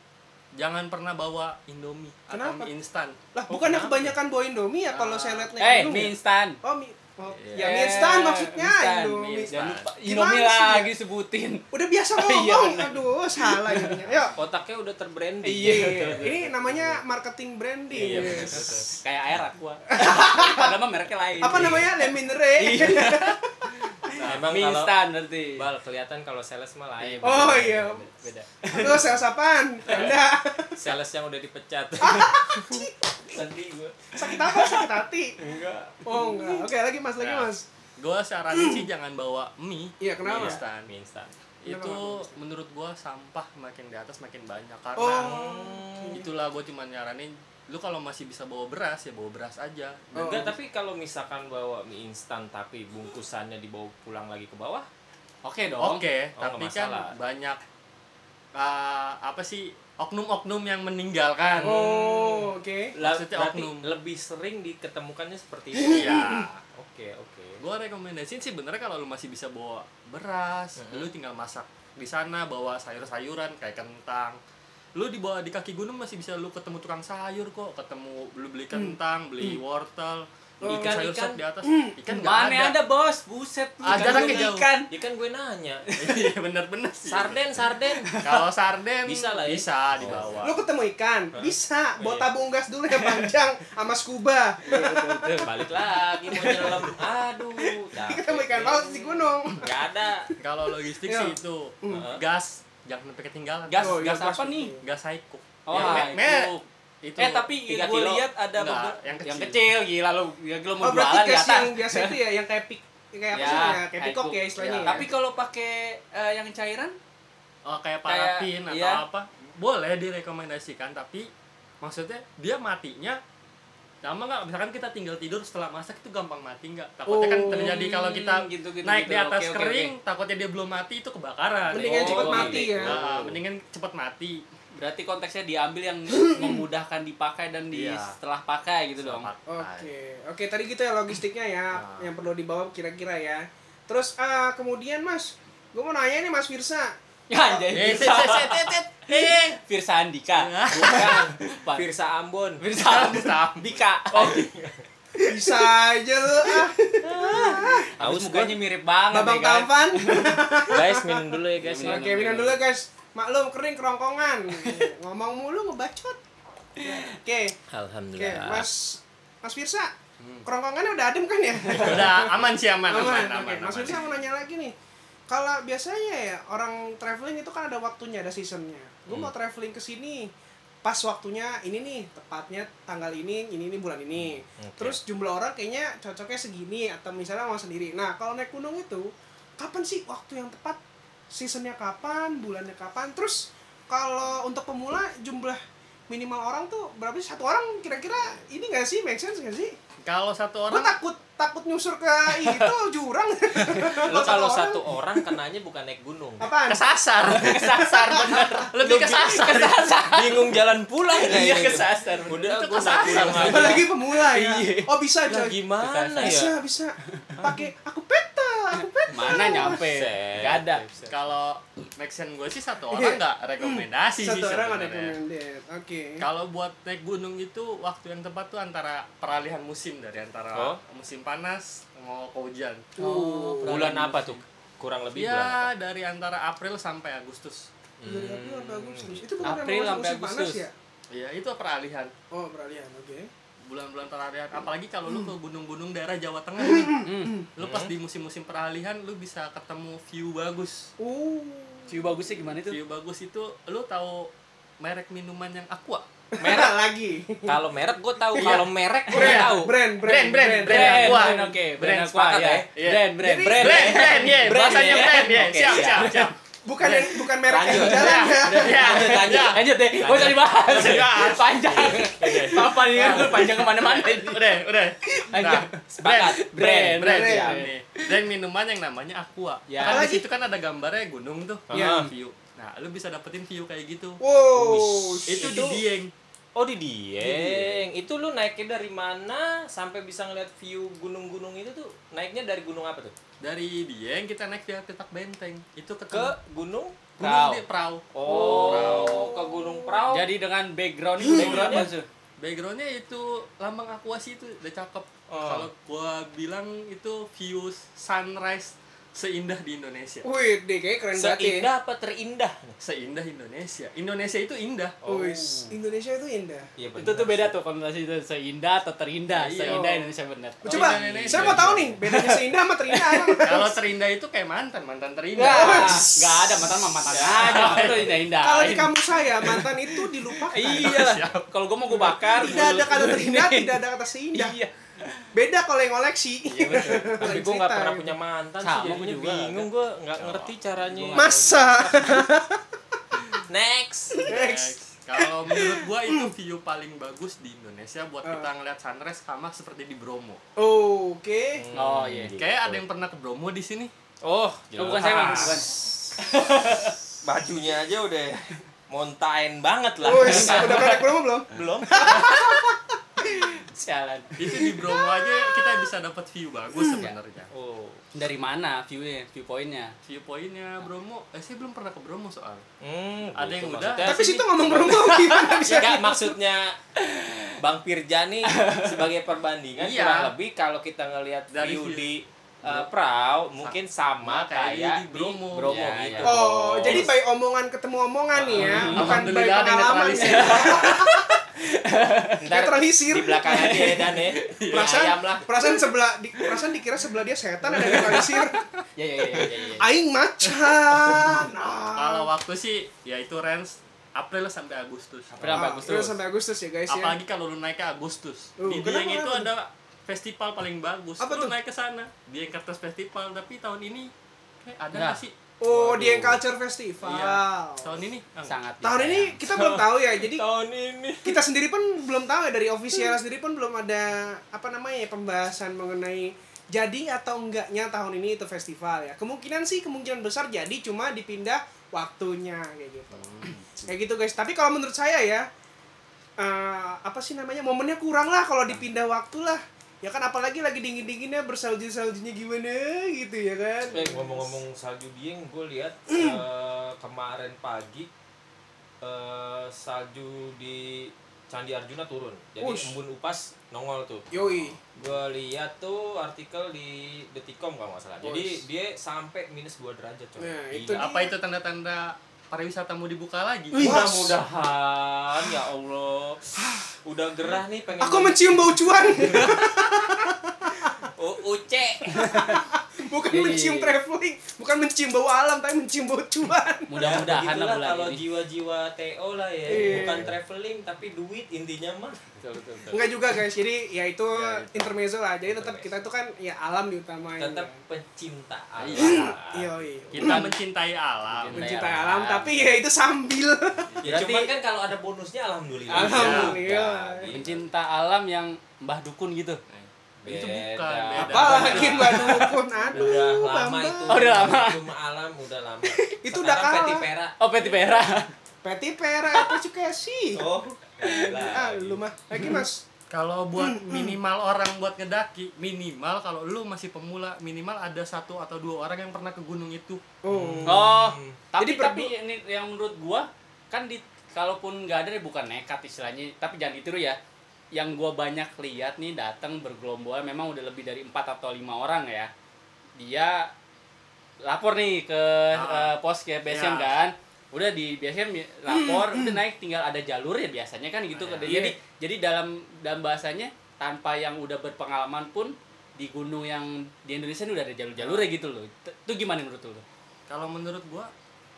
S4: jangan pernah bawa indomie atau
S1: Kenapa?
S4: mie instan
S1: Lah, bukannya kebanyakan bawa Indomie ya kalau
S4: Ah.
S1: saya lihat naik
S3: eh
S1: gunung
S3: mie
S1: ya?
S3: instan
S1: Oh, mie. Oh, ya
S4: Iya.
S1: mie instan maksudnya
S3: Instan, mie
S1: Indomie.
S3: instan. Jangan lupa,
S1: Gimana
S3: Indomie
S1: sih ya?
S3: lagi sebutin
S1: Udah biasa
S3: [LAUGHS] iya,
S1: ngomong.
S3: bener.
S1: Aduh, salah
S3: [LAUGHS]
S1: jadinya. Ayo.
S2: kotaknya udah terbranding
S1: Iya, ini namanya marketing
S3: Iya,
S1: branding.
S3: kayak air
S1: [LAUGHS]
S3: aqua padahal mah mereknya lain
S1: Apa
S3: Iya.
S1: namanya? Leminere.
S2: emang
S3: mie
S2: kalau
S3: instan nanti
S2: bal kelihatan kalau sales mah lain
S1: [LAUGHS] Oh, iya.
S2: beda
S1: Lu sales apaan?
S3: [LAUGHS]
S1: Anda
S2: sales yang udah dipecat
S3: nanti gua
S1: sakit apa? Sakit hati. Oh, enggak. Oke, lagi Mas, lagi
S3: Ya.
S4: Nah.
S1: Mas.
S4: gue saranin
S1: [CLEARS THROAT]
S4: sih jangan bawa mie
S1: Iya, kenapa?
S4: mie instan
S2: mie instan
S4: itu
S1: Kenapa?
S4: menurut gue sampah makin di atas makin banyak karena
S2: Hmm,
S1: Oh.
S4: itulah gue cuma nyaranin lu kalau masih bisa bawa beras ya bawa beras aja
S1: Oh.
S2: enggak tapi kalau misalkan bawa mie instan tapi bungkusannya dibawa pulang lagi ke bawah
S3: oke dong
S4: Nah, Oke,
S2: Oh,
S4: tapi
S2: nggak
S4: kan
S2: masalah.
S4: banyak uh, apa sih oknum-oknum yang meninggalkan.
S1: Oh, oke.
S2: La-
S4: Maksudnya
S2: berarti
S4: oknum.
S2: lebih sering diketemukannya seperti itu
S4: Iya.
S2: oke oke
S4: Gua rekomendasiin sih benernya kalau lu masih bisa bawa beras,
S3: Mm-hmm.
S2: Mhm.
S4: lu tinggal masak di sana bawa sayur-sayuran kayak kentang. Lu dibawa di kaki gunung masih bisa lu ketemu tukang sayur kok, ketemu lu beli
S1: Hmm.
S4: kentang, beli wortel, beli
S2: Ikan,
S4: sayur
S2: ikan.
S4: sop di atas.
S1: Hmm.
S4: Ikan nggak
S3: mana Oh, kan ada bos buset
S4: Ah,
S3: ikan
S4: jaraknya
S3: gua
S4: jauh.
S3: ikan
S2: ya kan gue [LAUGHS] nanya
S4: [LAUGHS] Iya bener-bener sih.
S2: sarden sarden
S4: Kalau sarden
S2: Bisa lah ya?
S3: Oh.
S4: Bisa
S1: Lu
S4: dibawa.
S1: ketemu ikan, bisa buat
S2: Iya.
S1: tabung gas dulu ya
S3: [LAUGHS]
S1: panjang sama scuba.
S2: balik lagi mau nyelam aduh capek.
S1: Ketemu ikan laut di gunung.
S2: nggak ada
S4: Kalau logistik
S1: Iya.
S4: sih itu gas jangan sampai ketinggalan.
S3: gas
S1: Oh, iya,
S3: gas
S1: gas
S3: apa
S1: betul.
S3: nih
S4: Gas haiku.
S3: oh
S4: Ya, me- me-
S3: haiku.
S4: itu
S3: eh tapi
S4: tiga
S3: gue
S4: kilo.
S3: lihat ada
S4: Enggak,
S3: beberapa-
S4: yang kecil.
S3: yang kecil gila lu ya gila mau
S1: Oh, berarti
S3: jualan di
S1: gas
S3: atas
S1: yang biasa itu ya, yang kayak pik kayak apa
S3: Ya,
S1: sih namanya? Kayak pikok
S3: haiku.
S1: ya istilahnya.
S4: Ya.
S1: Ya.
S3: tapi kalau pakai eh, yang cairan
S4: oh, kayak parafin atau
S3: iya.
S4: apa boleh direkomendasikan tapi maksudnya dia matinya lama nggak misalkan kita tinggal tidur setelah masak itu gampang mati nggak takutnya kan
S1: Oh,
S4: terjadi kalau kita
S3: Hmm, gitu, gitu,
S4: naik
S3: gitu.
S4: di atas
S3: Oke, oke,
S4: kering
S3: oke.
S4: takutnya dia belum mati itu kebakaran
S1: Mendingan
S4: Oh,
S1: cepet
S4: iya.
S1: mati ya.
S4: Nah, mendingan cepet mati
S3: berarti konteksnya diambil
S1: [CLEARS THROAT]
S3: yang memudahkan dipakai dan di
S4: Iya.
S3: setelah pakai gitu dong
S1: Oke, oke tadi gitu ya logistiknya ya,
S4: Nah.
S1: yang perlu dibawa kira-kira ya. Terus ah, kemudian Mas, gue mau nanya nih Mas Firsa.
S3: ya anjay
S4: Eh, set,
S3: Firsa
S4: set, set, set, set. Eh.
S3: Firsa Andika
S2: [LAUGHS] bukan
S3: Pak.
S4: Nah,
S2: Firsa kan. Ambon
S3: Firsa Andika
S1: Bisa aja lu ah.
S3: Habis
S2: Haus
S3: mukanya mirip banget
S1: Babang
S3: ya kan?
S1: tampan.
S5: guys minum dulu ya guys ya.
S1: Oke, minum dulu guys. Maklum kering kerongkongan. Ngomong mulu ngebacot. Oke. Oke,
S2: Alhamdulillah.
S1: Mas Mas Firsa. Kerongkongannya udah adem kan ya?
S4: [LAUGHS] udah aman sih aman aman aman,
S1: Aman, oke.
S4: aman,
S1: Mas Firsa mau nanya lagi nih. Kalau biasanya ya orang traveling itu kan ada waktunya, ada seasonnya. Gue
S4: Hmm.
S1: mau traveling ke sini pas waktunya ini nih, tepatnya tanggal ini, ini ini bulan ini.
S4: Hmm,
S2: Oke.
S1: Terus jumlah orang kayaknya cocoknya segini atau misalnya mau sendiri. Nah, kalau naik gunung itu kapan sih waktu yang tepat? Seasonnya kapan? Bulannya kapan? Terus kalau untuk pemula jumlah minimal orang tuh berapa sih? Satu orang kira-kira ini gak sih? Make sense gak sih?
S4: kalau satu
S1: Gue
S4: orang
S1: takut takut nyusur ke itu [LAUGHS] jurang.
S2: Lo kalau satu orang kenanya bukan naik gunung.
S1: Apaan?
S3: Kesasar, [LAUGHS] kesasar bener.
S4: lebih kesasar
S2: Bingung jalan pulang
S3: Iya
S2: kayaknya.
S3: kesasar.
S2: Udah
S4: Itu
S2: gue naik
S4: kesasar.
S2: gunung
S1: Gua
S2: aja.
S1: lagi pemula ya. Oh bisa
S2: Lah,
S1: coy.
S2: Gimana
S1: Bisa
S2: ya?
S1: bisa. Pakai aku peta, aku peta.
S3: Mana nyampe?
S2: Set.
S3: Gak ada.
S4: kalau maxen gue sih satu orang nggak rekomendasi sih
S1: Hmm. Satu orang ada
S4: sebenarnya.
S1: recommended. Oke.
S4: Hmm. Kalau buat naik gunung itu waktu yang tepat tuh antara peralihan musim dari antara
S2: Oh.
S4: musim panas mau ke hujan.
S1: Oh,
S2: Bulan apa tuh? Kurang lebih bulan apa?
S4: Ya dari antara April sampai Agustus.
S1: Dari April sampai Agustus. Itu bukan
S3: April
S1: emang
S3: sampai
S1: musim panas
S3: Agustus.
S1: ya?
S4: Ya itu peralihan
S1: Oh, peralihan. Oke.
S4: bulan-bulan peralihan. Apalagi kalau lu ke gunung-gunung daerah Jawa Tengah nih, lu
S2: Hmm.
S4: pas di musim-musim peralihan lu bisa ketemu view bagus.
S1: Oh.
S3: View bagusnya gimana itu?
S4: View bagus itu lu tahu merek minuman yang Aqua?
S1: Merah lagi.
S2: Kalau merek gue tahu, kalau merek gue
S4: Iya. Brand.
S2: tahu.
S1: Brand, brand,
S4: Brand, brand, brand.
S3: Brand,
S4: Aqua.
S3: brand, oke, brand
S4: Brand,
S3: aqua
S2: sepakat
S3: ya.
S4: ya.
S3: Brand, brand,
S1: Jadi-
S3: brand.
S4: Brand, brand, ya,
S2: Brand,
S4: bahasanya
S2: ya.
S4: brand, ya.
S2: Oke,
S4: Siap,
S2: siap.
S4: siap, siap.
S1: Bukan yang bukan merek yang di
S2: Lanjut.
S1: jalan ya.
S4: Ya,
S2: lanjut.
S4: ya.
S3: Lanjut deh, gak usah dibahas. Panjang. Apa nih kan gue panjang kemana-mana.
S4: udah udah
S3: Lanjut.
S2: Sepakat.
S4: Nah, brand brand brand,
S1: brand.
S4: ya. Nih, brand minuman yang namanya aqua
S3: Ya.
S4: kan
S1: Apalagi?
S4: di situ kan ada gambarnya gunung tuh
S1: Iya.
S4: view nah lu bisa dapetin view kayak gitu
S1: Wow.
S4: itu, di
S2: Itu-
S4: dieng
S2: Oh di Dieng. Itu lu naiknya dari mana sampai bisa ngeliat view gunung-gunung itu tuh? Naiknya dari gunung apa tuh?
S4: dari dieng kita naik ke petak benteng itu
S2: Ke
S4: ketemu
S2: gunung?
S4: gunung
S3: Prau.
S4: di perahu
S2: Oh, ke gunung Prau.
S3: Jadi dengan background background maksud.
S4: backgroundnya itu lambang aqua sih itu udah cakep
S2: Oh.
S4: kalau gua bilang itu view sunrise seindah di Indonesia
S1: Wih, deh kayaknya keren banget ya.
S2: seindah apa terindah?
S4: seindah Indonesia Indonesia itu
S2: [LAUGHS]
S4: indah
S1: Wih, Indonesia itu indah.
S2: Iya
S3: Itu tuh beda tuh konotasi itu seindah atau terindah.
S4: Iya.
S3: Seindah Indonesia [LAUGHS] bener.
S1: Oh, Coba,
S4: Indonesia.
S1: saya mau tahu nih bedanya seindah sama terindah. apa.
S4: kalau terindah itu kayak mantan mantan terindah
S2: Ya.
S3: Enggak, enggak ada mantan mah mantan aja. Itu indah-indah.
S1: Kalau di kampus saya mantan itu dilupakan.
S3: [LAUGHS] Iya lah. Kalau gue mau gue bakar.
S1: Tidak ada kata terindah, tidak ada kata seindah.
S3: Iya.
S1: Beda kalau yang koleksi. [LAUGHS]
S2: Tapi gue nggak
S1: ya.
S2: pernah punya mantan
S3: Sama,
S2: sih,
S3: Kan gua
S2: jadinya
S3: juga
S2: bingung gue nggak ngerti caranya.
S1: Masa? [LAUGHS]
S2: Next.
S1: Next.
S4: Kalau menurut gua itu view paling bagus di Indonesia buat
S1: Ah.
S4: kita ngeliat sunrise sama seperti di Bromo.
S1: Oke.
S2: Hmm.
S3: Oh iya.
S2: Gitu.
S4: Kayak ada yang pernah ke Bromo di sini?
S2: Oh,
S3: Oh, bukan saya, Bang, bukan.
S2: [LAUGHS] Bajunya aja udah mountain banget lah.
S1: Wih, udah pernah kurang belum?
S2: [LAUGHS] Belum.
S3: Sialan.
S4: Itu di
S1: [LAUGHS]
S4: Bromo aja kita bisa dapat view bagus
S1: Hmm.
S4: sebenarnya.
S2: Oh.
S3: Dari mana view-nya, viewpoint-nya?
S1: Iya.
S4: View poinnya Bromo, eh saya belum pernah ke Bromo soal.
S2: Hmm,
S4: Ada
S2: gitu
S4: yang udah?
S2: maksudnya.
S1: Tapi situ ngomong belum [LAUGHS] gimana bisa?
S2: Enggak, maksudnya Bang Pirjani sebagai perbandingan
S4: Iya.
S2: kurang lebih kalau kita ngelihat
S4: Dari
S2: view
S4: view.
S2: di eh, Prau mungkin sama
S4: kayak
S2: kayak
S4: di Bromo.
S2: Bromo
S3: Ya,
S2: gitu.
S3: ya.
S1: Oh, jadi by omongan ketemu omongan nih ya, bukan by
S4: Alhamdulillah ada
S1: pengalaman
S4: netralisir.
S1: ya.
S2: Ntar
S1: Netralisir.
S2: di belakang aja ya Dan ya. Ayam
S3: Iya.
S1: Perasaan,
S2: lah.
S1: perasaan sebelah, di, perasaan dikira sebelah dia setan ada netralisir.
S3: Ya ya ya ya. ya.
S1: Aing macan. Ah.
S4: Kalau waktu sih ya itu range April sampai Agustus.
S3: April sampai
S1: Ah,
S3: Agustus.
S1: April sampai Agustus ya guys ya.
S4: Apalagi kalau lu naik ke Agustus.
S1: Uh,
S4: di
S1: kenapa,
S4: Dieng itu
S1: kenapa?
S4: ada festival paling bagus.
S1: Apa
S4: lu
S1: tuh?
S4: naik ke sana, Dieng Kertas Festival, tapi tahun ini kayak ada
S3: Nggak.
S4: nggak sih? Iya.
S1: Oh, di Culture Festival.
S4: Tahun ini? Ah,
S3: Sangat.
S1: Tahun
S3: disayang.
S1: ini kita belum tahu ya, jadi
S2: Tahun ini.
S1: kita sendiri pun belum tahu ya dari official sendiri pun belum ada apa namanya ya, pembahasan mengenai jadi atau enggaknya tahun ini itu festival ya kemungkinan sih kemungkinan besar jadi cuma dipindah waktunya kayak gitu kayak gitu guys tapi kalau menurut saya ya eh, apa sih namanya momennya kurang lah kalau dipindah waktu lah ya kan apalagi lagi dingin dinginnya bersalju saljunya gimana gitu ya kan
S2: Eh, ngomong-ngomong salju dieng, gue
S1: [CLEARS THROAT]
S2: lihat eh, kemarin pagi eh, salju di Candi Arjuna turun. Jadi
S1: Wush.
S2: embun upas nongol tuh.
S1: Yoi.
S2: Gue lihat tuh artikel di Detikom kalau nggak salah. Jadi dia sampai minus 2 derajat coy.
S1: Nah,
S2: Gila.
S1: itu dia.
S4: Apa itu tanda-tanda pariwisata mau dibuka lagi?
S1: Wih.
S2: Mudah-mudahan ya Allah. Udah gerah nih pengen
S1: Aku mencium bau cuan, [LAUGHS]
S2: U- uce.
S1: bukan
S3: Iya, iya,
S1: mencium
S3: iya.
S1: traveling, bukan mencium bau alam, tapi mencium bau
S2: [LAUGHS]
S1: cuan.
S3: Mudah-mudahan lah
S2: Ya, Begitulah
S3: bulan
S2: kalau
S3: ini.
S2: jiwa-jiwa TO lah ya,
S1: Iya.
S2: bukan traveling tapi duit intinya mah.
S3: Betul, betul, betul.
S1: Enggak juga guys, jadi ya itu
S2: Ya, itu.
S1: intermezzo lah. Jadi tetap
S2: Intermezzo.
S1: kita tuh kan ya alam diutamain.
S2: Tetap pecinta alam.
S1: Iya, iya.
S4: Kita mencintai alam.
S1: Mencintai alam, tapi ya itu sambil.
S2: Ya
S3: Berarti-
S2: cuman kan kalau ada bonusnya alhamdulillah.
S1: Alhamdulillah.
S2: Ya, gitu.
S3: Pencinta alam yang Mbah Dukun gitu.
S4: Itu
S2: Beda.
S4: bukan,
S1: [LAUGHS]
S4: beda.
S1: Apalagi Mbak Dukun, aduh,
S2: Udah Iya, lama
S1: Bambang.
S2: itu.
S3: Oh, udah lama.
S2: Cuma alam udah lama.
S1: [LAUGHS] Itu udah
S2: Sekarang
S1: kalah.
S2: Peti Pera.
S3: Oh, peti merah.
S1: Peti pera apa juga sih?
S2: Oh. iya.
S1: Ah, lu mah lagi mas.
S4: Kalau buat minimal orang buat ngedaki, minimal kalau lu masih pemula, minimal ada satu atau dua orang yang pernah ke gunung itu.
S2: Hmm.
S1: Oh.
S3: Oh,
S1: Jadi
S3: tapi
S1: perdu-
S3: tapi ini yang menurut gua kan di kalaupun nggak ada ya bukan nekat istilahnya, tapi jangan ditiru ya. Yang gua banyak lihat nih datang bergelombolan memang udah lebih dari empat atau lima orang ya. Dia lapor nih ke
S4: Ah.
S3: eh, pos ke BSM
S4: Ya.
S3: kan. Udah di BSM ya,
S4: [CLEARS THROAT]
S3: lapor, udah naik tinggal ada jalur ya biasanya kan gitu.
S4: Ah,
S1: ya.
S3: Jadi jadi dalam dalam bahasanya tanpa yang udah berpengalaman pun di gunung yang di Indonesia ini udah ada jalur-jalurnya
S4: Ah.
S3: gitu loh. T- Itu gimana menurut lu?
S4: Kalau menurut gua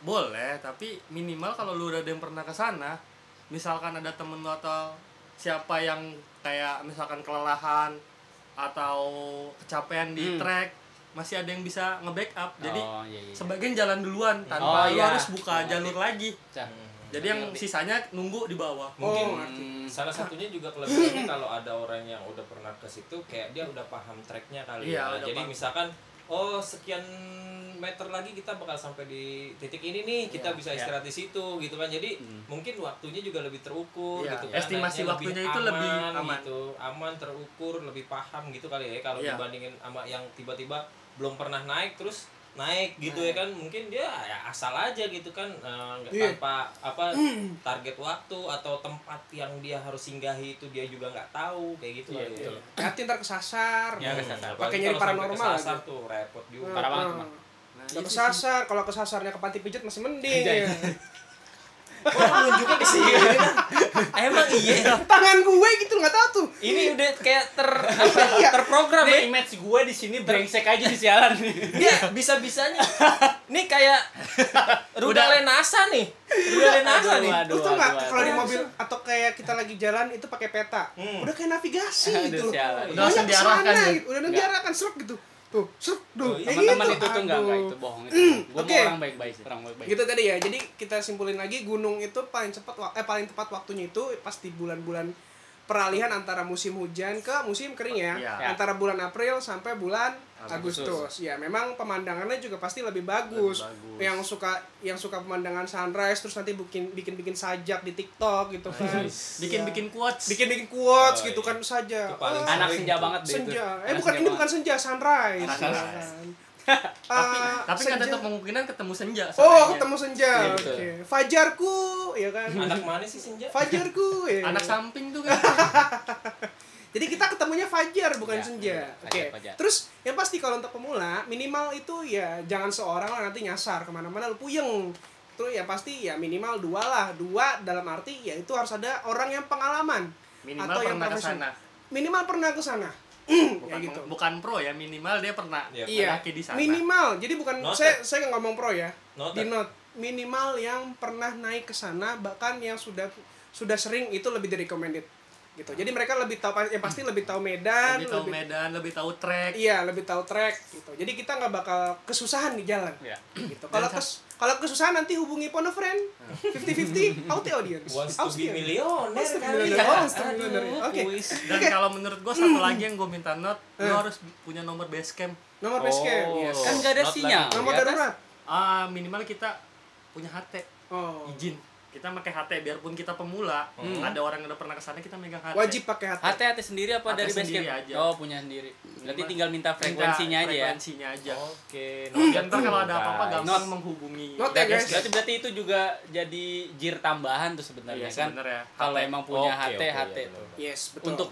S4: boleh, tapi minimal kalau lu udah ada yang pernah ke sana, misalkan ada temen lu atau siapa yang kayak misalkan kelelahan atau kecapean di
S3: Hmm.
S4: trek, masih ada yang bisa nge-backup. Jadi
S3: Oh, iya, iya.
S4: sebagian jalan duluan
S3: Oh,
S4: tanpa lu
S3: iya.
S4: harus buka
S3: Ngerti.
S4: jalur lagi.
S3: Cah.
S2: Hmm.
S4: Jadi yang sisanya nunggu di bawah.
S2: Mungkin
S1: Oh, ngerti.
S4: Hmm.
S2: salah satunya
S4: [LAUGHS]
S2: juga kelebihannya kalau ada orang yang udah pernah ke situ kayak dia udah paham treknya kali
S4: Iya,
S2: ya.
S4: udah
S2: Jadi
S4: paham.
S2: misalkan oh sekian meter lagi kita bakal sampai di titik ini nih
S4: Iya,
S2: kita bisa istirahat di situ gitu kan. Jadi mungkin waktunya juga lebih terukur
S4: Hmm. Iya,
S2: gitu kan.
S4: estimasi
S2: Naiknya
S4: waktunya itu lebih aman.
S2: gitu. Aman terukur, lebih paham gitu kali ya kalau
S4: Iya.
S2: dibandingin sama yang tiba-tiba belum pernah naik terus naik gitu ya kan mungkin dia ya asal aja gitu kan eh, nggak-
S1: Iya.
S2: tanpa apa
S1: [CLEARS THROAT]
S2: target waktu atau tempat yang dia harus singgahi itu dia juga nggak tahu kayak
S4: Iya,
S2: gitu kali ya.
S1: Hati ntar kesasar.
S2: Ya, kesasar.
S1: Pakai
S2: Apalagi
S1: nyari
S2: kalau sampai
S1: paranormal
S2: kesasar
S1: lagi.
S2: tuh repot juga.
S3: Parah banget,
S1: Heeh.
S3: Mak.
S4: Nah,
S1: Udah
S4: itu sih.
S1: kesasar, kalau kesasarnya ke panti pijat masih mending. Iya.
S2: [LAUGHS]
S3: Anjay.
S2: Nunjuknya ke
S1: [LAUGHS]
S2: sini. Emang iya.
S1: Tangan gue gitu nggak tahu tuh.
S2: Ini udah kayak ter
S1: [LAUGHS]
S2: apa,
S1: Iya.
S2: terprogram ya.
S3: Nih, image gue di sini brengsek aja di siaran
S2: [LAUGHS]
S3: nih.
S2: Dia
S3: [LAUGHS]
S2: bisa-bisanya. Nih kayak Ruda
S4: Udah.
S2: Lenasa nih. Ruda Lenasa
S3: Aduh,
S2: nih.
S3: aduh.
S1: Lu tuh nggak
S3: aduh,
S1: kalau di
S2: aduh.
S1: mobil atau kayak kita lagi jalan itu pakai peta.
S2: Hmm.
S1: Udah kayak navigasi
S3: Aduh,
S1: gitu.
S3: sialan.
S1: Maunya
S4: Udah langsung
S1: kesana
S4: diarahkan ya?
S1: gitu. Udah
S3: Nggak.
S1: diarahkan seruk gitu. Tuh, seruk duh.
S2: Tuh,
S1: kayak
S3: Teman-teman
S1: gitu.
S3: itu tuh enggak enggak
S1: Aduh. Hmm,
S3: itu bohong itu. Gue
S1: Oke.
S3: mau orang baik-baik, orang baik-baik.
S1: gitu tadi ya jadi kita simpulin lagi gunung itu paling cepat wa- eh paling tepat waktunya itu pasti bulan-bulan peralihan antara musim hujan ke musim kering ya
S4: Iya.
S1: antara bulan April sampai bulan Agustus.
S4: Agustus.
S1: ya memang pemandangannya juga pasti lebih bagus.
S4: Lebih bagus.
S1: yang suka yang suka pemandangan sunrise terus nanti bikin bikin bikin sajak di TikTok gitu kan
S2: Iya.
S4: Bikin-bikin quotes.
S1: bikin bikin quotes
S2: Oh,
S1: gitu
S2: iya.
S1: kan saja
S2: Itu paling
S1: Ah,
S3: Anak senja
S2: Itu.
S3: banget deh itu.
S1: senja eh
S3: Anak
S1: bukan
S3: senja
S1: ini
S3: banget.
S1: bukan senja sunrise,
S4: Sunrise.
S1: ya kan. Ah,
S4: [LAUGHS] tapi kan
S1: senja.
S4: tetap kemungkinan ketemu senja
S1: Oh,
S4: sebenarnya.
S1: ketemu senja.
S3: Iya,
S1: Oke.
S3: betul.
S1: Fajarku, ya
S3: [LAUGHS]
S1: kan.
S2: Anak mana sih Senja?
S1: Fajarku, ya.
S4: anak samping tuh kan
S1: Jadi kita ketemunya fajar bukan
S3: Iya,
S1: senja.
S3: iya.
S1: Oke.
S3: Fajar, fajar.
S1: Terus yang pasti kalau untuk pemula minimal itu ya jangan seorang lah nanti nyasar kemana-mana lu puyeng. Terus ya pasti ya minimal dua lah. Dua dalam arti ya itu harus ada orang yang pengalaman.
S4: minimal
S1: Atau yang
S4: pernah ke
S1: profesional.
S4: sana
S1: Minimal pernah ke sana.
S4: bukan,
S1: ya gitu.
S4: bukan pro ya minimal dia pernah
S2: Iya.
S1: Iya.
S4: mendaki di sana
S1: Minimal. Jadi bukan
S2: Noted.
S1: saya saya nggak ngomong pro ya. Di
S2: Noted.
S1: note minimal yang pernah naik ke sana bahkan yang sudah sudah sering itu lebih di recommended gitu. Jadi
S2: Hmm.
S1: mereka lebih tahu yang pasti lebih tahu medan,
S4: lebih tahu medan lebih tahu trek
S1: Iya, lebih tahu trek gitu. Jadi kita nggak bakal kesusahan di jalan.
S3: Iya.
S1: Gitu. Kalau kes- kalau kesusahan nanti hubungi Ponofriend 50-50 out the audience.
S2: Wants to
S1: Out the-
S2: be millionaire
S1: Wants to be
S2: kali
S1: millionaire.
S2: ya.
S1: Wants to be millionaire.
S2: Aduh,
S1: Oke.
S2: kuis.
S4: dan kalau menurut gua satu lagi yang gua minta note lu
S1: Eh.
S4: harus punya nomor base camp
S1: Nomor base camp.
S3: Oh,
S1: Yes.
S3: Kan nggak ada
S2: Not
S3: sinyal.
S2: lagi.
S1: Nomor
S3: Di atas.
S1: darurat.
S4: Ah, minimal kita punya HT
S1: Oh. Hmm.
S4: izin kita pakai HT biarpun kita pemula ada orang yang udah pernah kesana kita megang HT
S1: Wajib pakai hati.
S3: Hati-hati sendiri apa
S4: Hati
S3: dari
S4: sendiri
S3: basecamp?
S4: aja.
S3: Oh, punya sendiri. Berarti tinggal minta
S4: Minta
S3: frekuensinya aja ya.
S4: frekuensinya aja
S1: Oh.
S2: Oke,
S4: dan ntar kalau ada apa-apa gampang
S3: Not-
S4: menghubungi
S1: Not
S4: Ya,
S1: ya guys.
S3: Berarti berarti itu juga jadi jir tambahan tuh sebenarnya
S4: iya
S3: kan.
S2: ya.
S4: sebenarnya
S3: Kalau emang punya
S2: Oke,
S3: HT,
S2: oke, iya,
S3: HT
S2: benar.
S1: Yes, betul.
S3: untuk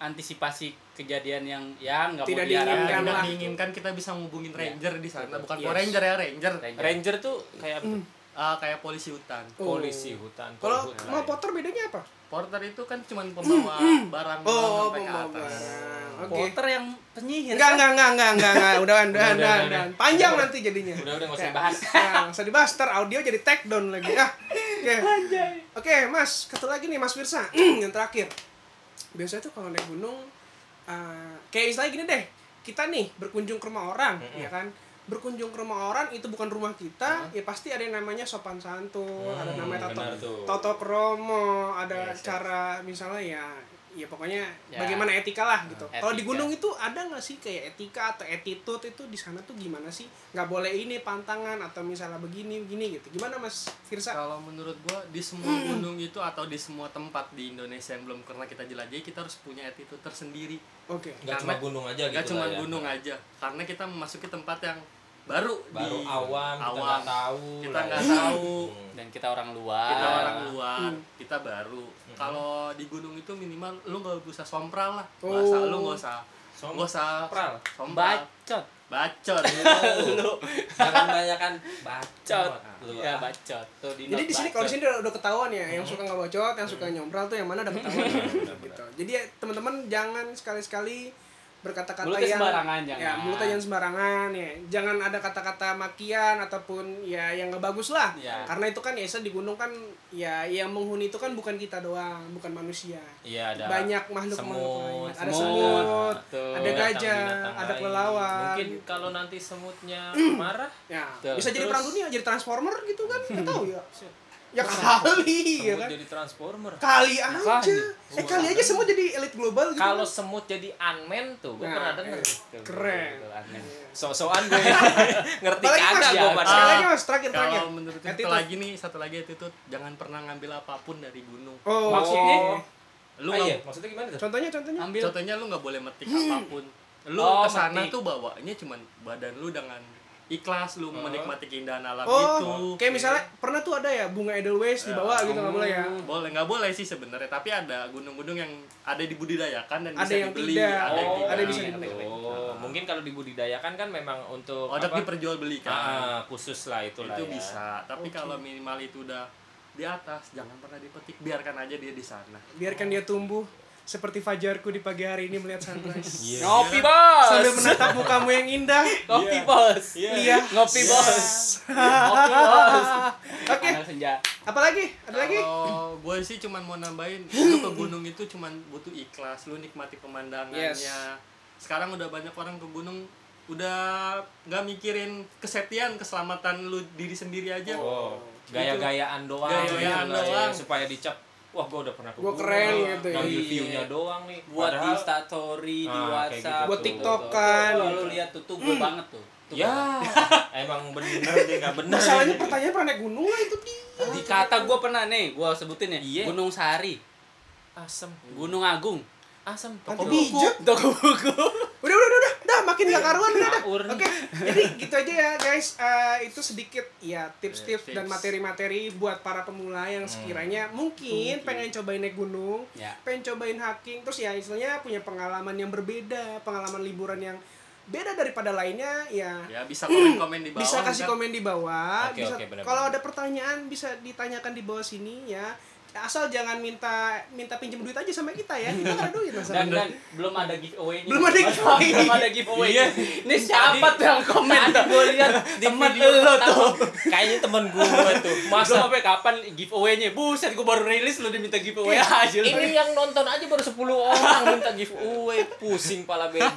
S3: menantisipasi kejadian yang ya nggak mau
S1: Tidak
S2: Iya,
S4: Ya,
S1: diinginkan
S3: diharapkan.
S4: yang
S1: lah.
S4: diinginkan kita bisa ngubungin ranger di sana bukan
S1: Yes.
S4: Power ranger ya ranger,
S5: Ranger tuh kayak apa
S3: Hmm,
S5: tuh?
S4: Ah, kayak polisi hutan
S1: Oh.
S2: polisi hutan.
S1: Kalau
S2: polisi
S1: mau
S2: lain.
S1: Potter bedanya apa?
S4: porter itu kan cuman
S1: [CLEARS THROAT]
S4: pembawa barang
S1: Oh,
S4: sampai ke
S1: pembawa
S4: atas
S1: barang. Oke.
S3: Potter yang penyihir.
S1: Enggak, enggak,
S3: kan?
S1: enggak, enggak, enggak, enggak. Udahan, udahan,
S2: udah,
S1: udahan,
S2: udah.
S1: udahan. Panjang nanti jadinya.
S2: Udah udah nggak usah
S1: Kayak-
S2: dibahas.
S1: Nah, nggak usah dibahas, ntar audio jadi take down lagi. Ah. Oke. Oke, Mas, satu lagi nih Mas Firsa, [CLEARS THROAT] yang terakhir. Biasanya tuh kalau naik gunung eh, kayak istilahnya gini deh. Kita nih berkunjung ke rumah orang, ya kan? Berkunjung ke rumah orang itu bukan rumah kita, ya pasti ada yang namanya sopan santun, ada
S2: Hmm,
S1: namanya tato
S2: benar tuh.
S1: tato kromo, ada
S2: Yes, yes.
S1: cara misalnya ya ya pokoknya
S3: Iya, Ya.
S1: bagaimana etika lah gitu.
S3: Etika.
S1: Kalau di gunung itu ada nggak sih kayak etika atau attitude itu di sana tuh gimana sih? Nggak boleh ini pantangan atau misalnya begini begini gitu. Gimana Mas Firsa?
S4: kalau menurut gua di
S1: [CLEARS THROAT]
S4: semua gunung itu atau di semua tempat di Indonesia yang belum pernah kita jelajahi kita harus punya attitude tersendiri
S1: Oke.
S2: Nggak cuma
S4: Karena-
S2: gunung aja gitu.
S4: nggak
S2: lah
S4: cuma
S2: ya.
S4: gunung aja karena kita memasuki tempat yang baru
S2: Baru
S4: di-
S2: awam, kita
S4: awam.
S2: nggak tahu.
S4: kita
S2: lah
S4: nggak
S2: ya.
S4: tahu
S2: [CLEARS THROAT] Hmm.
S3: Dan kita orang luar.
S4: kita
S2: Ah.
S4: orang luar
S1: Hmm.
S4: kita baru
S2: Hmm.
S4: kalau di gunung itu minimal lu nggak usah sompral lah
S1: Oh.
S4: bahasa lu nggak usah nggak usah
S2: Sompral.
S4: sompral
S3: Bacot.
S1: [LAUGHS]
S4: bacot
S2: Lu Oh, jangan banyakan bacot. Iya. Lu
S1: Iya.
S2: ah,
S3: Ya bacot. Tuh di
S1: Jadi
S3: not
S1: di sini kalau di
S3: bacot.
S1: sini udah, udah ketahuan ya, yang suka nggak bocot, yang suka nyompral tuh yang mana udah ketahuan. gitu. Jadi ya, teman-teman jangan sekali-sekali berkata-kata
S3: Mulutnya
S1: yang
S3: sembarangan,
S1: ya
S3: jangan.
S1: mulutnya jangan sembarangan ya. Jangan ada kata-kata makian ataupun ya yang nggak bagus lah.
S3: Ya.
S1: Karena itu kan ya saya di gunung kan ya yang menghuni itu kan bukan kita doang, bukan manusia.
S2: Iya ada
S1: Banyak makhluk makhluk
S2: semut,
S1: lain. Ada
S2: semut,
S1: semut,
S3: Tuh.
S1: ada gajah,
S2: binatang-binatang
S1: ada
S2: lain.
S1: kelelawar.
S2: Mungkin kalau nanti semutnya
S1: [CLEARS THROAT]
S2: marah,
S1: Ya,
S3: Tuh.
S1: bisa jadi
S3: Terus-
S1: perang dunia, jadi transformer gitu kan? Nggak tahu
S4: [LAUGHS]
S1: ya. Ya kali ya
S2: semut
S1: kan.
S2: jadi transformer.
S1: Kali aja.
S3: Makanya.
S1: Eh kali aja semua jadi elit global gitu.
S2: Kalau semut jadi unman tuh, gue
S1: Nah,
S2: pernah denger.
S3: Tuh,
S1: Keren.
S3: betul, aneh.
S2: So-soan
S1: [LAUGHS]
S2: gue ngerti
S1: Apalagi
S2: kagak
S1: Mas, sekali
S2: gue
S3: ya,
S2: padahal.
S1: lagi mas, terakhir, terakhir.
S4: kalau menurut gua, satu
S1: Attitude.
S4: lagi nih satu lagi attitude jangan pernah ngambil apapun dari gunung
S1: Oh,
S3: Maksudnya?
S4: lu
S2: Ah, iya,
S4: nggak
S2: maksudnya gimana tuh?
S1: Contohnya, contohnya.
S3: Ambil.
S4: contohnya lu nggak boleh metik
S1: Hmm.
S4: apapun lu
S3: Oh,
S4: kesana
S3: metik.
S4: tuh bawanya cuman badan lu dengan ikhlas
S2: Oh.
S4: lu menikmati keindahan alam itu
S1: Oh, kayak misalnya pernah tuh ada ya bunga edelweiss dibawa gitu nggak boleh ya?
S3: Hmm.
S4: boleh nggak boleh sih sebenarnya tapi ada gunung-gunung yang ada dibudidayakan dan
S1: Ada
S4: bisa
S1: yang
S4: dibeli
S1: tidak.
S4: ada yang
S1: Oh,
S4: tidak
S1: ada yang bisa
S4: Ada
S1: dibeli.
S4: yang tidak.
S2: Oh, mungkin kalau dibudidayakan kan memang untuk
S4: Odak
S2: apa?
S4: diperjualbelikan
S2: Ah, khusus lah itulah ya.
S4: itu bisa tapi kalau minimal itu udah di atas jangan pernah dipetik biarkan aja dia di sana
S1: Biarkan dia tumbuh seperti fajarku di pagi hari ini melihat sunrise.
S3: [LAUGHS]
S2: Iya.
S3: Ngopi bos.
S1: Sambil menatap mukamu yang indah.
S3: Ngopi bos.
S1: Iya.
S3: Ngopi bos. Ngopi bos.
S1: Oke,
S3: Angel senja.
S1: apalagi? Ada lagi? [LAUGHS]
S4: Kalau gue sih cuman mau nambahin lu ke gunung itu cuman butuh ikhlas, lu nikmati pemandangannya.
S1: Yes.
S4: Sekarang udah banyak orang ke gunung udah nggak mikirin kesetiaan, keselamatan lu diri sendiri aja.
S2: Oh, gaya-gayaan doang.
S4: Gaya-gayaan
S2: gitu lah ya,
S4: doang.
S2: supaya dicap, wah gue udah pernah ke
S1: Gua
S2: gunung,
S1: keren
S2: nih,
S1: gitu ya.
S2: Ngambil
S3: Iya.
S2: view-nya doang nih.
S3: Buat
S2: Padahal-
S3: instastory di
S2: Ah, kayak
S3: WhatsApp.
S2: gitu.
S1: Buat
S2: Betul,
S1: tiktokan.
S3: Tuh, Lu lihat tuh tuh gue banget tuh. Tuh,
S2: Ya, emang bener deh, gak bener.
S1: Masalahnya pertanyaan pernah naik gunung lah itu dia.
S3: Dikata gue pernah nih, gue sebutin ya.
S2: Iya.
S3: Gunung Sari,
S2: asem,
S3: Gunung Agung, Kan
S2: asem.
S1: Panti
S2: Toko-
S1: pijat.
S3: toko buku.
S1: udah udah udah udah Dah, makin gak karuan udah dah.
S2: Sahur.
S1: oke jadi gitu aja ya guys Eh, itu sedikit ya tips-tips
S4: Tips.
S1: dan materi-materi buat para pemula yang sekiranya mungkin pengen cobain naik gunung
S3: Ya.
S1: pengen cobain hiking terus ya istilahnya punya pengalaman yang berbeda pengalaman liburan yang beda daripada lainnya ya
S4: Ya bisa komen-komen di bawah.
S1: bisa kasih
S4: ntar. [LAUGHS]
S1: komen di bawah
S2: Oke,
S1: bisa
S2: oke, benar-benar.
S1: kalau ada pertanyaan bisa ditanyakan di bawah sini ya asal jangan minta minta pinjem duit aja sama kita ya kita nggak ada duit masalahnya
S3: Dan, dan belum ada giveaway-nya.
S1: Belum ada giveaway.
S3: belum ada giveaway.
S2: Iya.
S3: Ini siapa tuh yang komen? Tadi gue lihat temen lo tuh.
S2: Kayaknya temen gue
S3: [LAUGHS]
S2: tuh.
S3: Masa sampai kapan giveaway-nya? Buset, gue baru rilis lu diminta giveaway aja. lu.
S2: Iya. Ini yang nonton aja baru 10 orang minta giveaway, pusing pala baby.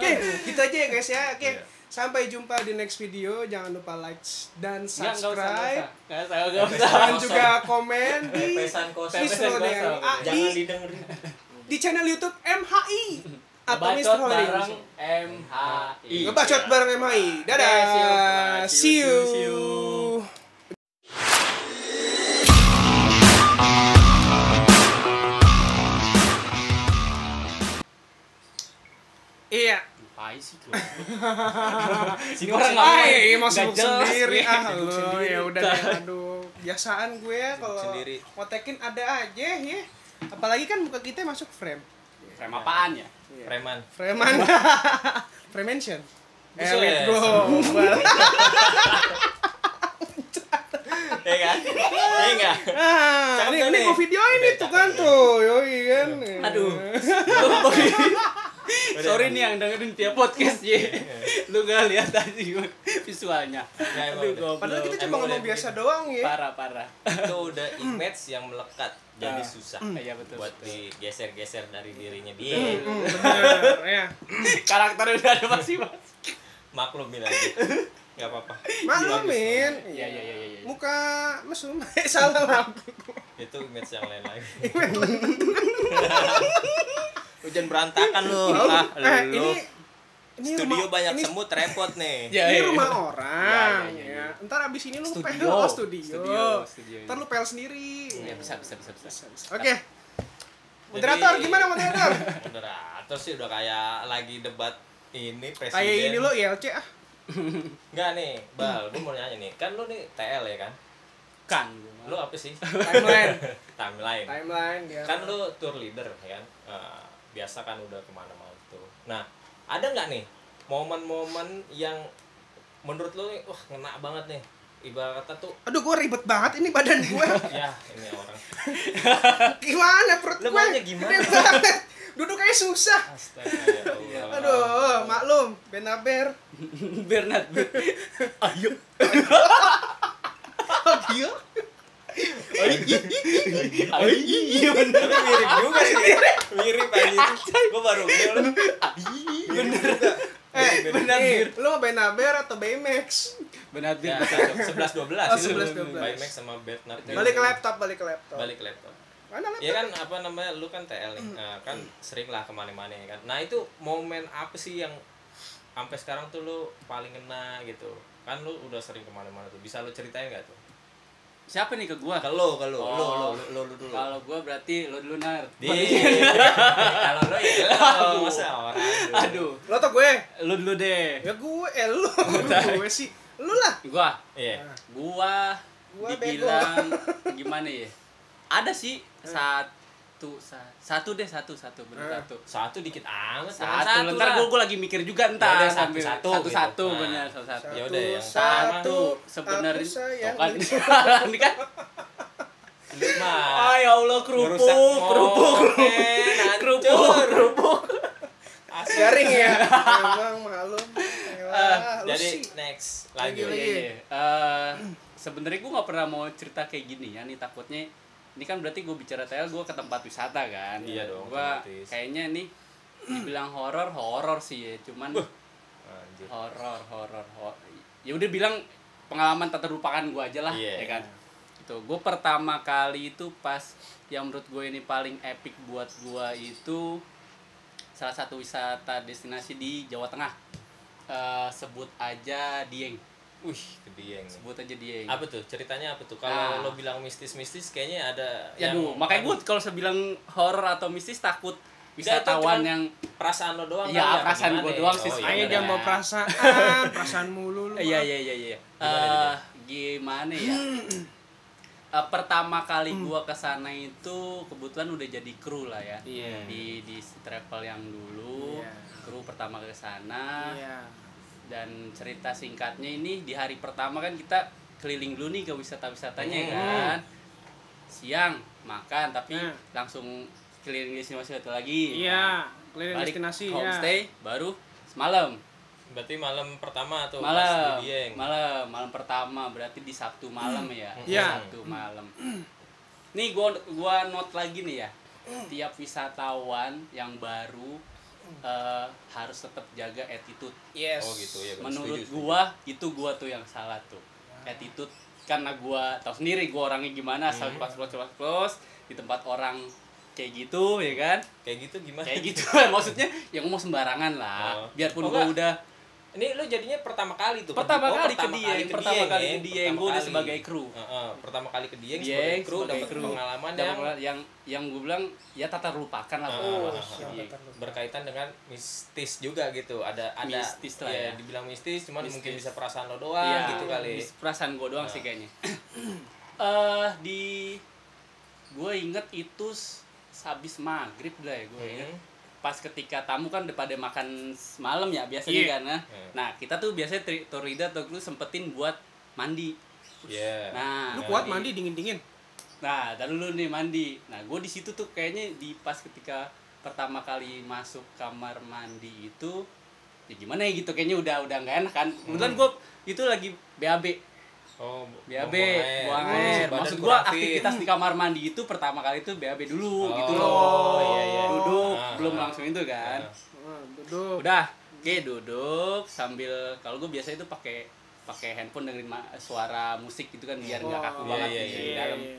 S1: Oke, gitu aja ya guys ya. Oke.
S3: Iya.
S1: Sampai jumpa di next video. Jangan lupa like dan
S3: Nggak, nggak usah, nggak usah.
S1: subscribe.
S3: Nggak usah, nggak usah.
S1: Dan juga komen di
S2: Pesan kosong.
S3: Pesan
S1: Distro
S3: kosong.
S1: DNA.
S2: gitu. Jangan didengerin.
S1: di channel YouTube
S3: [LAUGHS]
S1: MHI atau
S3: Bacot
S1: Mr.
S3: bareng
S1: Holding.
S3: MHI.
S1: Ngebacot bareng MHI. Dadah.
S3: Oke,
S1: See
S3: see you.
S1: you.
S4: See you.
S1: Iya.
S5: Pai sih tuh.
S3: Sini
S1: Orang
S3: orang
S1: lain
S3: lain
S1: masih
S3: nggak jelas
S1: iya, sendiri
S3: gue.
S1: ah
S3: Sibuk
S1: lo
S3: sendiri.
S1: ya udah
S3: [LAUGHS]
S1: deh, aduh biasaan gue ya kalau
S2: sendiri.
S1: ngotekin ada aja ya. Apalagi kan muka kita masuk frame.
S3: Frame apaan ya?
S2: Iya. preman
S1: Freman. [LAUGHS] Fremention.
S2: Buset.
S1: Elit [LAUGHS] bro.
S2: ya kan ya
S3: Iya
S2: enggak
S1: Ah,
S2: Cakep
S1: ini
S2: kan
S1: ini
S2: nih?
S1: gue videoin
S2: Udah
S1: itu
S2: cakep
S1: kan
S2: nih.
S1: tuh. Yoi kan.
S3: Aduh. Sorry nih yang dengerin tiap podcast ya. Lu gak lihat tadi gue visualnya.
S2: Ya, emang
S3: Aduh,
S2: udah.
S3: goblok.
S1: Padahal kita cuma
S2: Emang
S1: ngomong
S2: udah
S1: biasa doang ya.
S3: parah parah.
S2: itu udah image yang melekat jadi
S3: Ah.
S2: susah
S3: Iya betul.
S2: buat digeser-geser dari dirinya dia
S1: Hmm, bener
S3: [LAUGHS]
S1: ya.
S3: Karakternya udah ada masing-masing.
S2: maklumi lagi gitu. nggak apa-apa
S1: Maklumin.
S3: Iya iya iya iya.
S1: Muka mesum. [LAUGHS] Eh, Salah lampu.
S2: itu image yang lain
S1: [LAUGHS]
S2: lagi hujan berantakan lu ah
S1: Eh,
S2: lu
S1: ini ini
S2: studio
S1: rumah-
S2: banyak
S1: ini
S2: semut repot
S1: [LAUGHS]
S2: nih
S1: ini
S3: iya.
S1: rumah orang
S3: Ya, ya,
S1: ya,
S3: ya,
S1: ntar abis ini lu
S3: Studio.
S1: pel oh, studio.
S3: Studio, studio.
S1: ntar lu pel sendiri
S3: Ya bisa bisa bisa bisa.
S1: oke moderator
S2: Jadi-
S1: gimana
S3: [LAUGHS]
S1: moderator
S2: moderator sih udah kayak lagi debat ini presiden
S1: kayak ini lu ILC ah
S2: nggak nih bal gue mau nanya nih kan lu nih TL ya kan
S3: Kan.
S2: lu apa sih
S1: timeline
S2: [LAUGHS] timeline
S1: timeline ya
S2: kan lu tour leader ya kan Eh, biasa kan udah kemana-mana tuh nah ada nggak nih momen-momen yang menurut lu nih, wah ngena banget nih ibaratnya tuh
S1: aduh gue ribet banget ini badan gue
S3: [LAUGHS]
S2: ya ini orang
S1: gimana perut
S2: Lu
S1: gue
S2: maunya gimana?
S1: Gede banget. duduk kayak susah
S2: astaga ya Allah.
S1: aduh maklum benaber
S3: [LAUGHS] Bernard.
S1: [LAUGHS]
S3: Ayo.
S1: oh dia
S3: Ayo. Iya bener.
S2: Tapi mirip juga sih mirip aja gue baru ngeh lu.
S1: eh
S3: Benar,
S1: bener
S3: Bir.
S1: lu benaber atau Baymax
S3: Bernard.
S2: ya
S3: Bernard.
S2: sebelas dua belas
S1: Oh, 11-12.
S2: Baymax sama Bernard
S1: balik ke laptop balik ke laptop
S2: balik ke laptop
S1: mana laptop
S2: ya kan apa namanya lu kan TL nih nah, kan sering lah kemana-mana ya kan nah itu momen apa sih yang sampai sekarang tuh lu paling kena gitu kan lu udah sering kemana-mana tuh bisa lu ceritain gak tuh
S3: Siapa nih ke gua?
S2: ke lu ke lu
S3: Oh.
S2: lu lu lu lu dulu
S3: Kalau gua berarti lo dulu nar.
S2: di ya. kalau lu [LAUGHS] ya lu
S3: Aduh.
S2: masa orang dulu.
S3: Aduh.
S1: lo tau gue
S3: Lo dulu deh.
S1: Ya gue, eh lu, gue sih, lu lah.
S3: Gua
S2: iya
S3: gua,
S1: Gua
S3: dibilang gimana ya ada sih satu sa- satu deh satu satu bener
S1: Eh.
S3: satu
S2: satu dikit amat
S3: satu,
S2: satu
S3: ntar
S2: lah.
S3: gue lagi mikir juga
S2: Yaudah,
S3: ntar
S2: satu,
S3: sambil-
S2: satu
S3: satu
S2: gitu.
S3: satu
S2: Nah.
S3: bener satu satu
S2: Ya udah, yang
S3: satu
S1: aku
S3: sebenarnya
S1: sayang.
S3: Tuh kan [LAUGHS] ini kan
S2: Lu mah
S3: ah ya allah kerupuk
S2: ngerusak momen,
S3: kerupuk kerupuk
S2: hancur.
S3: kerupuk
S2: Asli.
S1: Garing
S3: [LAUGHS]
S1: ya, emang maklum.
S3: Ah,
S1: Elah, lu
S2: jadi
S3: ya
S1: sih.
S2: next
S1: Lagi,
S2: lanjut
S1: lagi.
S3: Iya, iya. Eh, sebenarnya gue nggak pernah mau cerita kayak gini ya nih takutnya ini kan berarti gue bicara TL gue ke tempat wisata kan
S2: Iya dong,
S3: gue
S2: otomatis.
S3: kayaknya nih dibilang horor horor sih ya cuman
S2: Lanjut.
S3: horor horor horor ya udah bilang pengalaman tak terlupakan gue aja lah
S2: Iya.
S3: ya kan itu gue pertama kali itu pas yang menurut gue ini paling epic buat gue itu salah satu wisata destinasi di Jawa Tengah Eh, sebut aja Dieng
S2: Wih, kedieng.
S3: sebut aja Dieng
S2: Apa tuh? Ceritanya apa tuh?
S3: Ah.
S2: Kalau lo bilang mistis-mistis kayaknya ada
S3: ya aduh, makanya gue kalau saya bilang horor atau mistis takut wisatawan
S2: cuman-
S3: yang
S2: perasaan lo doang.
S3: Iya,
S2: kali apa
S3: perasaan
S2: gimana
S3: gua
S2: ya?
S3: doang sih,
S2: iya,
S1: Ayo
S3: Ayo,
S1: jangan
S2: bener.
S1: bawa perasaan, perasaan mulu lu.
S3: iya iya iya iya Eh, gimana
S1: [CLEARS THROAT]
S3: ya Eh, pertama kali
S1: Hmm.
S3: gua kesana itu kebetulan udah jadi kru lah ya
S5: Iya.
S3: di di travel yang dulu
S1: Iya.
S3: kru pertama ke sana
S1: Iya.
S3: dan cerita singkatnya ini di hari pertama kan kita keliling dulu nih ke wisata-wisatanya
S1: Iya.
S2: Hmm.
S3: kan siang makan tapi
S1: Hmm.
S3: langsung keliling di sini masih satu lagi
S1: Iya, keliling
S3: balik
S1: destinasi
S3: ke
S1: ya.
S3: homestay baru semalam
S2: Berarti malam pertama tuh
S3: malam
S2: pas di Hmm. Dieng.
S3: malam malam pertama berarti di Sabtu malam ya Di
S1: Iya.
S3: Sabtu malam nih gua gua note lagi nih ya tiap wisatawan yang baru eh, harus tetap jaga attitude
S1: Yes.
S2: Oh gitu ya. bener.
S3: menurut
S2: Setuju, setuju.
S3: gua itu gua tuh yang salah tuh attitude karena gua tahu sendiri gua orangnya gimana asal
S2: Hmm.
S3: pas close close close di tempat orang kayak gitu ya kan
S2: kayak gitu gimana?
S3: [LAUGHS] kayak gitu maksudnya yang ya mau sembarangan lah
S2: Oh.
S3: biarpun
S2: Oh,
S3: gua
S2: enggak.
S3: udah
S2: Ini lo jadinya pertama kali tuh.
S3: pertama
S2: Oh,
S3: kali ke dia
S2: kali
S3: pertama kali
S2: ya.
S3: ke dia
S2: Pertama
S3: gue udah
S2: kali.
S3: sebagai kru
S2: Heeh, pertama kali ke Dieng sebagai
S3: Dieng
S2: kru
S3: sebagai
S2: dapat
S3: kru.
S2: pengalaman
S3: Dan
S2: yang
S3: yang yang, gue bilang ya tak terlupakan lah
S2: Ah,
S3: pengalaman
S2: ah,
S3: ke
S2: ah,
S3: Dieng.
S2: berkaitan dengan mistis juga gitu. Ada ada
S3: Mistis lah ya.
S2: dibilang mistis cuman
S3: Mistis.
S2: mungkin bisa perasaan lo doang
S3: Iya, Nah.
S2: gitu kali.
S3: mis- perasaan gue doang sih kayaknya [CLEARS THROAT] eh di gue inget itu s- habis maghrib lah ya gue inget
S2: Hmm.
S3: pas ketika tamu kan udah pada makan s- malam ya biasanya
S4: Iya.
S3: kan nah.
S2: Iya.
S3: nah kita tuh biasanya tri- Torida atau lu sempetin buat mandi
S2: Iya.
S3: nah
S1: Lu kuat mandi dingin-dingin.
S3: Nah, tadi dulu nih mandi. Nah, gue di situ tuh kayaknya di pas ketika pertama kali masuk kamar mandi itu ya gimana ya gitu kayaknya udah udah nggak enak kan.
S2: Hmm.
S3: Kebetulan gue itu lagi BAB,
S2: Oh,
S3: BAB,
S2: buang
S3: buang
S2: Oh,
S3: air.
S2: badan
S3: Maksud gue [LAUGHS]
S2: kurang fit.
S3: aktivitas di kamar mandi itu pertama kali itu BAB dulu
S2: Oh,
S3: gitu
S2: oh,
S3: loh.
S2: iya, iya.
S3: Duduk,
S2: Ah,
S3: belum
S2: ah.
S3: langsung itu kan.
S2: Ah.
S1: Wah, duduk.
S3: Udah, oke duduk sambil kalau gue biasa itu pakai pakai handphone dengerin ma- suara musik gitu kan biar nggak kaku
S1: Wah,
S3: banget gitu
S2: iya,
S3: di
S2: iya,
S1: Iya,
S3: dalam
S1: iya, iya.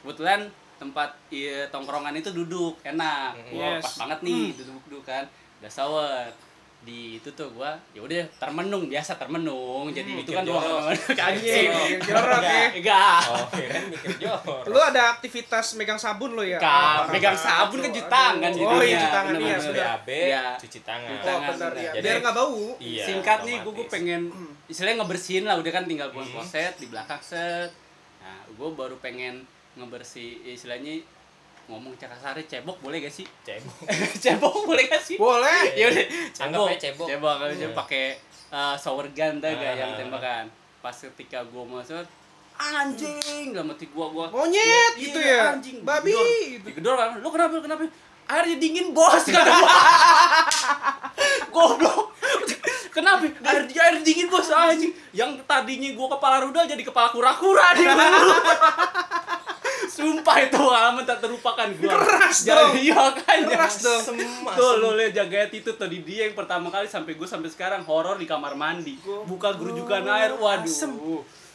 S3: kebetulan tempat iya, tongkrongan itu duduk enak
S2: Mhm.
S3: Wah,
S1: Yes. Hmm.
S3: pas banget nih duduk duduk kan udah sawet di itu tuh gua ya udah termenung biasa termenung jadi itu kan
S2: mikir jorok.
S3: doang
S1: Iya,
S3: kagak
S1: bikin Hmm. jorok ya.
S3: enggak
S2: Oh, keren mikir jorok.
S1: Lu ada aktivitas megang sabun lo ya?
S3: Kak,
S1: Ah,
S3: megang sabun kan
S1: aduh,
S3: cuci tangan
S2: Gitu
S1: aduh. Oh
S3: jadinya.
S2: ya.
S1: iya, cuci tangan
S3: Bener,
S1: iya,
S3: bener.
S1: sudah.
S2: BAB,
S3: Iya.
S2: cuci tangan.
S3: Cuci
S1: Oh,
S3: tangan,
S1: benar
S3: benar.
S1: ya.
S2: Jadi-
S1: Biar nggak bau.
S2: Iya.
S3: singkat nih gue
S2: otomatis.
S3: pengen
S1: Hmm.
S3: istilahnya ngebersihin lah udah kan tinggal buang
S2: Hmm.
S3: kloset di belakang set nah gue baru pengen ngebersih istilahnya ngomong cakasari cebok boleh
S1: [LAUGHS]
S3: gak sih
S2: cebok.
S3: cebok boleh gak sih
S1: Boleh.
S3: [LAUGHS] ya udah
S2: Anggap
S3: cebok
S2: aja cebok.
S3: cebok kalau cebok
S2: Iya.
S3: pakai uh, shower gun dah gak
S2: Ah.
S3: yang tembakan pas ketika gue masuk anjing gak mati gua gua
S1: Monyet
S3: Iya,
S1: gitu ya.
S3: anjing.
S1: Babi
S3: Digedor.
S1: gitu.
S3: digedor kan lu kenapa lu kenapa airnya dingin bos [LAUGHS] kata gua goblok kenapa air air dingin bos anjing yang tadinya gua kepala rudal jadi kepala kura-kura dia sumpah itu pengalaman tak terlupakan gua
S1: Keras dong.
S3: jadi iya kan
S1: Keras dong.
S3: tuh lo liat jaga attitude tadi dia yang pertama kali sampai gue sampai sekarang horor di kamar mandi buka gerujukan air waduh
S1: Asem.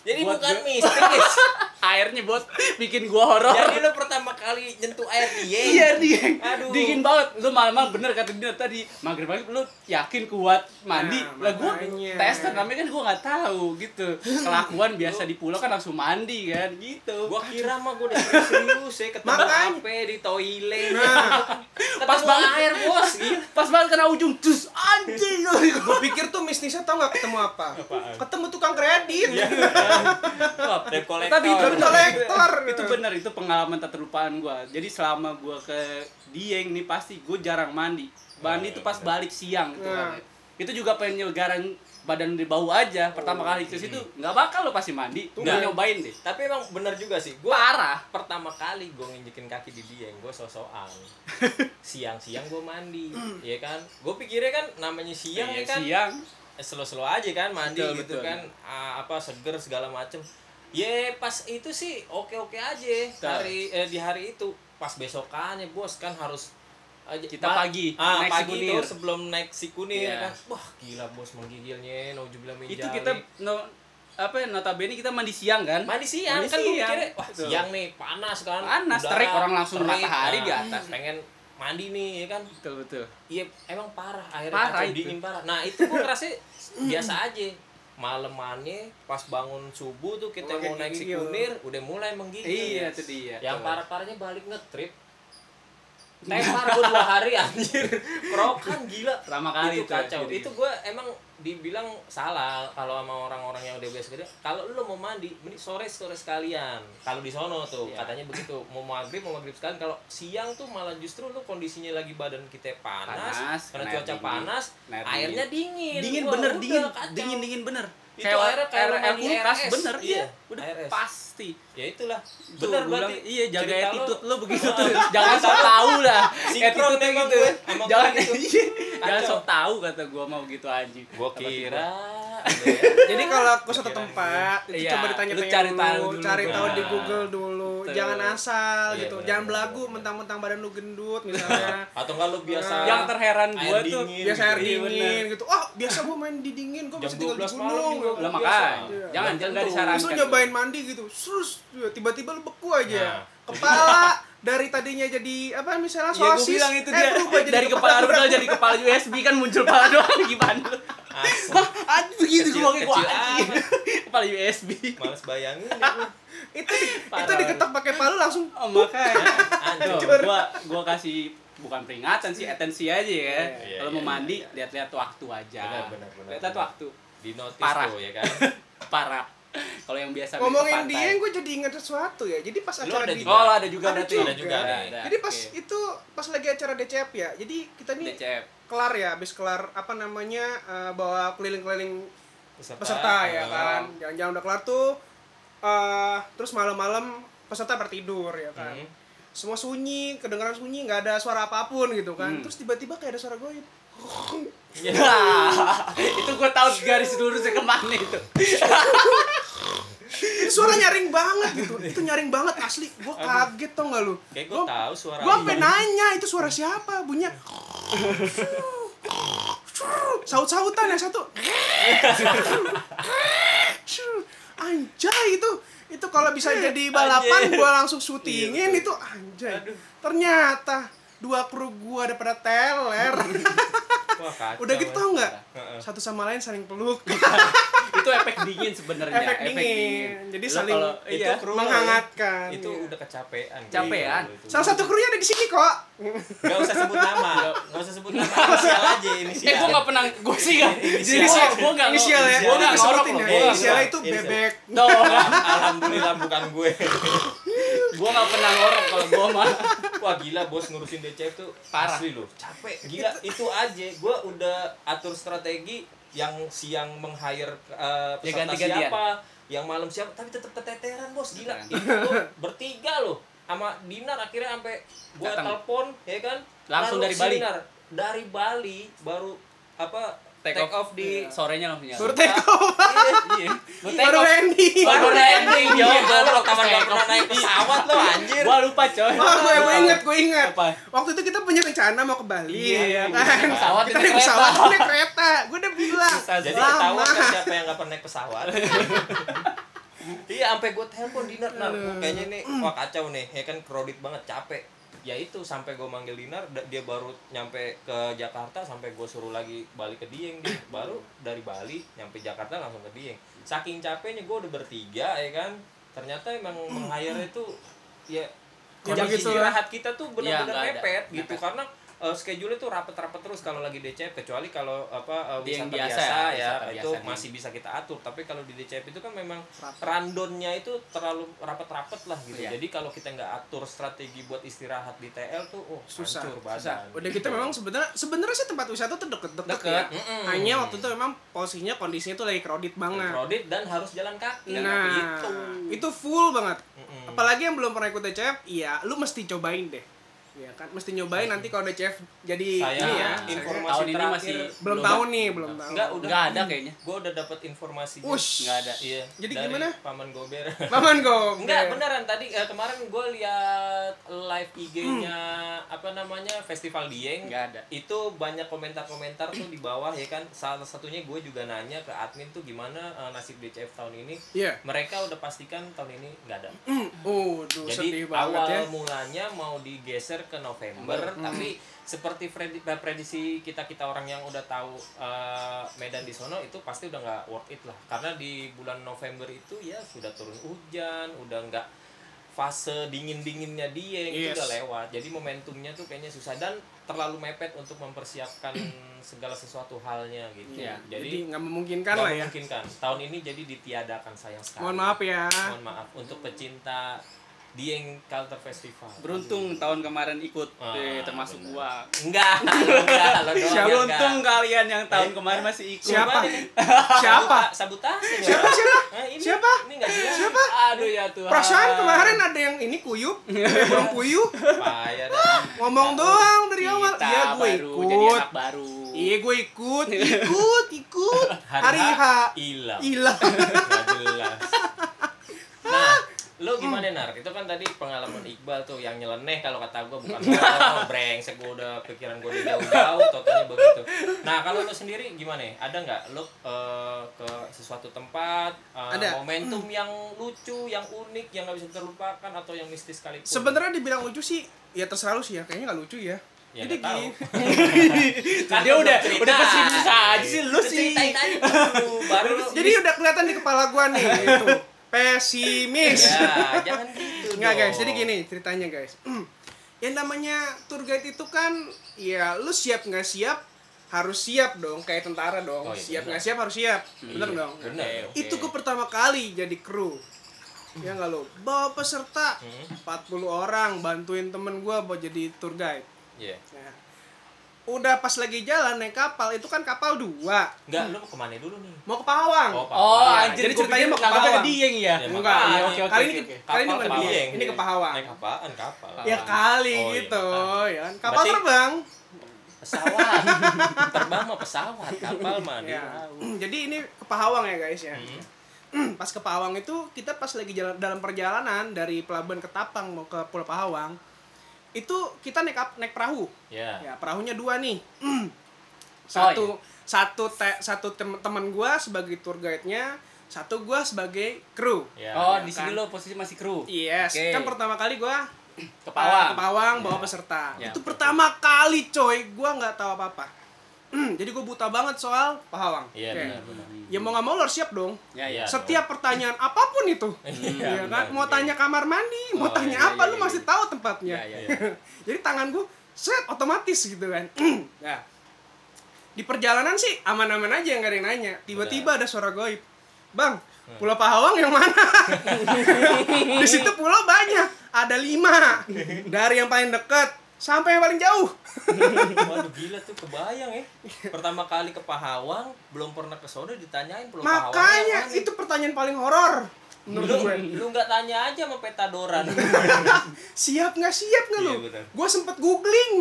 S2: Jadi
S3: Buat
S2: bukan
S3: [LAUGHS] gua-
S2: mistis.
S3: [LAUGHS] airnya buat bikin gua horor
S2: Jadi lu pertama kali nyentuh air dia.
S3: Iya dingin,
S2: Aduh.
S3: dingin banget. Lu malam bener kata dia tadi maghrib maghrib lu yakin kuat mandi.
S1: Nah,
S3: lah gua
S1: makanya.
S3: tester namanya kan gua nggak tahu gitu. Kelakuan biasa di pulau kan langsung mandi kan gitu.
S2: Gua kira mah gua udah serius ya ketemu
S1: Makanya.
S2: HP di toilet.
S1: Nah,
S3: Pas
S2: Ketemu
S3: banget.
S2: air bos.
S3: [LAUGHS] Pas banget kena ujung cus anjing.
S1: gue pikir tuh mistisnya tau gak ketemu apa? Ketemu tukang kredit.
S3: Wah,
S2: Debt collector.
S3: Tapi itu
S1: Debt collector.
S3: Oh, Itu benar, itu pengalaman tak terlupakan gua. Jadi selama gua ke Dieng nih pasti gua jarang mandi. Mandi
S2: Nah,
S3: itu pas
S2: benar.
S3: balik siang gitu
S1: Nah.
S3: kan. Itu juga penyelgaran badan di bau aja. Pertama
S2: Oh,
S3: kali
S2: iya.
S3: ke situ nggak bakal lo pasti mandi.
S2: Tuh,
S3: Nggak
S2: nah.
S3: nyobain deh.
S2: Tapi emang bener juga sih. Gua
S3: Parah.
S2: pertama kali gue nginjekin kaki di dia gue
S3: [LAUGHS]
S2: sosokan siang-siang gue mandi ya kan gue pikirnya kan namanya siang ya
S3: Iya,
S2: kan
S3: siang.
S2: eh, slow-slow aja kan mandi
S3: Betul,
S2: gitu
S3: betul.
S2: kan Ah, apa seger segala macem ya pas itu sih oke-oke aja
S3: Betul.
S2: hari eh, di hari itu pas besokannya bos kan harus eh,
S3: Kita
S2: ba-
S3: pagi,
S2: ah,
S3: naik
S2: pagi
S3: Sikunir.
S2: tuh sebelum naik sikunir
S3: Iya.
S2: kan wah gila bos menggigilnya naujubillah min
S3: Itu
S2: jalik.
S3: kita no, apa ya, notabene kita mandi siang kan?
S2: mandi siang
S3: Mandi
S2: kan gue
S3: siang.
S2: mikirnya wah
S3: Betul.
S2: siang nih panas kan Ah,
S3: Panas, terik, orang langsung matahari di atas.
S2: pengen mandi nih ya kan
S3: Betul betul.
S2: iya emang parah airnya
S3: Parah
S2: kacau
S3: itu.
S2: dingin parah nah itu gue ngerasa biasa aja malemannya pas bangun subuh tuh kita
S1: Mulai
S2: mau naik
S1: menggigil.
S2: sikunir udah mulai menggigil
S3: oh.
S2: ya.
S3: Iya, itu dia.
S2: yang
S3: Tuh. Iya.
S2: parah-parahnya balik ngetrip Tepar gue dua
S3: [LAUGHS]
S2: hari anjir Kerokan gila
S3: Pertama
S2: Itu
S3: kali tuh,
S2: kacau
S3: jadi.
S2: Itu gue emang dibilang salah Kalau sama orang-orang yang udah biasa kerja Kalau lu mau mandi Mending sore-sore sekalian Kalau di sono tuh
S3: Iya.
S2: Katanya begitu Mau maghrib mau maghrib sekalian Kalau siang tuh malah justru lu kondisinya lagi badan kita panas,
S3: Panas,
S2: Karena
S3: kena
S2: cuaca
S3: air dingin.
S2: panas
S3: Kena air
S2: Airnya dingin
S3: Dingin
S2: Wah,
S3: bener
S2: udah,
S3: dingin,
S2: kacau.
S3: dingin dingin bener.
S2: Itu airnya kayak
S3: air- air
S2: mandi
S3: kulkas
S2: RS.
S3: bener, iya.
S2: Iya,
S3: Udah
S2: RS.
S3: pasti.
S2: Ya itulah
S3: Tuh,
S2: Bener
S3: gua
S2: berarti
S3: bilang, iya jaga
S2: cerita lu-
S3: attitude lo
S2: [LAUGHS]
S3: begitu tuh jangan sok tahu Gitu lah
S2: Sinkron
S3: attitude tuh
S2: emang
S3: gitu
S2: gue, emang gue
S3: jangan
S2: gitu.
S3: iya, jangan
S2: Kacau.
S3: sok tahu kata gua mau gitu anjing
S2: Gue
S3: Apa
S2: kira
S1: Jadi kalau aku satu tempat, itu
S3: Iya,
S1: coba ditanya-tanya
S3: lu cari tahu
S1: dulu,
S3: dulu,
S1: cari
S3: Bang.
S1: tahu di Google dulu,
S3: Betul.
S1: jangan asal
S2: Iya,
S1: gitu,
S2: benar,
S1: jangan
S2: benar,
S1: belagu
S2: benar.
S1: mentang-mentang badan lu gendut misalnya,
S2: [LAUGHS] Atau enggak lu biasa
S3: tiba-tiba? yang terheran
S2: Air
S3: gua tuh
S2: dingin.
S1: biasa air
S3: Iya,
S1: dingin gitu, oh biasa gua main di dingin, gua
S2: Jam
S1: masih tinggal di
S2: 12 malam
S1: gunung,
S2: juga.
S3: lah
S2: Biasa.
S3: makanya
S1: Iya.
S3: jangan jangan kan. nggak
S2: Terus lu
S3: disarankan
S1: terus lu nyobain mandi gitu, terus tiba-tiba lu beku aja,
S2: Nah.
S1: kepala dari tadinya jadi apa misalnya
S3: ya gua
S1: sosis,
S3: bilang itu
S1: eh,
S3: dia
S1: berubah jadi
S3: dari kepala rudal jadi kepala USB kan muncul kepala doang [LAUGHS] gimana lu?
S2: Asli.
S1: Anjing begitu
S2: Kecil,
S1: gua pakai gua.
S2: kecil
S1: anjing.
S2: amat.
S3: kepala USB
S2: Males bayangin ya gua.
S1: Itu
S3: [LAUGHS]
S1: itu
S3: Parah.
S1: diketok pakai palu langsung
S3: oh, makanya Tuh,
S2: Anjir.
S3: gua gua kasih bukan peringatan sih atensi aja ya
S2: Iya,
S3: kalau
S2: iya,
S3: mau mandi lihat-lihat waktu aja
S2: Benar, benar, benar.
S3: lihat-lihat waktu
S2: Di notice
S3: Parah.
S2: tuh ya kan.
S3: parah kalau yang biasa beli ke
S1: ngomongin
S3: pantai.
S1: dia gue jadi ingat sesuatu ya. Jadi pas
S2: Lu
S1: acara
S2: ada
S1: di
S2: juga?
S3: oh ada juga
S1: Ada
S3: berarti
S1: juga. Ada
S2: juga nih.
S1: Jadi pas
S3: oke.
S1: itu pas lagi acara DCF ya. Jadi kita nih
S3: DCF
S1: kelar ya habis kelar apa namanya eh, bawa keliling-keliling
S2: Peserta,
S1: peserta ya
S2: eh,
S1: kan jangan-jangan udah kelar tuh eh terus malam-malam peserta tertidur ya kan
S2: Hmm.
S1: semua sunyi kedengaran sunyi nggak ada suara apapun gitu kan
S3: Hmm.
S1: terus tiba-tiba kayak ada suara goib
S3: Nah, Iya. [LAUGHS] itu gue tahu garis lurusnya kemana itu.
S1: itu suara nyaring banget
S2: [LAUGHS]
S1: gitu itu nyaring banget asli gua kaget tau nggak lu
S2: Kayak gua
S1: gua
S2: tahu suara
S1: gua
S2: lu.
S1: sampe nanya itu suara siapa bunyinya saut-sautan yang satu anjay itu itu kalau bisa jadi balapan
S2: Anjir.
S1: gua langsung syutingin
S2: Iya.
S1: itu anjay ternyata dua kru gua ada pada teler
S2: [LAUGHS] Wah, kacau. ya.
S1: udah gitu tau nggak
S2: Heeh. Iya,
S1: satu sama lain saling peluk
S3: Itu efek dingin sebenarnya,
S1: efek dingin jadi
S3: Lu
S1: saling
S3: kalau-
S1: itu
S3: iya,
S1: kru menghangatkan
S2: Itu
S1: iya.
S2: udah kecapean.
S3: Capean.
S2: Gila lu itu.
S1: salah satu krunya ada di sini kok
S2: Gak usah sebut nama. Gak usah sebut nama. Inisial aja
S3: Eh, gue
S2: inisial.
S3: gak pernah, gue sih gak.
S2: Inisial.
S3: Jadi
S1: Iya. Inisial.
S3: gue gak.
S1: inisial ya
S2: gua
S1: ini
S2: nggak
S1: disebutin
S3: ngorok
S1: ya
S2: loh, gua
S1: inisialnya
S2: nggak-
S1: itu
S2: inisial.
S1: bebek
S3: Tuh,
S2: Alhamdulillah bukan gue.
S3: gue gak pernah ngorok kalau gue mah.
S2: Wah gila bos ngurusin DCF tuh
S3: Parah.
S2: asli loh. Capek. Gila itu aja gue udah atur strategi yang siang meng-hire uh,
S3: Ya,
S2: peserta
S3: ganti-gantian.
S2: siapa, yang malam siapa, tapi tetap keteteran bos gila.
S3: Keteteran.
S2: Itu tuh bertiga loh sama Dinar akhirnya sampai gue
S3: Datang.
S2: telepon ya kan.
S3: Langsung
S2: Lalu
S3: dari
S2: si
S3: Bali.
S2: Dinar dari Bali baru apa take, off. di
S3: sorenya langsung nyala.
S1: baru take off
S3: Iya. Baru take
S1: baru
S3: off.
S1: landing
S3: Baru landing.
S2: Ya
S3: Jauh
S2: goblok kapan gak pernah naik pesawat lo anjir.
S3: Gue lupa coy.
S1: Wah, gue gue inget, gue inget.
S3: Apa?
S1: Waktu itu kita punya rencana mau ke Bali,
S3: Iya,
S1: ya kan?
S3: naik pesawat,
S1: kita
S3: naik
S1: naik pesawat,
S3: kereta.
S1: naik kereta. Gue udah bilang,
S2: Jadi
S1: lama.
S2: ketahuan kan siapa yang gak pernah naik pesawat. [LAUGHS] iya, sampai gue telepon Dinar, Nar, kayaknya ini wah kacau nih, ya kan crowded banget, capek. Ya itu sampai gue manggil Dinar, da- dia baru nyampe ke Jakarta, sampai gue suruh lagi balik ke Dieng, dia baru dari Bali nyampe Jakarta langsung ke Dieng. Saking capeknya gue udah bertiga, ya kan. Ternyata emang meng-hire itu ya
S1: Ya
S2: jam
S1: begitu lah.
S2: istirahat kita tuh
S3: Iya, nggak ada.
S2: benar-benar mepet gitu
S3: Mepet.
S2: karena eh, schedule-nya tuh rapet-rapet terus kalau lagi DCF kecuali kalau apa eh,
S3: Di yang
S2: wisata
S3: biasa
S2: biasa,
S3: ya,
S2: ya,
S3: wisata
S2: itu
S3: biasa nih.
S2: masih bisa kita atur tapi kalau di DCP itu kan memang rundownnya itu terlalu rapet-rapet lah gitu
S3: Iya.
S2: jadi kalau kita nggak atur strategi buat istirahat di TL tuh oh
S1: Susah,
S2: hancur
S3: susah.
S2: badan gitu.
S1: Udah kita memang sebenarnya sebenarnya sih tempat wisata tuh deket-deket ya.
S2: Mm-mm.
S1: Hanya waktu itu memang posisinya kondisinya tuh lagi crowded banget.
S2: crowded dan harus jalan kaki gitu.
S1: Nah,
S2: itu
S1: itu full banget.
S2: Mm-mm.
S1: Apalagi yang belum pernah ikut DCF, iya, lu mesti cobain deh. Ya kan, mesti nyobain nanti kalau DCF jadi
S2: Saya
S1: ini ya.
S2: inform-
S1: saya-
S2: Iya, Informasi
S3: Tahun ini
S2: terakhir,
S3: masih
S1: belum tahu nih, belum tahu.
S2: Enggak, udah
S3: Nggak ada kayaknya.
S2: gue udah dapat informasi
S1: Ush.
S3: Nggak ada.
S2: iya
S1: Jadi
S2: dari
S1: gimana?
S2: paman gober
S1: Paman Iya. go.
S2: Enggak, beneran tadi eh, kemarin gue lihat live IG-nya apa namanya Festival Dieng.
S3: Hmm. Nggak ada.
S2: Itu banyak komentar-komentar tuh di bawah ya kan. Salah satunya gue juga nanya ke admin tuh gimana eh, nasib DCF tahun ini.
S1: Iya.
S2: Mereka udah pastikan tahun ini nggak ada.
S1: Oh, duh, sedih
S2: Jadi
S1: banget
S2: awal
S1: ya.
S2: mulanya mau digeser ke November, tapi seperti predi- eh, prediksi kita kita orang yang udah tahu eh, Medan di sono itu pasti udah nggak worth it lah, karena di bulan November itu ya sudah turun hujan, udah nggak fase dingin dinginnya dia itu
S1: Yes.
S2: udah lewat, jadi momentumnya tuh kayaknya susah dan terlalu mepet untuk mempersiapkan
S1: [CLEARS THROAT]
S2: segala sesuatu halnya gitu.
S3: Iya,
S2: Jadi
S1: Jadi nggak memungkinkan
S2: nggak
S1: lah ya.
S2: memungkinkan. Tahun ini jadi ditiadakan sayang sekali
S1: Mohon maaf ya.
S2: mohon maaf untuk pecinta Dieng Culture Festival.
S3: Beruntung tahun kemarin ikut,
S2: Ah,
S3: eh, termasuk
S2: bener.
S3: gua.
S2: Enggak, [LAUGHS] enggak, lo doang yang
S3: Beruntung
S2: enggak.
S3: kalian yang tahun kemarin masih ikut.
S1: Siapa?
S2: nih?
S1: [LAUGHS] Siapa?
S2: Sabuta- Sabotase. nih
S1: Siapa
S2: orang.
S1: siapa?
S2: Eh, ini,
S1: Siapa?
S2: Ini enggak jelas.
S1: Siapa?
S3: Aduh ya Tuhan.
S1: Perasaan kemarin ada yang ini kuyup, yang belum
S2: [LAUGHS]
S1: kuyup,
S2: Payah dah.
S1: ngomong
S2: Ya
S1: doang dari
S3: Kita
S1: awal. Iya gue
S3: baru jadi
S1: ikut.
S3: anak baru.
S1: Iya gue ikut, ikut,
S2: [LAUGHS]
S1: ikut. Hari H.
S2: Hilang.
S1: Ilah.
S2: Nggak jelas. Nah, lu gimana Nar? Itu kan tadi pengalaman Iqbal tuh yang nyeleneh kalau kata gua bukan orang brengsek gua udah pikiran gua udah jauh-jauh totalnya begitu. Nah, kalau lu sendiri gimana? ya? Ada nggak lu eh, ke sesuatu tempat eh,
S1: Ada.
S2: momentum yang lucu, yang unik, yang nggak bisa terlupakan atau yang mistis sekalipun?
S1: Sebenarnya dibilang lucu sih, ya terserah lu sih ya. Kayaknya nggak lucu ya.
S2: Ya,
S1: Jadi
S2: nggak tahu.
S1: gini.
S2: [LAUGHS] Kan
S3: dia
S2: lu
S3: udah
S2: ceritain.
S3: udah pesimis aja sih lu
S2: Lu
S3: sih.
S2: ceritain aja dulu, baru lu-
S1: Jadi udah kelihatan di kepala gua
S2: [LAUGHS]
S1: nih gitu. Pesimis.
S2: ya jangan gitu
S1: Enggak
S2: dong.
S1: guys, jadi gini ceritanya guys. [CLEARS THROAT] Yang namanya tour guide itu kan ya lu siap nggak siap harus siap dong kayak tentara dong.
S2: Oh, iya,
S1: siap
S2: benar. Iya,
S1: nggak siap harus siap. Bener dong.
S2: Bener.
S1: Itu gue pertama kali jadi kru. Ya nggak lo, bawa peserta
S2: Hmm?
S1: 40 orang bantuin temen gue buat jadi tour guide.
S2: Iya.
S1: Nah, udah pas lagi jalan naik kapal itu kan kapal dua
S2: Enggak, lu mau kemana dulu nih?
S1: mau ke Pawang.
S2: Oh,
S3: Oh,
S2: Pahawang.
S3: anjir
S1: Jadi
S3: gua
S1: ceritanya
S3: pikir
S1: mau ke
S3: nganggapnya
S1: Pawang.
S3: Dieng ya.
S2: Ya,
S1: Enggak,
S2: makanya.
S3: iya, oke, oke,
S1: kali ini
S3: oke.
S1: kali ini
S2: Kapal
S1: bukan
S2: ke
S1: Dieng,
S2: Dieng.
S1: ini ke Pahawang.
S2: Naik apaan kapal?
S1: Ya kali
S2: Oh, iya,
S1: gitu,
S2: benar.
S1: ya kan. Kapal
S2: Berarti-
S1: terbang.
S2: pesawat terbang mah pesawat kapal mah di
S1: Ya.
S2: laut.
S1: [CLEARS THROAT] Jadi ini ke Pahawang ya guys ya.
S2: Hmm.
S1: [CLEARS THROAT] Pas ke Pahawang itu kita pas lagi jalan dalam perjalanan dari pelabuhan Ketapang mau ke Pulau Pahawang itu kita naik kap- naik perahu.
S2: ya
S1: Ya, perahunya dua nih.
S2: Hmm. Oh,
S1: satu
S2: iya.
S1: satu te- satu tem- teman gua sebagai tour guide-nya, satu gua sebagai kru.
S2: ya
S3: Oh,
S1: Iya
S3: di sini
S1: kan?
S3: lo posisi masih kru.
S1: Yes,
S3: Oke.
S1: kan pertama kali gua eh,
S3: Kepala.
S1: ke Pawang bawa
S2: Ya.
S1: peserta.
S3: Ya,
S1: itu
S3: betul.
S1: pertama kali coy, gua nggak tahu apa-apa. Hmm, Jadi gue buta banget soal Pahawang.
S2: Iya,
S1: Oke.
S2: benar, benar.
S1: Ya mau nggak mau lo harus siap dong.
S3: Ya,
S2: Iya.
S3: ya.
S1: Setiap pertanyaan apapun itu.
S2: Iya,
S1: Iya kan?
S2: benar,
S1: Mau
S2: benar.
S1: tanya kamar mandi, mau
S3: Oh,
S1: tanya
S3: iya,
S1: apa,
S3: iya,
S1: lu
S3: iya,
S1: masih
S3: iya.
S1: tahu tempatnya.
S3: Ya, ya.
S1: [LAUGHS] Jadi tangan gue set otomatis gitu kan. [CLEARS THROAT] nah. Di perjalanan sih aman-aman aja nggak ada yang nanya. Tiba-tiba ada suara goib. Bang, Pulau Pahawang yang mana? [LAUGHS] Di situ pulau banyak, ada lima. Dari yang paling dekat sampai yang paling jauh.
S2: waduh gila tuh kebayang ya pertama kali ke Pahawang belum pernah ke sono ditanyain belum
S1: Makanya itu pertanyaan paling horor menurut
S2: lu
S1: gue.
S2: lu nggak tanya aja sama peta
S1: [LAUGHS]
S2: doran
S1: Siap nggak siap nggak lu?
S2: Iya, benar.
S1: Gue sempet googling,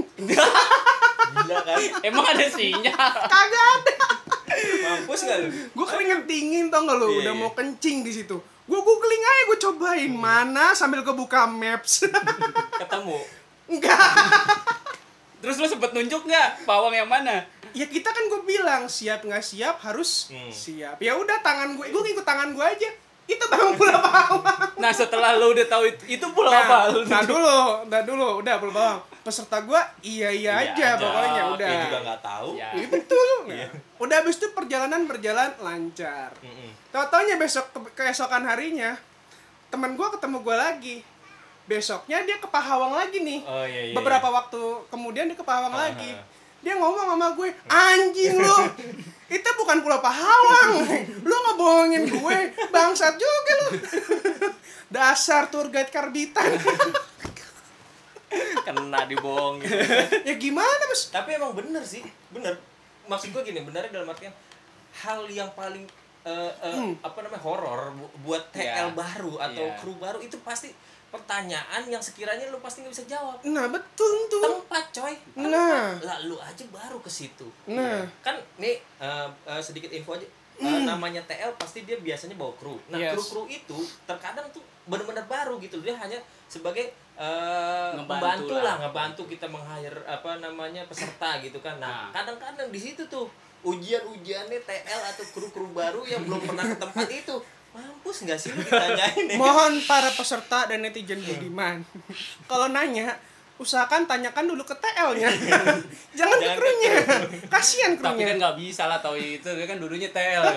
S2: gila kan
S3: Emang ada sinyal.
S1: kagak ada.
S2: mampus nggak lu
S1: Gue keringet dingin tau nggak lu?
S2: Iya,
S1: Udah
S2: iya. Hmm.
S1: mau kencing di situ. Gue googling aja, gue cobain mana sambil gue buka maps. [LAUGHS]
S2: ketemu
S1: Enggak.
S3: Terus lo sempet nunjuk nggak pawang yang mana?
S1: Ya kita kan gue bilang siap nggak siap harus
S2: Hmm.
S1: siap. Ya udah tangan gue, gue ngikut tangan gue aja. Itu bang
S2: [LAUGHS]
S1: pulau bawang.
S3: Nah setelah lo udah tahu itu, itu pulau
S1: Nah,
S3: apa? Lo
S1: nah dulu, nah dulu, udah pulau bawang. Peserta gue iya iya
S2: Iya
S1: aja, pokoknya udah.
S2: dia juga nggak tahu
S3: Ya.
S1: Iya betul. Nah, Udah habis itu perjalanan berjalan lancar.
S2: Mm-mm.
S1: Tau-taunya besok ke- keesokan harinya teman gua ketemu gua lagi. Besoknya dia ke Pahawang lagi nih.
S2: oh iya iya
S1: Beberapa waktu kemudian dia ke Pahawang
S2: Ah,
S1: lagi.
S2: ah.
S1: Dia ngomong sama gue, anjing lu, itu bukan Pulau Pahawang, lu ngebohongin gue, bangsat juga lu. [LAUGHS] Dasar tour guide karbitan. [LAUGHS]
S2: iya. kena dibohongin
S3: gitu.
S1: ya gimana mas?
S2: tapi emang bener sih bener maksud gue gini benernya dalam artian hal yang paling eh, eh, apa namanya horor bu- buat TL
S3: Ya.
S2: baru atau
S3: Ya.
S2: kru baru itu pasti pertanyaan yang sekiranya lu pasti nggak bisa jawab
S1: Nah betul tuh.
S2: tempat coy tempat
S1: Nah.
S2: lah lu aja baru ke situ
S1: Nah. Hmm.
S2: kan nih eh, eh, sedikit info aja Eh, namanya TL pasti dia biasanya bawa kru. Nah,
S3: Yes.
S2: kru-kru itu terkadang tuh benar-benar baru gitu. Dia hanya sebagai eh,
S3: Ngebantu
S2: membantu lah,
S3: lah.
S2: ngebantu kita meng-hire apa namanya peserta gitu kan. Nah,
S3: Nah.
S2: kadang-kadang di situ tuh ujian-ujiannya TL atau kru-kru baru yang belum pernah ke tempat itu. Mampus nggak sih lu ditanyain
S3: [LAUGHS]
S2: ya?
S1: Mohon para peserta dan netizen budiman. Kalau nanya, usahakan tanyakan dulu ke TL-nya. Jangan ke
S2: Jangan ke
S1: krunya. Kasihan
S3: Tapi kan
S1: krunya.
S3: nggak bisa lah tahu itu dia kan dulunya TL kan.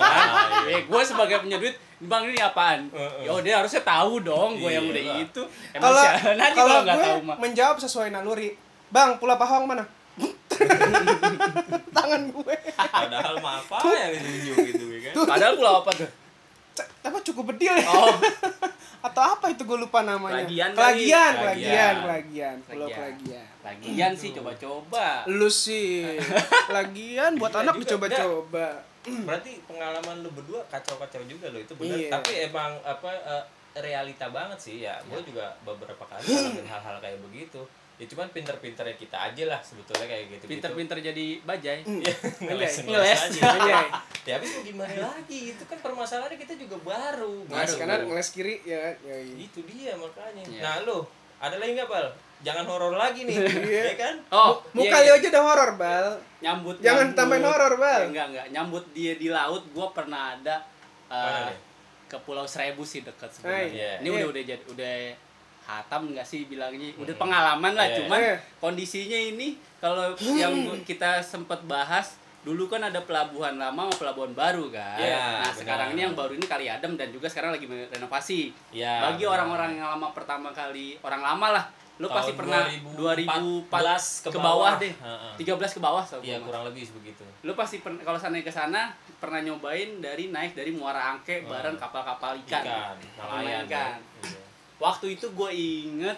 S3: eh, gue sebagai punya duit, bang ini apaan?
S2: Heeh.
S3: Yo dia harusnya tahu dong gue yang
S2: Iya
S3: udah
S2: lah.
S3: itu. Emang
S1: Kalau
S3: sialan aja
S1: kalau
S3: kalau nggak
S1: gue
S3: tahu mah.
S1: menjawab sesuai naluri. Bang, Pulau Pahawang mana? [LAUGHS] Tangan gue.
S2: Padahal mah apa yang ditunjuk gitu ya kan?
S3: Padahal pulau apa tuh?
S1: C- apa cukup bedil ya?
S3: Oh,
S1: [LAUGHS] Atau apa itu gue lupa namanya?
S3: Kelagian
S1: kelagian,
S3: kali.
S1: kelagian,
S3: Kelagian.
S1: kelagian, Pulau
S3: Kelagian.
S1: kelagian.
S3: lagian sih coba-coba.
S1: Lu sih,
S3: [LAUGHS]
S1: lagian buat
S2: Iya
S1: anak
S2: juga,
S1: dicoba-coba.
S2: berarti pengalaman lu berdua kacau-kacau juga lo itu benar
S1: Iya.
S2: tapi emang apa eh, realita banget sih ya
S3: Iya.
S2: gue juga beberapa kali ngalamin hal-hal kayak begitu ya cuman pinter-pinternya kita aja lah sebetulnya kayak gitu
S3: Pinter-pinter Iya, jadi bajai.
S2: ngeles
S1: Ngeles.
S2: ngeles
S3: [LAUGHS]
S2: aja
S3: Iya.
S1: Ngeles.
S2: ya habis mau gimana lagi itu kan permasalahannya kita juga baru
S1: Ngeles
S2: Baru.
S1: kanan, Nah, ngeles kiri, ya kan? Ya, iya.
S2: itu dia makanya
S3: Nah, Iya.
S2: nah lo ada lagi nggak bal jangan horor lagi
S3: [LAUGHS]
S2: nih ya kan
S3: Oh,
S1: Muka lu
S3: iya, iya.
S1: aja udah horor, Bal.
S3: nyambut
S1: Jangan
S3: nyambut.
S1: tambahin horor, Bal.
S3: Ya, enggak enggak nyambut dia di laut gua pernah ada eh,
S2: Mana nih?
S3: ke Pulau Seribu sih dekat sebenarnya
S2: Iya.
S3: ini
S1: Iya.
S3: udah udah jadi udah hatam nggak sih bilangnya udah pengalaman lah
S2: Iya.
S3: cuman
S1: Iya.
S3: kondisinya ini kalau yang
S1: Hmm.
S3: gua- kita sempat bahas dulu kan ada pelabuhan lama sama pelabuhan baru kan
S2: Iya,
S3: nah
S2: benar.
S3: sekarang ini yang baru ini kali adem dan juga sekarang lagi renovasi
S2: Iya,
S3: bagi
S2: benar.
S3: orang-orang yang lama pertama kali orang lama lah lu
S2: Tahun
S3: pasti pernah
S2: 2014
S3: 2014 ke
S2: ke
S3: bawah
S2: bawah.
S3: deh
S2: Heeh.
S3: 13 ke bawah sama
S2: Iya
S3: gua.
S2: kurang lebih begitu.
S3: lu pasti pern- kalau sana ke sana pernah nyobain dari naik dari Muara Angke
S2: Hmm.
S3: bareng kapal-kapal ikan.
S2: Ikan, nelayan.
S3: Ikan.
S2: Iya.
S3: Waktu itu gue inget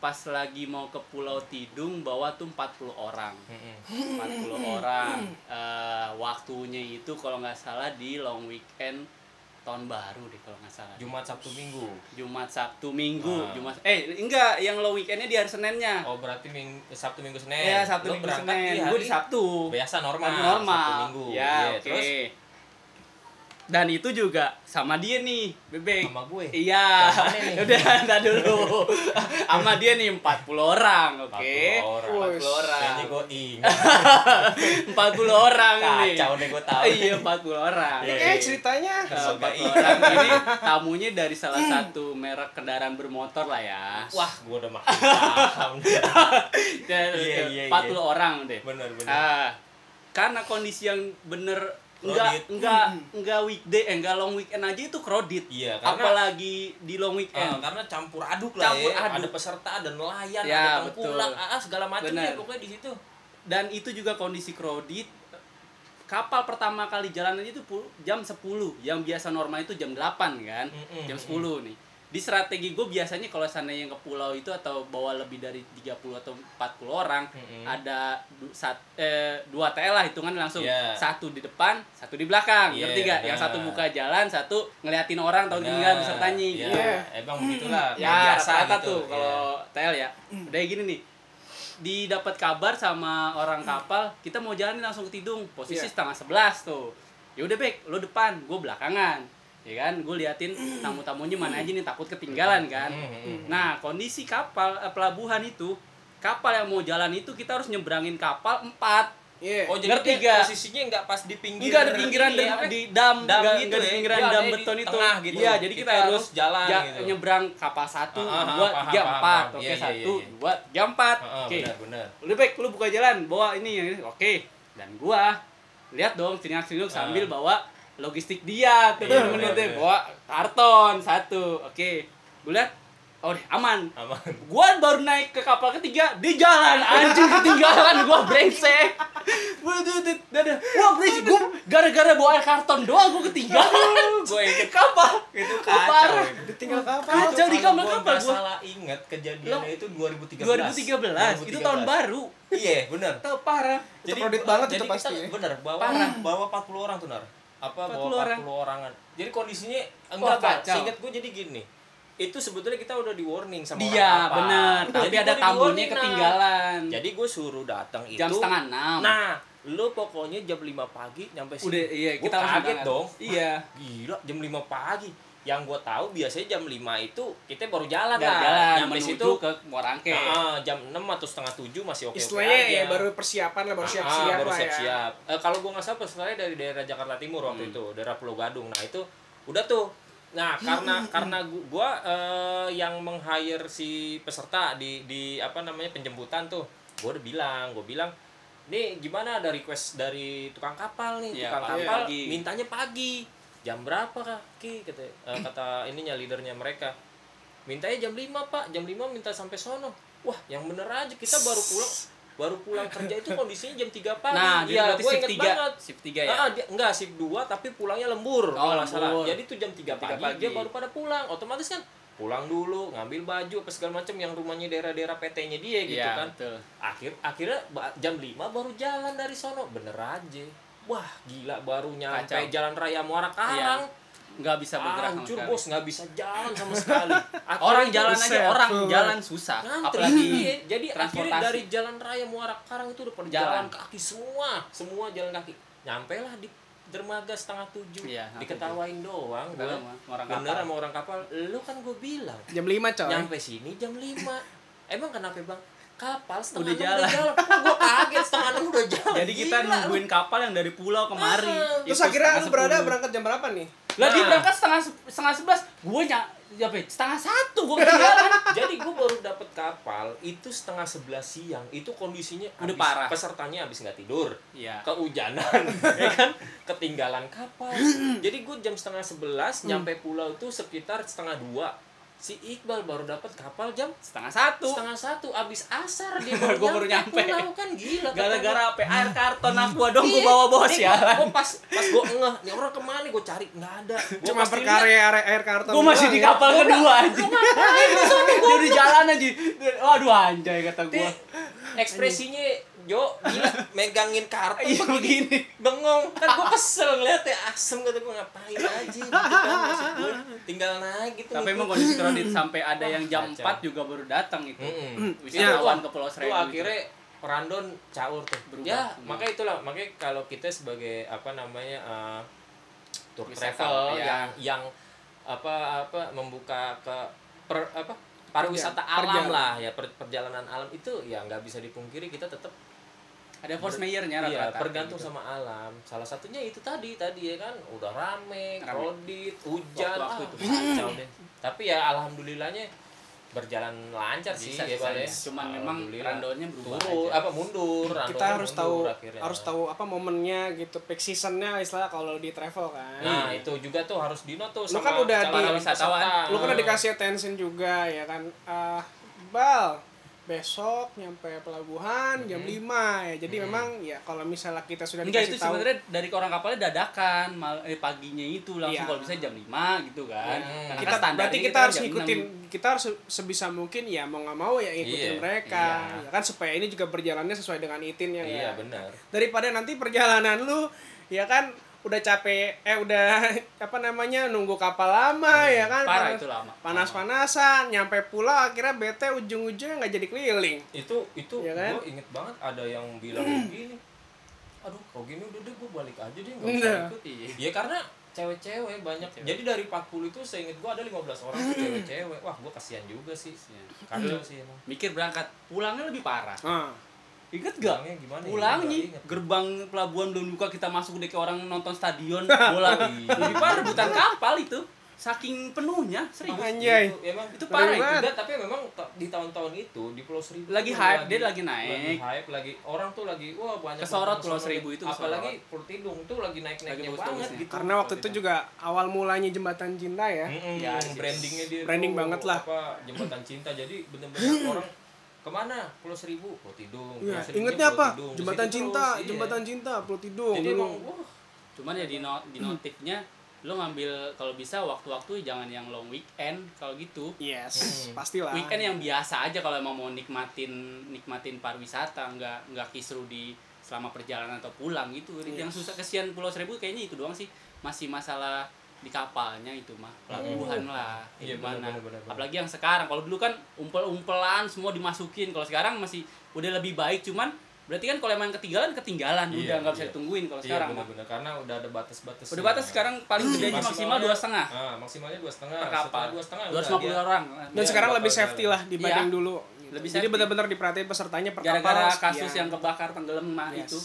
S3: pas lagi mau ke Pulau Tidung bawa tuh 40 orang.
S2: Mm-mm. [LAUGHS]
S3: 40 orang. Eh, waktunya itu kalau nggak salah di long weekend tahun baru deh kalau nggak salah.
S2: Jumat Sabtu Minggu.
S3: Jumat Sabtu Minggu,
S2: Ah.
S3: Jumat eh enggak yang long weekendnya di hari Seninnya.
S2: Oh berarti ming Sabtu Minggu Senin.
S3: Iya, Sabtu
S2: Lu
S3: Minggu
S2: berangkat di
S3: Senin.
S2: hari
S3: Gue di Sabtu.
S2: Biasa normal.
S3: normal,
S2: Sabtu Minggu.
S3: ya
S2: Iya,
S3: oke
S2: Terus
S3: dan itu juga sama dia nih bebek
S2: sama gue.
S3: iya
S2: Yang mana nih?
S3: [LAUGHS] udah ntar dulu [LAUGHS] sama dia nih 40 orang oke
S2: 40 orang.
S3: 40 orang
S2: Kayaknya gue [LAUGHS] ingat.
S3: 40 orang nih
S2: Kacau deh gue tahu.
S3: [LAUGHS] iya 40 orang
S1: Ini
S2: Iya.
S1: kayaknya ceritanya
S3: Nah, 40
S2: Sebagai-
S3: orang ini tamunya dari salah satu merek kendaraan bermotor lah ya
S2: Wah, gue udah
S3: [LAUGHS]
S2: makin paham.
S3: Dan
S2: Iya, iya,
S3: 40
S2: iya.
S3: orang deh
S2: bener bener.
S3: Ah, karena kondisi yang bener enggak
S2: Crowded.
S3: enggak
S2: Hmm.
S3: enggak weekday eh, enggak long weekend aja itu crowded.
S2: Iya, karena-
S3: apalagi di long
S2: Ah,
S3: weekend.
S2: karena campur aduk lah
S3: Campur
S2: ya.
S3: aduk.
S2: Ada peserta, ada nelayan,
S3: Ya,
S2: ada tengkulak,
S3: betul.
S2: ah, segala macam ya
S3: Bener.
S2: pokoknya di situ.
S3: Dan itu juga kondisi crowded. Kapal pertama kali jalan aja itu pul- jam 10. Yang biasa normal itu jam 8 kan?
S2: Mm-mm,
S3: jam
S2: mm-mm.
S3: 10 nih. Di strategi gue biasanya kalau seandainya ke pulau itu atau bawa lebih dari 30 atau 40 orang,
S2: Mm-mm.
S3: ada du, sat, eh, dua TL lah hitungan langsung.
S2: Iya.
S3: Satu di depan, satu di belakang.
S2: Iya,
S3: Ngerti gak? Yang
S2: benar.
S3: satu buka jalan, satu ngeliatin orang atau tinggal pesertanya
S2: Iya,
S3: gitu.
S1: Iya.
S2: emang begitulah.
S3: Ya,
S2: biasa
S3: rata-rata
S2: gitu.
S3: tuh
S2: Iya.
S3: kalau TL ya. Udah gini nih. Didapat kabar sama orang kapal, kita mau jalan nih langsung ke Tidung. Posisi
S1: Iya.
S3: setengah sebelas tuh. Ya udah Bek, lo depan, gue belakangan. Ya kan, gue liatin tamu-tamunya mana aja nih takut ketinggalan kan.
S2: Mm, mm, mm.
S3: Nah, kondisi kapal eh, pelabuhan itu, kapal yang mau jalan itu kita harus nyebrangin kapal 4.
S1: iya
S2: Oh, jadi
S3: Ngerti
S2: dia
S3: nggak?
S2: posisinya nggak pas di pinggir.
S3: Enggak ada pinggiran
S2: ini
S3: di,
S2: ya, apa?
S3: di dam,
S2: Dam
S3: nggak-
S2: gitu
S3: nggak di
S2: ya.
S3: pinggiran
S2: Dia ada
S3: dam
S2: di
S3: beton itu.
S2: tengah gitu.
S3: Iya, jadi kita,
S2: Kita
S3: harus
S2: harus jalan
S3: ja-
S2: gitu.
S3: nyebrang kapal satu,
S2: Ah, ah,
S3: dua,
S2: paham,
S3: tiga,
S2: paham,
S3: empat.
S2: paham.
S3: Oke,
S2: Iya, iya,
S3: satu,
S2: iya.
S3: dua, tiga, empat.
S2: Heeh,
S3: Oke.
S2: benar benar.
S3: Udah baik, lu buka jalan, bawa ini yang ini. Oke. Dan gua lihat dong ceriak-ceriuk sambil
S2: Ah.
S3: bawa logistik dia tuh
S2: Iya,
S3: temen-temen
S2: benar,
S3: tuh.
S2: benar.
S3: bawa karton satu. Oke. Gua lihat oh deh, aman
S2: Aman.
S3: gua baru naik ke kapal ketiga di jalan anjing ketinggalan gua brengsek Bududut, dadah. Wah brengsek gua gara-gara bawa air karton doang gua ketinggalan [LAUGHS]
S2: Gue inget
S3: kapal
S2: itu
S3: Parah.
S2: kacau. itu.
S1: ditinggal kapal
S3: kacau di
S2: Kalau
S3: kapal
S2: gua
S3: kapal
S2: nggak
S3: gua
S2: salah inget kejadiannya
S3: Lo-
S2: itu 2013.
S3: 2013 itu tahun
S2: 2013.
S3: baru
S2: Iya, bener.
S3: Tuh, parah
S1: Itu crowded banget itu
S2: jadi kita
S1: pasti ya.
S2: Bener, bawa
S3: Parah.
S2: bawa 40 orang tuh Nar. Apa
S3: 40
S2: bawa
S3: orang.
S2: 40 orangan. Jadi kondisinya enggak
S3: Wah,
S2: Kak.
S3: kacau.
S2: Seingat gue jadi gini. Itu sebetulnya kita udah di warning sama
S3: dia
S2: orang kapal.
S3: bener
S2: Nah,
S3: tapi
S2: jadi gua
S3: ada
S2: di
S3: tamunya
S2: warning, Nar.
S3: ketinggalan
S2: Jadi gue suruh datang itu
S3: jam setengah enam
S2: Nah, lu pokoknya jam 5 pagi nyampe sini.
S3: udah iya
S2: Gua
S3: kita langsung
S2: kaget
S3: berangkat.
S2: dong.
S3: iya
S2: Gila, jam 5 pagi. Yang gue tahu biasanya jam 5 itu kita baru Nah, jalan kan. lah.
S3: jalan
S2: nyampe
S3: menuju
S2: situ
S3: ke Morangke
S2: ah, jam 6 atau setengah 7 masih oke-oke
S1: istilahnya
S2: aja.
S1: ya baru persiapan lah baru
S2: Ah,
S1: siap-siap
S2: baru
S1: lah ya
S2: siap-siap. Eh, kalau gua nggak salah pesertanya dari daerah Jakarta Timur waktu
S1: Hmm.
S2: itu, daerah Pulau Gadung. Nah, itu udah tuh. Nah,
S1: Hmm,
S2: karena karena gua, gua, eh, yang meng-hire si peserta di di apa namanya penjemputan tuh. Gua udah bilang, gua bilang nih gimana ada request dari tukang kapal nih
S3: Iya,
S2: tukang
S3: pagi.
S2: kapal
S3: Pagi.
S2: mintanya pagi jam berapa kak Ki kata eh, kata ininya leadernya mereka mintanya jam 5 pak jam 5 minta sampai sono wah yang bener aja kita baru pulang baru pulang kerja itu kondisinya jam 3 pagi
S3: nah
S2: Iya,
S3: dia berarti
S2: gua
S3: shift
S2: inget
S3: tiga
S2: banget
S3: shift tiga ya
S2: Ah, dia, enggak shift 2 tapi pulangnya lembur
S3: Oh,
S2: kalau nggak salah
S3: lembur.
S2: jadi itu jam 3
S3: 3
S2: pagi,
S3: pagi.
S2: dia baru pada pulang otomatis kan pulang dulu ngambil baju apa segala macam yang rumahnya daerah-daerah PT-nya dia gitu
S3: Iya,
S2: kan
S3: betul.
S2: akhir akhirnya ba- jam 5 baru jalan dari sono bener aja wah gila baru nyampe
S3: Kacau. Iya.
S2: jalan raya Muara Karang
S3: nggak bisa bergerak sama
S2: Ah, hancur
S3: sekali.
S2: bos nggak bisa jalan sama sekali Akhirnya
S3: [LAUGHS] orang
S2: dia
S3: jalan aja
S1: Buset,
S3: orang
S1: tuh.
S3: jalan susah
S2: ngantri
S3: apalagi
S2: [LAUGHS] Iya, jadi akhirnya
S3: transportasi.
S2: dari jalan raya Muara Karang itu udah pada
S3: Jalan.
S2: jalan. kaki semua semua jalan kaki nyampe lah di dermaga setengah tujuh
S3: Iya, setengah
S2: diketawain doang gue
S3: Bener sama orang
S2: bener
S3: kapal. Iya.
S2: sama orang kapal lu kan gue bilang
S1: jam 5 coy
S2: nyampe sini jam 5 emang kenapa bang kapal setengah
S3: Udah
S2: enam udah jalan, gue kaget setengah enam udah jalan
S3: [LAUGHS] jadi kita
S2: Gila, lu.
S3: nungguin kapal yang dari pulau kemari
S2: Ah,
S1: terus akhirnya
S3: Itu setengah
S1: lu berada
S3: sepuluh.
S1: berangkat jam berapa nih
S3: lah dia
S2: Nah.
S3: berangkat setengah se- setengah sebelas gue ny- ya Pe, setengah satu gue ketinggalan
S2: Jadi gue baru dapat kapal itu setengah sebelas siang. Itu kondisinya
S3: Udah
S2: habis-
S3: parah.
S2: Pesertanya habis nggak tidur,
S3: Iya.
S2: kehujanan, [LAUGHS] ya kan? Ketinggalan
S3: [CLEARS THROAT]
S2: kapal. Jadi gue jam setengah
S3: Hmm.
S2: sebelas nyampe pulau itu sekitar setengah dua. Si Iqbal baru dapat kapal jam
S3: setengah satu
S2: setengah satu abis asar
S3: [LAUGHS]
S2: dia
S3: Gua
S2: baru
S3: baru
S2: nyampe
S3: nyampe.
S2: pulau kan gila kata
S3: gara-gara
S2: gua.
S3: apa air karton aqua dong gue bawa ya. bawa
S2: Iya,
S3: sialan
S2: gua pas pas gue ngeh nih orang kemana gue cari nggak ada Gua
S1: Cuma
S2: pasti
S1: perkara
S2: liat,
S1: air, air karton.
S3: gue masih
S1: doang
S3: di
S1: ya.
S3: kapal kedua anjing [LAUGHS] dia udah jalan aja waduh anjay kata gue
S2: Ti, [LAUGHS] ekspresinya Jo
S3: [LAUGHS]
S2: gila megangin kartu
S3: Iya, begini.
S2: bengong kan gue kesel ngeliatnya asem kata gue ngapain aja gitu kan, maksud gua, tinggal naik gitu
S3: tapi emang kondisi kredit sampai ada yang jam
S2: Kacau. Hmm.
S3: 4 juga baru datang itu
S2: Mm-mm. Iya.
S3: wisatawan Hmm, ke Pulau
S2: Tuh
S3: Seribu gitu.
S2: akhirnya Randon caur tuh
S3: Berubah.
S2: ya
S3: Hmm.
S2: makanya itulah makanya kalau kita sebagai apa namanya eh, tour
S3: Wisata,
S2: travel
S3: ya.
S2: yang yang apa apa membuka ke per, apa pariwisata
S1: Perjalanan.
S2: alam lah ya per- perjalanan alam itu ya nggak bisa dipungkiri kita tetap
S3: ada force mayornya
S2: Iya,
S3: rata-rata
S2: tergantung
S3: gitu.
S2: sama alam. Salah satunya itu tadi tadi ya kan, udah rame,
S3: Rame.
S2: krodit, hujan,
S3: Waktu-waktu
S2: ah,
S3: itu.
S2: kacau deh. Tapi ya alhamdulillahnya berjalan lancar sih
S3: bisa
S2: ya Bal, ya.
S3: sisanya. cuman memang
S2: Alhamdulillah.
S3: randonnya berubah
S2: turun
S3: aja.
S2: apa mundur
S1: kita
S2: randonnya
S1: harus tahu
S2: mundur akhirnya.
S1: harus tahu apa momennya gitu peak seasonnya istilah kalau di travel kan
S2: nah itu juga tuh harus dino tuh
S1: Lu kan udah
S2: calon
S1: di-
S2: calon
S3: wisatawan.
S2: peserta.
S1: lu
S3: Eh.
S1: kan udah dikasih attention juga ya kan ah bal besok nyampe pelabuhan jam 5 ya jadi memang ya kalau misalnya kita sudah
S3: Enggak itu
S1: dikasih tahu
S3: sebenarnya dari orang kapalnya dadakan mal eh, paginya itu
S1: Iya.
S3: langsung kalau bisa jam 5 gitu kan.
S2: Iya.
S3: Karena
S1: kita
S3: standarnya
S1: berarti kita
S3: kan
S1: harus
S3: jam
S1: ngikutin
S3: 6.
S1: kita harus sebisa mungkin ya mau nggak mau ya ikutin
S2: Iya.
S1: mereka
S3: Iya.
S1: ya kan supaya ini juga berjalannya sesuai dengan itinnya ya.
S2: iya benar
S1: daripada nanti perjalanan lu ya kan udah capek eh udah [LAUGHS] apa namanya nunggu kapal lama ya kan
S3: Hmm, Parah
S1: panas-
S3: itu lama.
S1: panas-panasan nyampe pulau akhirnya bete ujung-ujungnya nggak jadi keliling
S2: itu itu
S1: Iya kan?
S2: gue inget banget ada yang bilang
S3: Hmm.
S2: begini aduh kalau gini udah deh gue balik aja deh nggak
S1: Iya.
S2: usah ikut
S3: Iya.
S2: Iya karena cewek-cewek banyak. Jadi dari 40 itu seinget gua ada 15 orang
S3: Hmm.
S2: tuh cewek-cewek. Wah, gua kasihan juga sih.
S3: Iya.
S2: Kacau sih emang.
S3: Mikir berangkat, pulangnya lebih parah.
S1: ah
S3: Ingat gak?
S2: Pulangnya gimana? ya? Gua
S3: Pulangnya
S2: nggak inget.
S3: Iya, gerbang pelabuhan belum buka kita masuk deh ke orang nonton stadion bola. Lebih parah rebutan kapal itu. Saking penuhnya, serius.
S1: anjay
S2: Itu emang itu
S3: Itu
S1: parah
S2: parah
S1: banget.
S2: juga, tapi memang ta- di tahun-tahun itu di Pulau Seribu
S3: Lagi
S2: tuh
S3: hype, dia
S2: Lagi
S3: lagi naik.
S2: hype lagi orang tuh lagi wah banyak
S3: Kesorot
S2: banget
S3: Pulau
S2: kesorot.
S3: Seribu itu
S2: Apalagi Pulau Tidung tuh lagi naik-naiknya
S3: Lagi
S2: banget
S3: bagus-bagusnya.
S2: gitu.
S1: karena waktu itu juga awal mulanya jembatan cinta ya
S2: Mm-mm,
S3: Ya, di situ.
S2: brandingnya dia
S1: Branding
S2: tuh
S1: banget lah.
S2: apa jembatan cinta jadi
S1: [CLEARS THROAT]
S2: bener-bener orang kemana Pulau Seribu Pulau Tidung Pulau
S1: Iya,
S2: Seribunya
S1: ingetnya
S2: Pulau
S1: apa?
S2: Tidung. Di
S1: Jembatan
S2: situ
S1: Cinta,
S2: terus, iya.
S1: Jembatan Cinta, Pulau Tidung.
S2: jadi
S1: dulu.
S2: emang wah,
S3: Cuman ya di, no- di notifnya lo ngambil kalau bisa waktu-waktu jangan yang long weekend kalau gitu.
S1: Yes,
S2: Mm-mm.
S1: pastilah.
S3: weekend yang biasa aja kalau emang mau nikmatin nikmatin pariwisata nggak nggak kisru di selama perjalanan atau pulang gitu
S2: Iya.
S3: yang susah kesian Pulau Seribu kayaknya itu doang sih masih masalah di kapalnya itu mah pelabuhan lah
S2: Iya,
S3: gimana.
S2: benar, benar, benar, benar.
S3: apalagi yang sekarang kalau dulu kan umpel umpelan semua dimasukin kalau sekarang masih udah lebih baik cuman berarti kan kalau emang ketinggalan ketinggalan
S2: Iya,
S3: udah nggak bisa
S2: iya.
S3: ditungguin kalau
S2: iya,
S3: sekarang mah.
S2: bener-bener. karena udah ada batas-batas
S3: udah batas sekarang
S2: [CLEARS THROAT]
S3: paling gede aja maksimal dua setengah
S2: Ah, maksimalnya dua setengah
S3: per
S2: Setelah
S3: kapal
S2: dua setengah
S3: dua ratus lima puluh orang
S1: Dan
S2: Iya,
S1: sekarang
S2: bakal
S1: lebih safety
S2: jalan.
S1: lah dibanding
S3: Iya.
S1: dulu. gitu.
S3: Lebih
S1: Jadi
S3: safety.
S1: benar-benar diperhatiin pesertanya per
S3: gara-gara
S1: kapal,
S3: kasus
S1: sekian.
S3: yang kebakar tenggelam mah
S1: iya. Yes.
S3: itu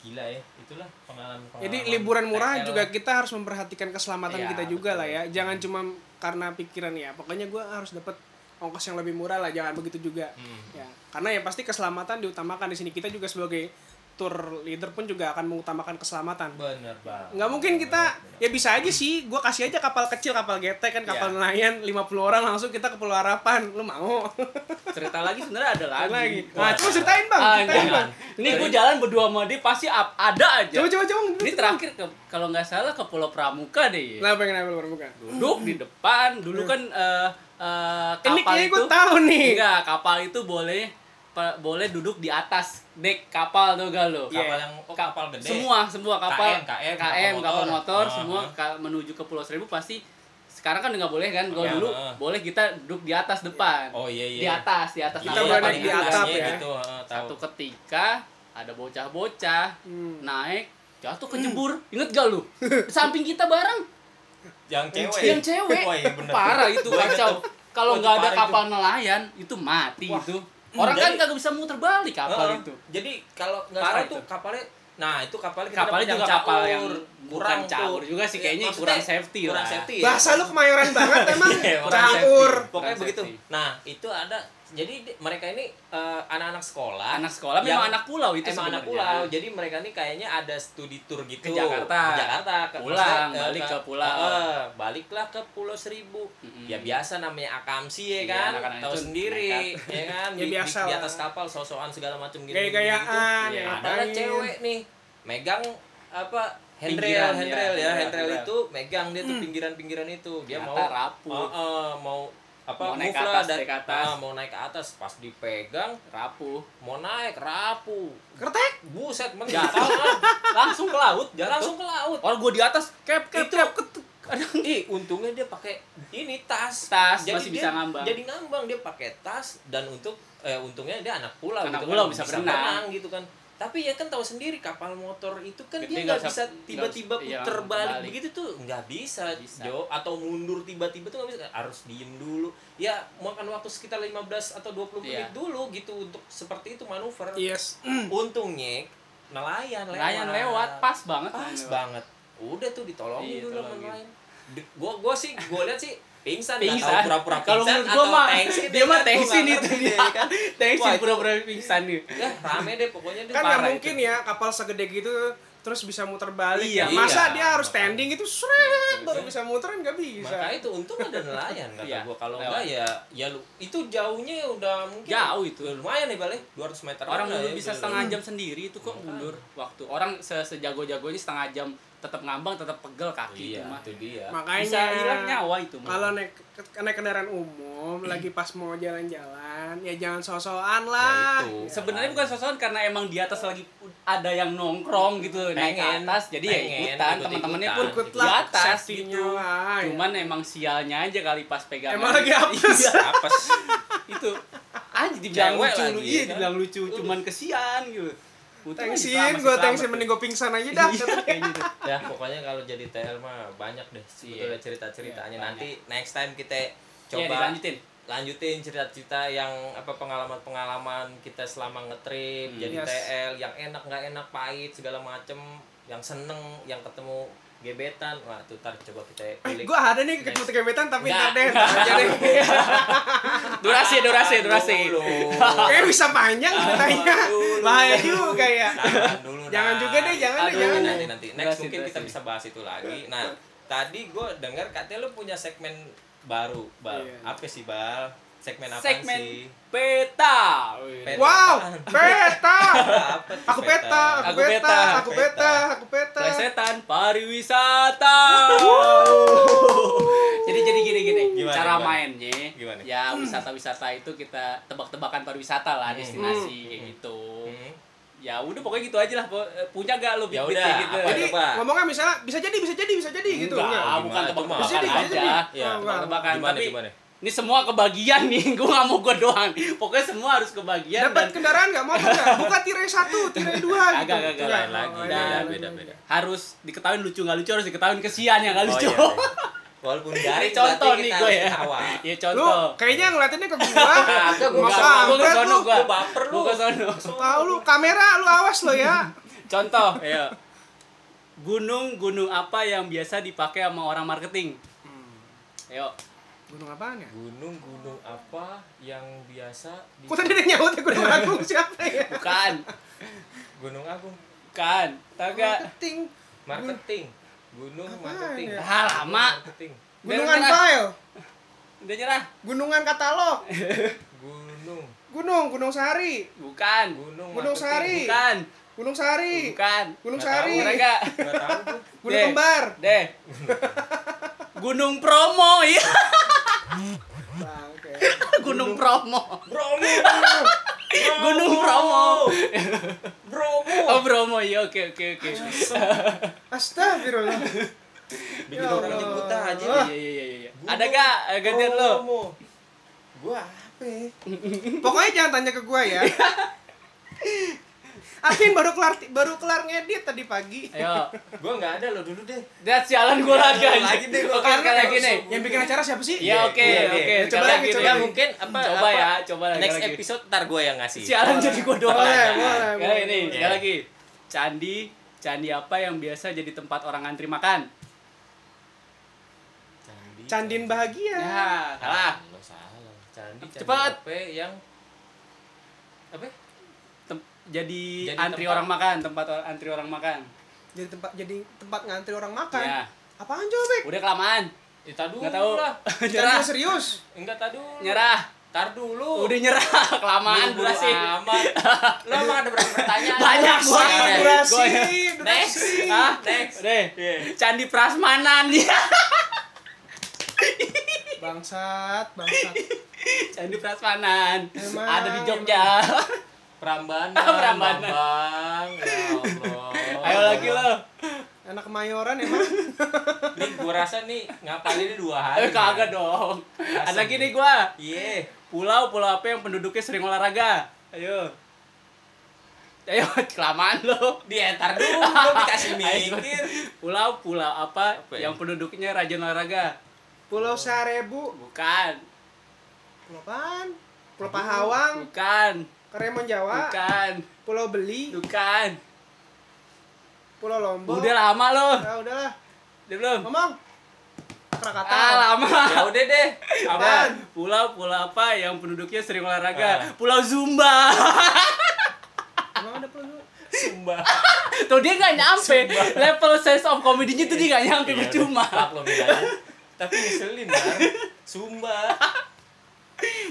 S2: gila ya itulah pengalaman, pengalaman
S1: Jadi liburan murah
S2: TL.
S1: juga kita harus memperhatikan keselamatan
S3: Nah, Iya,
S1: kita juga
S2: betul.
S1: lah ya. Jangan cuma karena pikiran ya. Pokoknya gue harus dapat ongkos yang lebih murah lah. Jangan begitu juga.
S2: Hmm.
S1: Ya, karena ya pasti keselamatan diutamakan di sini. Kita juga sebagai tour leader pun juga akan mengutamakan keselamatan.
S2: bener banget
S1: nggak mungkin kita ya bisa aja sih gua kasih aja kapal kecil kapal getek kan kapal
S3: Iya.
S1: nelayan 50 orang langsung kita ke Pulau Harapan lu mau
S3: cerita lagi sebenarnya ada lagi,
S1: lagi nah
S3: Wah.
S1: coba ceritain bang
S3: Ah,
S1: ceritain
S3: jangan.
S1: bang
S3: ini gue jalan berdua sama dia pasti up, ada aja
S1: coba coba coba
S3: ini terakhir ke- kalau nggak salah ke Pulau Pramuka deh ya.
S1: kenapa kenapa lu berbuka
S3: duduk di depan dulu kan eh, eh,
S1: ini
S3: kapal
S1: kayaknya
S3: itu
S1: gue tahu nih
S3: enggak kapal itu boleh pe- boleh duduk di atas dek kapal tuh gak lo
S1: Iya.
S2: kapal yang oh, kapal gede
S3: iya. semua semua kapal
S2: KM, KM,
S3: KM,
S2: kapal
S3: kapal
S2: motor.
S3: motor
S2: Ah,
S3: semua ka- menuju ke Pulau Seribu pasti sekarang kan nggak boleh kan kalau
S2: Iya,
S3: dulu
S2: ah.
S3: boleh kita duduk di atas depan
S2: oh iya iya
S3: di atas di atas
S1: Kita
S3: lantai
S1: boleh naik
S3: paling
S1: di
S3: atas.
S1: atap
S2: Iya,
S1: ya.
S2: gitu, heeh, tahu.
S3: satu ketika ada bocah-bocah
S1: Hmm.
S3: naik jatuh kejebur inget gak lu Di samping kita bareng
S2: yang cewek
S3: yang cewek
S2: Wah, Oh, iya, bener.
S3: parah itu
S2: Gua inget
S3: kacau
S2: tuh. Wah,
S3: kalau
S2: itu
S3: nggak ada
S2: parah itu. Hmm,
S3: kapal nelayan itu mati itu orang kan
S2: Jadi-
S3: nggak bisa muter balik kapal
S2: Heeh.
S3: itu
S2: Jadi kalau nggak
S3: Parah
S2: salah tuh
S3: itu.
S2: kapalnya Nah, itu kapalnya kita
S3: kapalnya
S2: dapat
S3: juga kapal yang
S2: kurang
S3: kurang caur
S2: tuh.
S3: juga sih
S2: Iya,
S3: kayaknya
S2: maksudnya
S3: kurang safety
S2: kurang
S3: lah.
S2: safety ya.
S1: Bahasa lu kemayoran banget emang.
S3: [LAUGHS] Iya, kurang
S1: Caur.
S2: Pokoknya
S3: safety. Kurang
S2: begitu.
S3: safety.
S2: Nah, itu ada jadi di- mereka ini eh, anak-anak sekolah.
S3: Anak sekolah
S2: yang-
S3: memang anak pulau itu
S2: emang anak
S3: sebenarnya.
S2: pulau jadi mereka nih kayaknya ada studi tour gitu
S3: Ke Jakarta.
S2: ke Jakarta ke
S3: Pulang,
S2: maksudnya, eh,
S3: balik ke pulau.
S2: eh, baliklah ke Pulau Seribu
S3: Mm-mm.
S2: ya biasa namanya akamsi ya
S3: Iya,
S2: kan
S3: anak-anak
S2: tahu
S3: itu
S2: sendiri ya kan
S1: Ya,
S2: di, di-
S1: biasa
S2: di
S1: lah.
S2: atas kapal sosokan segala macam gitu
S1: Gaya-gayaan,
S2: gitu.
S3: ya,
S2: ada lah
S1: ngapain.
S2: cewek nih megang apa handrail
S3: Pinggiran,
S2: handrail
S3: ya,
S2: ya
S3: pinggiran,
S2: handrail
S3: pinggiran.
S2: itu megang dia
S3: Hmm.
S2: tuh pinggiran-pinggiran itu dia
S3: Ternyata
S2: mau
S3: rapuh.
S2: Eh, eh, mau apa
S3: Mau naik
S2: move
S3: ke
S2: lah
S3: atas,
S2: dari-
S3: naik ke atas.
S2: ah, mau naik ke atas pas dipegang
S3: rapuh.
S2: mau naik rapuh
S1: Kertek.
S2: buset men gatal lah.
S3: Langsung ke laut,
S2: dia langsung ke laut
S3: Orang gua di atas, kep kep
S2: itu
S3: kep.
S2: ih untungnya dia pakai ini tas
S3: Tas, masih
S2: dia-
S3: bisa ngambang.
S2: jadi ngambang dia pakai tas dan untuk eh, untungnya dia anak pulau
S3: Anak
S2: gitu
S3: pulau
S2: kan
S3: bisa berenang.
S2: gitu kan tapi ya kan tahu sendiri kapal motor itu kan
S3: Gede,
S2: dia
S3: nggak
S2: nggak bisa
S3: bisa-
S2: tiba-tiba
S3: nggak bisa- iya,
S2: puter balik
S3: balik.
S2: begitu tuh nggak bisa,
S3: Nggak bisa.
S2: Jo. atau mundur tiba-tiba tuh nggak bisa harus diem dulu ya makan waktu sekitar 15 atau 20 menit
S3: Iya.
S2: dulu gitu untuk seperti itu manuver
S1: Yes.
S2: untungnya nelayan lewat
S3: Layan lewat, pas banget.
S2: pas
S3: Lewat.
S2: banget udah tuh ditolongin
S3: Iya,
S2: dulu sama
S3: tolongin.
S2: nelayan Di- gua gua sih gua lihat sih pingsan nggak
S3: Pingsan.
S2: tahu pura-pura
S3: Kalau
S2: pingsan
S3: menurut gua
S2: atau
S3: mah
S2: tensin,
S3: dia mah
S2: kan? Gua nggak
S3: tensin itu
S2: ngerti
S3: dia.
S2: deh, kan
S3: Thanks
S2: Wah,
S3: sih
S2: itu-
S3: pura-pura pingsan nih.
S2: Udah, rame deh pokoknya dia
S1: Kan nggak
S2: parah
S1: mungkin
S2: itu.
S1: ya kapal segede gitu terus bisa muter balik.
S2: Iya,
S1: ya. Masa
S2: iya.
S1: dia harus standing itu seret baru bisa muter kan nggak bisa.
S2: Makanya itu untung ada nelayan kata
S3: Iya,
S2: gua kalau
S3: lewat.
S2: enggak ya ya lu itu jauhnya ya udah mungkin
S3: Jauh itu.
S2: lumayan ya, nih balik 200 meter
S3: Orang
S2: lah ya,
S3: dulu bisa
S2: gitu.
S3: setengah jam sendiri itu kok mundur waktu. Orang se- sejago-jagonya setengah jam tetap ngambang, tetap pegel kaki
S2: iya
S3: itu mah.
S2: itu dia
S1: Makanya
S3: Bisa hilang nyawa itu mah.
S1: Kalau naik naik kendaraan umum lagi pas mau jalan-jalan ya jangan sosokan lah.
S2: Ya, itu.
S3: Sebenarnya bukan sosokan karena emang di atas lagi ada yang nongkrong gitu naik ke
S2: Pengen,
S3: atas jadi ya
S2: pengen,
S3: ikutan
S2: ikut-ikutan.
S3: teman-temannya pun
S2: Ikut
S3: di
S1: lah,
S3: atas
S1: safety-nya
S3: gitu.
S1: lah, ya.
S3: Cuman emang sialnya aja kali pas pegangan.
S1: Emang lagi apes.
S3: Iya,
S2: apes
S3: itu [LAUGHS] aja dibilang
S2: Cewek
S3: lucu
S2: lagi,
S3: lu- iya
S2: kan?
S3: dibilang lucu cuman kesian gitu. Untungnya
S1: Tengsin,
S3: diselamat-
S1: gue
S3: diselamat
S1: tengsin
S3: tuh.
S1: mending gue pingsan aja dah.
S3: Kayaknya tuh.
S2: ya pokoknya kalau jadi TL mah banyak deh sebetulnya cerita ceritanya
S3: Iya,
S2: nanti next time kita
S3: Iya,
S2: coba
S3: dilanjutin.
S2: lanjutin cerita-cerita yang apa pengalaman-pengalaman kita selama ngetrip
S3: Hmm.
S2: jadi
S1: Yes.
S2: TL yang enak nggak enak pahit segala macem yang seneng yang ketemu gebetan wah tuh ntar coba kita kulik
S1: gue ada nih ketemu kebetan tapi ntar deh, ntar aja deh.
S3: Durasi, durasi, durasi.
S2: dulu
S3: [LAUGHS]
S1: Kayaknya Eh, bisa panjang ceritanya.
S2: Dulu.
S1: Bahaya juga ya. [LAUGHS]
S2: Tahan dulu
S1: Jangan
S2: Nay.
S1: juga deh, jangan deh,
S2: Aduh,
S1: jangan deh.
S2: nanti
S1: Iya.
S2: nanti next
S3: Durasi,
S2: mungkin kita
S3: durasi.
S2: bisa bahas itu lagi nah tadi gue dengar katanya lu punya segmen baru bal
S1: Iya.
S2: apa sih bal segmen apa
S3: Segmen
S2: sih
S3: peta.
S2: Peta.
S1: Wow, peta.
S2: Apa tuh
S1: Aku peta, aku
S3: Aku
S1: peta,
S3: peta,
S1: aku peta, aku peta.
S3: Plesetan pariwisata. jadi jadi gini gini
S2: Gimana,
S3: cara
S2: gimana?
S3: mainnya.
S2: Gimana?
S3: Ya wisata-wisata itu kita tebak-tebakan pariwisata lah destinasi kayak gitu.
S2: Hmm.
S3: Ya udah pokoknya gitu aja lah. Po- eh, Punya gak lo
S2: Ya
S3: bibit
S2: udah,
S3: gitu?
S2: apa
S1: Jadi
S2: Coba.
S1: ngomongnya misalnya bisa jadi, bisa jadi, bisa jadi gitu.
S3: Enggak,
S1: Enggak.
S3: Ah, bukan
S2: Gimana,
S3: tebak-tebakan
S1: Bisa jadi,
S3: aja.
S1: bisa jadi.
S2: Iya,
S1: Oh, enggak.
S3: tebak-tebakan
S2: Gimana,
S3: tapi
S2: gimana?
S3: ini semua kebagian nih [LAUGHS] gue nggak mau gue doang pokoknya semua harus kebagian
S1: Dapat
S3: Iya, dan
S1: kendaraan nggak mau enggak? Buka tirai satu, tirai dua
S3: Agak,
S1: gitu.
S3: agak, agak.
S1: Enggak,
S2: lain lagi
S1: enggak,
S2: beda
S1: enggak,
S2: beda
S1: enggak.
S2: beda
S3: harus diketahui lucu nggak lucu harus diketahui kesian ya nggak
S2: Oh,
S3: lucu
S2: iya, iya. walaupun
S3: [LAUGHS] Ini
S2: dari
S3: contoh nih gue ya
S2: awal
S3: Iya
S1: Lu
S3: contoh
S1: kayaknya ngeliatinnya ke gua.
S2: Kagak, gua
S1: Mas
S2: nggak- gua
S1: Angga
S3: nggak sono,
S1: tuh.
S3: gua.
S2: lu baper lu
S3: Lu ke sono.
S1: Tahu lu kamera lu awas lo ya.
S3: contoh ayo gunung-gunung apa yang biasa dipakai sama orang marketing
S2: Hmm.
S3: ayo
S1: Gunung apaan ya?
S2: gunung-gunung apa yang biasa di
S1: Kok tadi ada nyaut ya gunung agung siapa ya?
S3: bukan
S2: Gunung Agung
S3: bukan tau gak
S1: Marketing.
S2: marketing gunung marketing
S1: ya?
S3: Ah, lama.
S2: marketing
S1: Gunungan
S3: Beneran.
S1: file.
S3: udah nyerah
S1: Gunungan katalog.
S2: gunung
S1: Gunung, Gunung Sari.
S3: bukan
S2: gunung
S1: Gunung
S2: marketing.
S1: Sari.
S3: bukan
S1: Gunung Sari.
S3: Oh, bukan
S1: Gunung
S2: Nggak tahu,
S1: Sari.
S3: nyerah gak
S2: Nggak tahu gua.
S1: Gunung
S3: Deh.
S1: Kembar.
S3: deh gunung promo ya
S1: Oke.
S3: gunung promo
S2: Bromo
S3: gunung promo
S2: Bromo
S3: Oh Bromo, iya oke oke oke.
S1: Astagfirullah.
S2: bikin
S1: Ya
S2: orang
S1: Allah.
S2: jadi buta aja
S1: Ah.
S3: Iya iya iya iya.
S2: Gunung
S3: Ada gak eh, gantian lo?
S2: Bromo. gua apa ya?
S1: Pokoknya jangan tanya ke gua
S3: [LAUGHS]
S1: ya. Atin baru kelar baru kelar ngedit tadi pagi.
S3: Ayo.
S2: gua nggak ada lo dulu deh
S3: Lihat sialan gue lagi
S2: Lagi
S3: aja.
S2: deh, gua
S3: Oke sekali
S2: kangen
S3: lagi nih.
S1: Yang bikin acara siapa sih?
S3: Ya oke
S2: Iya, iya.
S3: oke.
S1: Coba
S3: Sekali
S1: lagi,
S3: lagi
S1: coba
S2: ya
S3: nih.
S1: lagi.
S2: mungkin apa
S3: Coba
S2: apa,
S3: ya, coba lagi.
S2: next
S3: lagi.
S2: episode ntar gua yang ngasih
S3: Sialan jadi gue doang.
S1: Boleh,
S3: aja.
S1: boleh,
S3: Sekali
S1: boleh.
S3: ini,
S2: Iya.
S3: sekali lagi. candi candi apa yang biasa jadi tempat orang ngantri makan
S2: Candi.
S1: Candin bahagia.
S3: ya salah
S2: Lo salah. Candi. candi
S3: Cepat.
S2: Apa yang apa?
S3: Tem- jadi,
S2: Jadi
S3: antri
S2: tempat-
S3: orang makan tempat or- antri orang makan
S1: Jadi tempat jadi tempat ngantri orang
S2: Kan.
S1: makan.
S3: ya
S1: Apaan coba, Bek?
S3: udah kelamaan
S2: Ita Ya, dulu
S3: nggak tahu
S2: lah.
S1: Serius,
S3: [LAUGHS] nyerah
S1: serius.
S2: Enggak tadi dulu.
S3: nyerah
S2: Tar dulu.
S3: udah nyerah [LAUGHS] kelamaan
S2: Buru-buru
S3: durasi
S2: amat. [LAUGHS] Lo emang ada berapa pertanyaan?
S3: banyak gua
S1: Wah,
S3: Ya, Gua- ya.
S1: durasi,
S2: Next. Iya.
S1: durasi.
S3: ah
S2: Next.
S3: deh candi prasmanan [LAUGHS] ya
S1: Bangsat, bangsat.
S3: candi prasmanan
S1: Emang,
S3: ada di Jogja
S2: Prambanan.
S3: [LAUGHS] Prambanan.
S2: Bambang. Ya Allah.
S3: ayo lagi lo
S1: Anak kemayoran emang.
S3: [LAUGHS]
S2: Nih gue rasa nih ngapainnya dua hari. ya.
S3: eh kagak dong ada lagi nih gua
S2: Iya.
S3: pulau pulau apa yang penduduknya sering olahraga ayo ayo [LAUGHS] kelamaan lo
S2: Di entar dulu lo dikasih mikir.
S3: pulau pulau apa,
S2: Apa ya?
S3: yang penduduknya rajin olahraga
S1: Pulau Sarebu,
S3: bukan
S1: Pulau Pan, Pulau Pahawang,
S3: bukan
S1: Keremon Jawa,
S3: bukan
S1: Pulau Beli,
S3: bukan
S1: Pulau Lombok.
S3: udah lama lo
S1: Ah, udahlah.
S3: udah belum
S1: Ngomong. Krakatau.
S3: ah lama
S2: Ya udah deh. Apa?
S1: Apaan?
S3: Pulau pulau apa yang penduduknya sering
S2: Ah.
S3: olahraga? Pulau Zumba.
S1: Emang ada pulau Zumba?
S2: Sumba.
S3: tuh dia nggak nyampe. Level sense of comedy-nya tuh dia nggak nyampe
S2: Ya udah,
S3: percuma.
S2: tetap lo bilangnya. Tapi ngeselin kan. Sumba.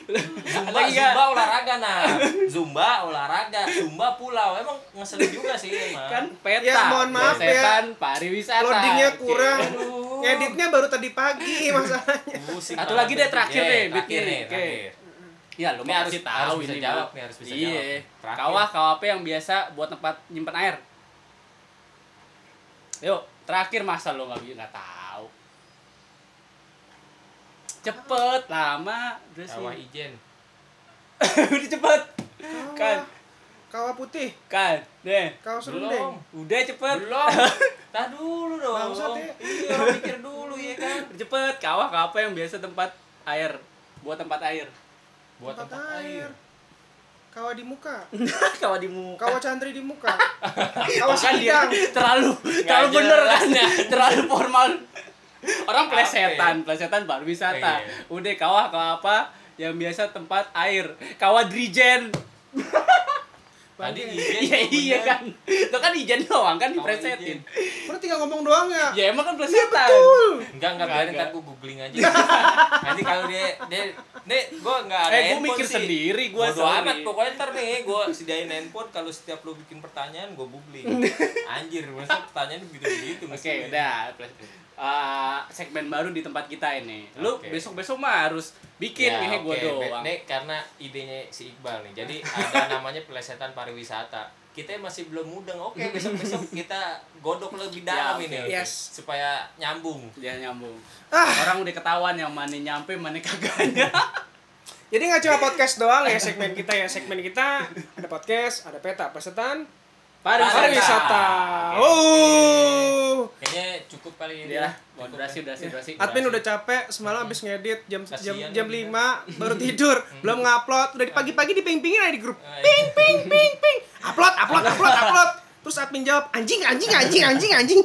S2: Zumba,
S3: Lagi nggak?
S2: Zumba olahraga nah. Zumba olahraga, Zumba pulau. Emang ngeselin juga sih emang.
S3: Kan peta.
S1: Ya, mohon maaf ya.
S3: Setan pariwisata.
S1: Loadingnya
S3: Oke.
S1: kurang.
S2: Aduh.
S1: Ngeditnya baru tadi pagi masalahnya.
S2: Pusing
S3: ya. Satu
S2: banget
S3: lagi deh,
S2: jadi.
S3: terakhir
S2: Iya,
S3: deh,
S2: Terakhir
S3: Bit
S2: nih,
S3: nih. Oke.
S2: terakhir.
S3: Ya, lu
S2: Ini
S3: mah
S2: harus-
S3: pasti
S2: harus
S3: tahu
S2: bisa
S3: ini.
S2: jawab
S3: Bang.
S2: nih, harus bisa
S3: Iya.
S2: jawab nih. Terakhir.
S3: Kawah, kawah apa yang biasa buat tempat nyimpen air? Yuk, terakhir masa lo nggak bi- nggak tahu. Cepet, lama, udah sih.
S2: Kawah Ijen.
S3: [LAUGHS] udah cepet. Kan,
S1: Kawah, kawah putih,
S3: kan, deh.
S1: kawah
S2: Belum.
S1: serundeng.
S3: Udah cepet. [LAUGHS]
S2: Belum. Tah dulu dong.
S1: Bangsat ya.
S2: Iya, lo pikir dulu ya kan.
S3: Cepet, kawah apa yang biasa tempat air? Buat tempat
S2: [LAUGHS]
S3: air.
S2: Buat tempat air.
S1: Kawah di muka.
S3: kawah di muka.
S1: Kawah cantri di muka. kawah sidang.
S3: Kan terlalu terlalu
S2: jelas.
S3: bener kan
S2: [LAUGHS]
S3: terlalu formal orang
S2: Apa
S3: plesetan plesetan pariwisata
S2: Iya.
S3: udah kawah kawah apa yang biasa tempat air kawah dirijen
S2: Tadi
S1: Bangke.
S2: Ijen.
S3: iya
S2: tuh
S3: iya
S2: bener.
S3: kan itu kan ijen doang kan
S2: Kawah
S3: dipresetin
S1: Lu tinggal ngomong doang ya?
S3: ya emang kan plesetan
S1: Betul.
S2: Enggak, enggak biarin
S3: Enggak.
S2: ntar gue googling
S3: [LAUGHS]
S2: aja. Nanti kalau dia dia nih gue enggak ada
S3: eh gue
S2: handphone
S3: mikir
S2: sih.
S3: sendiri gue
S2: Bodo amat
S3: sorry
S2: pokoknya ntar nih gue sediain handphone kalau setiap lu bikin pertanyaan gue googling.
S3: [LAUGHS]
S2: Anjir, masa pertanyaan begitu-begitu
S3: oke
S2: mesti.
S3: udah Eh, segmen baru di tempat kita ini lu
S2: Oke.
S3: besok besok mah harus bikin
S2: Ya,
S3: nih gue
S2: oke, Be-
S3: doang
S2: Nih karena idenya si Iqbal nih. Jadi ada
S3: [LAUGHS]
S2: namanya pelesetan pariwisata. Kita masih belum mudeng.
S3: [LAUGHS]
S2: Oke, besok-besok kita godok lebih
S3: Ya,
S2: dalam
S3: oke,
S2: ini.
S3: oke.
S1: Yes.
S2: Supaya nyambung.
S3: dia nyambung
S1: Ah.
S3: orang udah ketahuan yang mana nyampe mana
S2: [LAUGHS]
S3: kagaknya
S1: Jadi nggak cuma podcast doang ya segmen kita ya segmen kita ada podcast, ada peta pesetan,
S3: Pariwisata.
S1: pariwisata. Oh.
S2: Kayaknya cukup kali ini.
S3: Iya lah,
S2: Cukup.
S3: mohon durasi, durasi,
S2: Iya.
S3: durasi.
S1: Admin udah capek, semalam habis ngedit jam jam
S2: Kasian
S1: jam
S2: ya,
S1: 5 baru tidur, belum ngupload, udah di pagi-pagi diping-pingin aja di grup.
S2: Eh,
S1: Ping ping ping ping. Upload, upload, upload, upload. Terus admin jawab, anjing, anjing, anjing, anjing, anjing.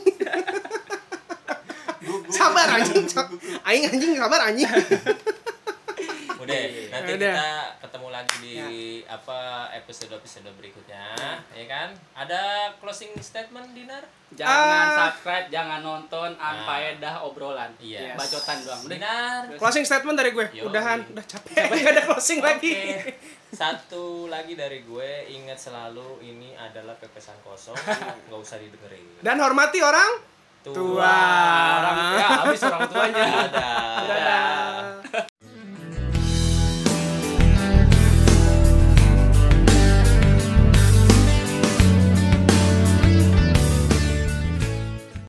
S1: sabar anjing, sab- aing anjing sabar anjing.
S2: Udah,
S3: Iya,
S2: nanti
S1: Udah.
S2: kita ketemu lagi di
S3: Ya.
S2: apa episode-episode berikutnya, ya kan? Ada closing statement Dinar?
S3: Jangan
S1: Ah.
S3: subscribe, jangan nonton anfaedah
S2: Ah.
S3: obrolan.
S2: Iya.
S3: Bacotan doang. Udah.
S2: Dinar.
S1: Closing statement dari gue,
S2: Yo.
S1: udahan, [LAUGHS] udah capek, gak ada closing lagi.
S2: Oke. Satu lagi dari gue, ingat selalu ini adalah pepesan
S3: [LAUGHS]
S2: kosong, nggak usah didengerin.
S1: Dan hormati orang
S2: Tua.
S1: tua.
S3: Orang ya habis orang tuanya.
S2: Dadah.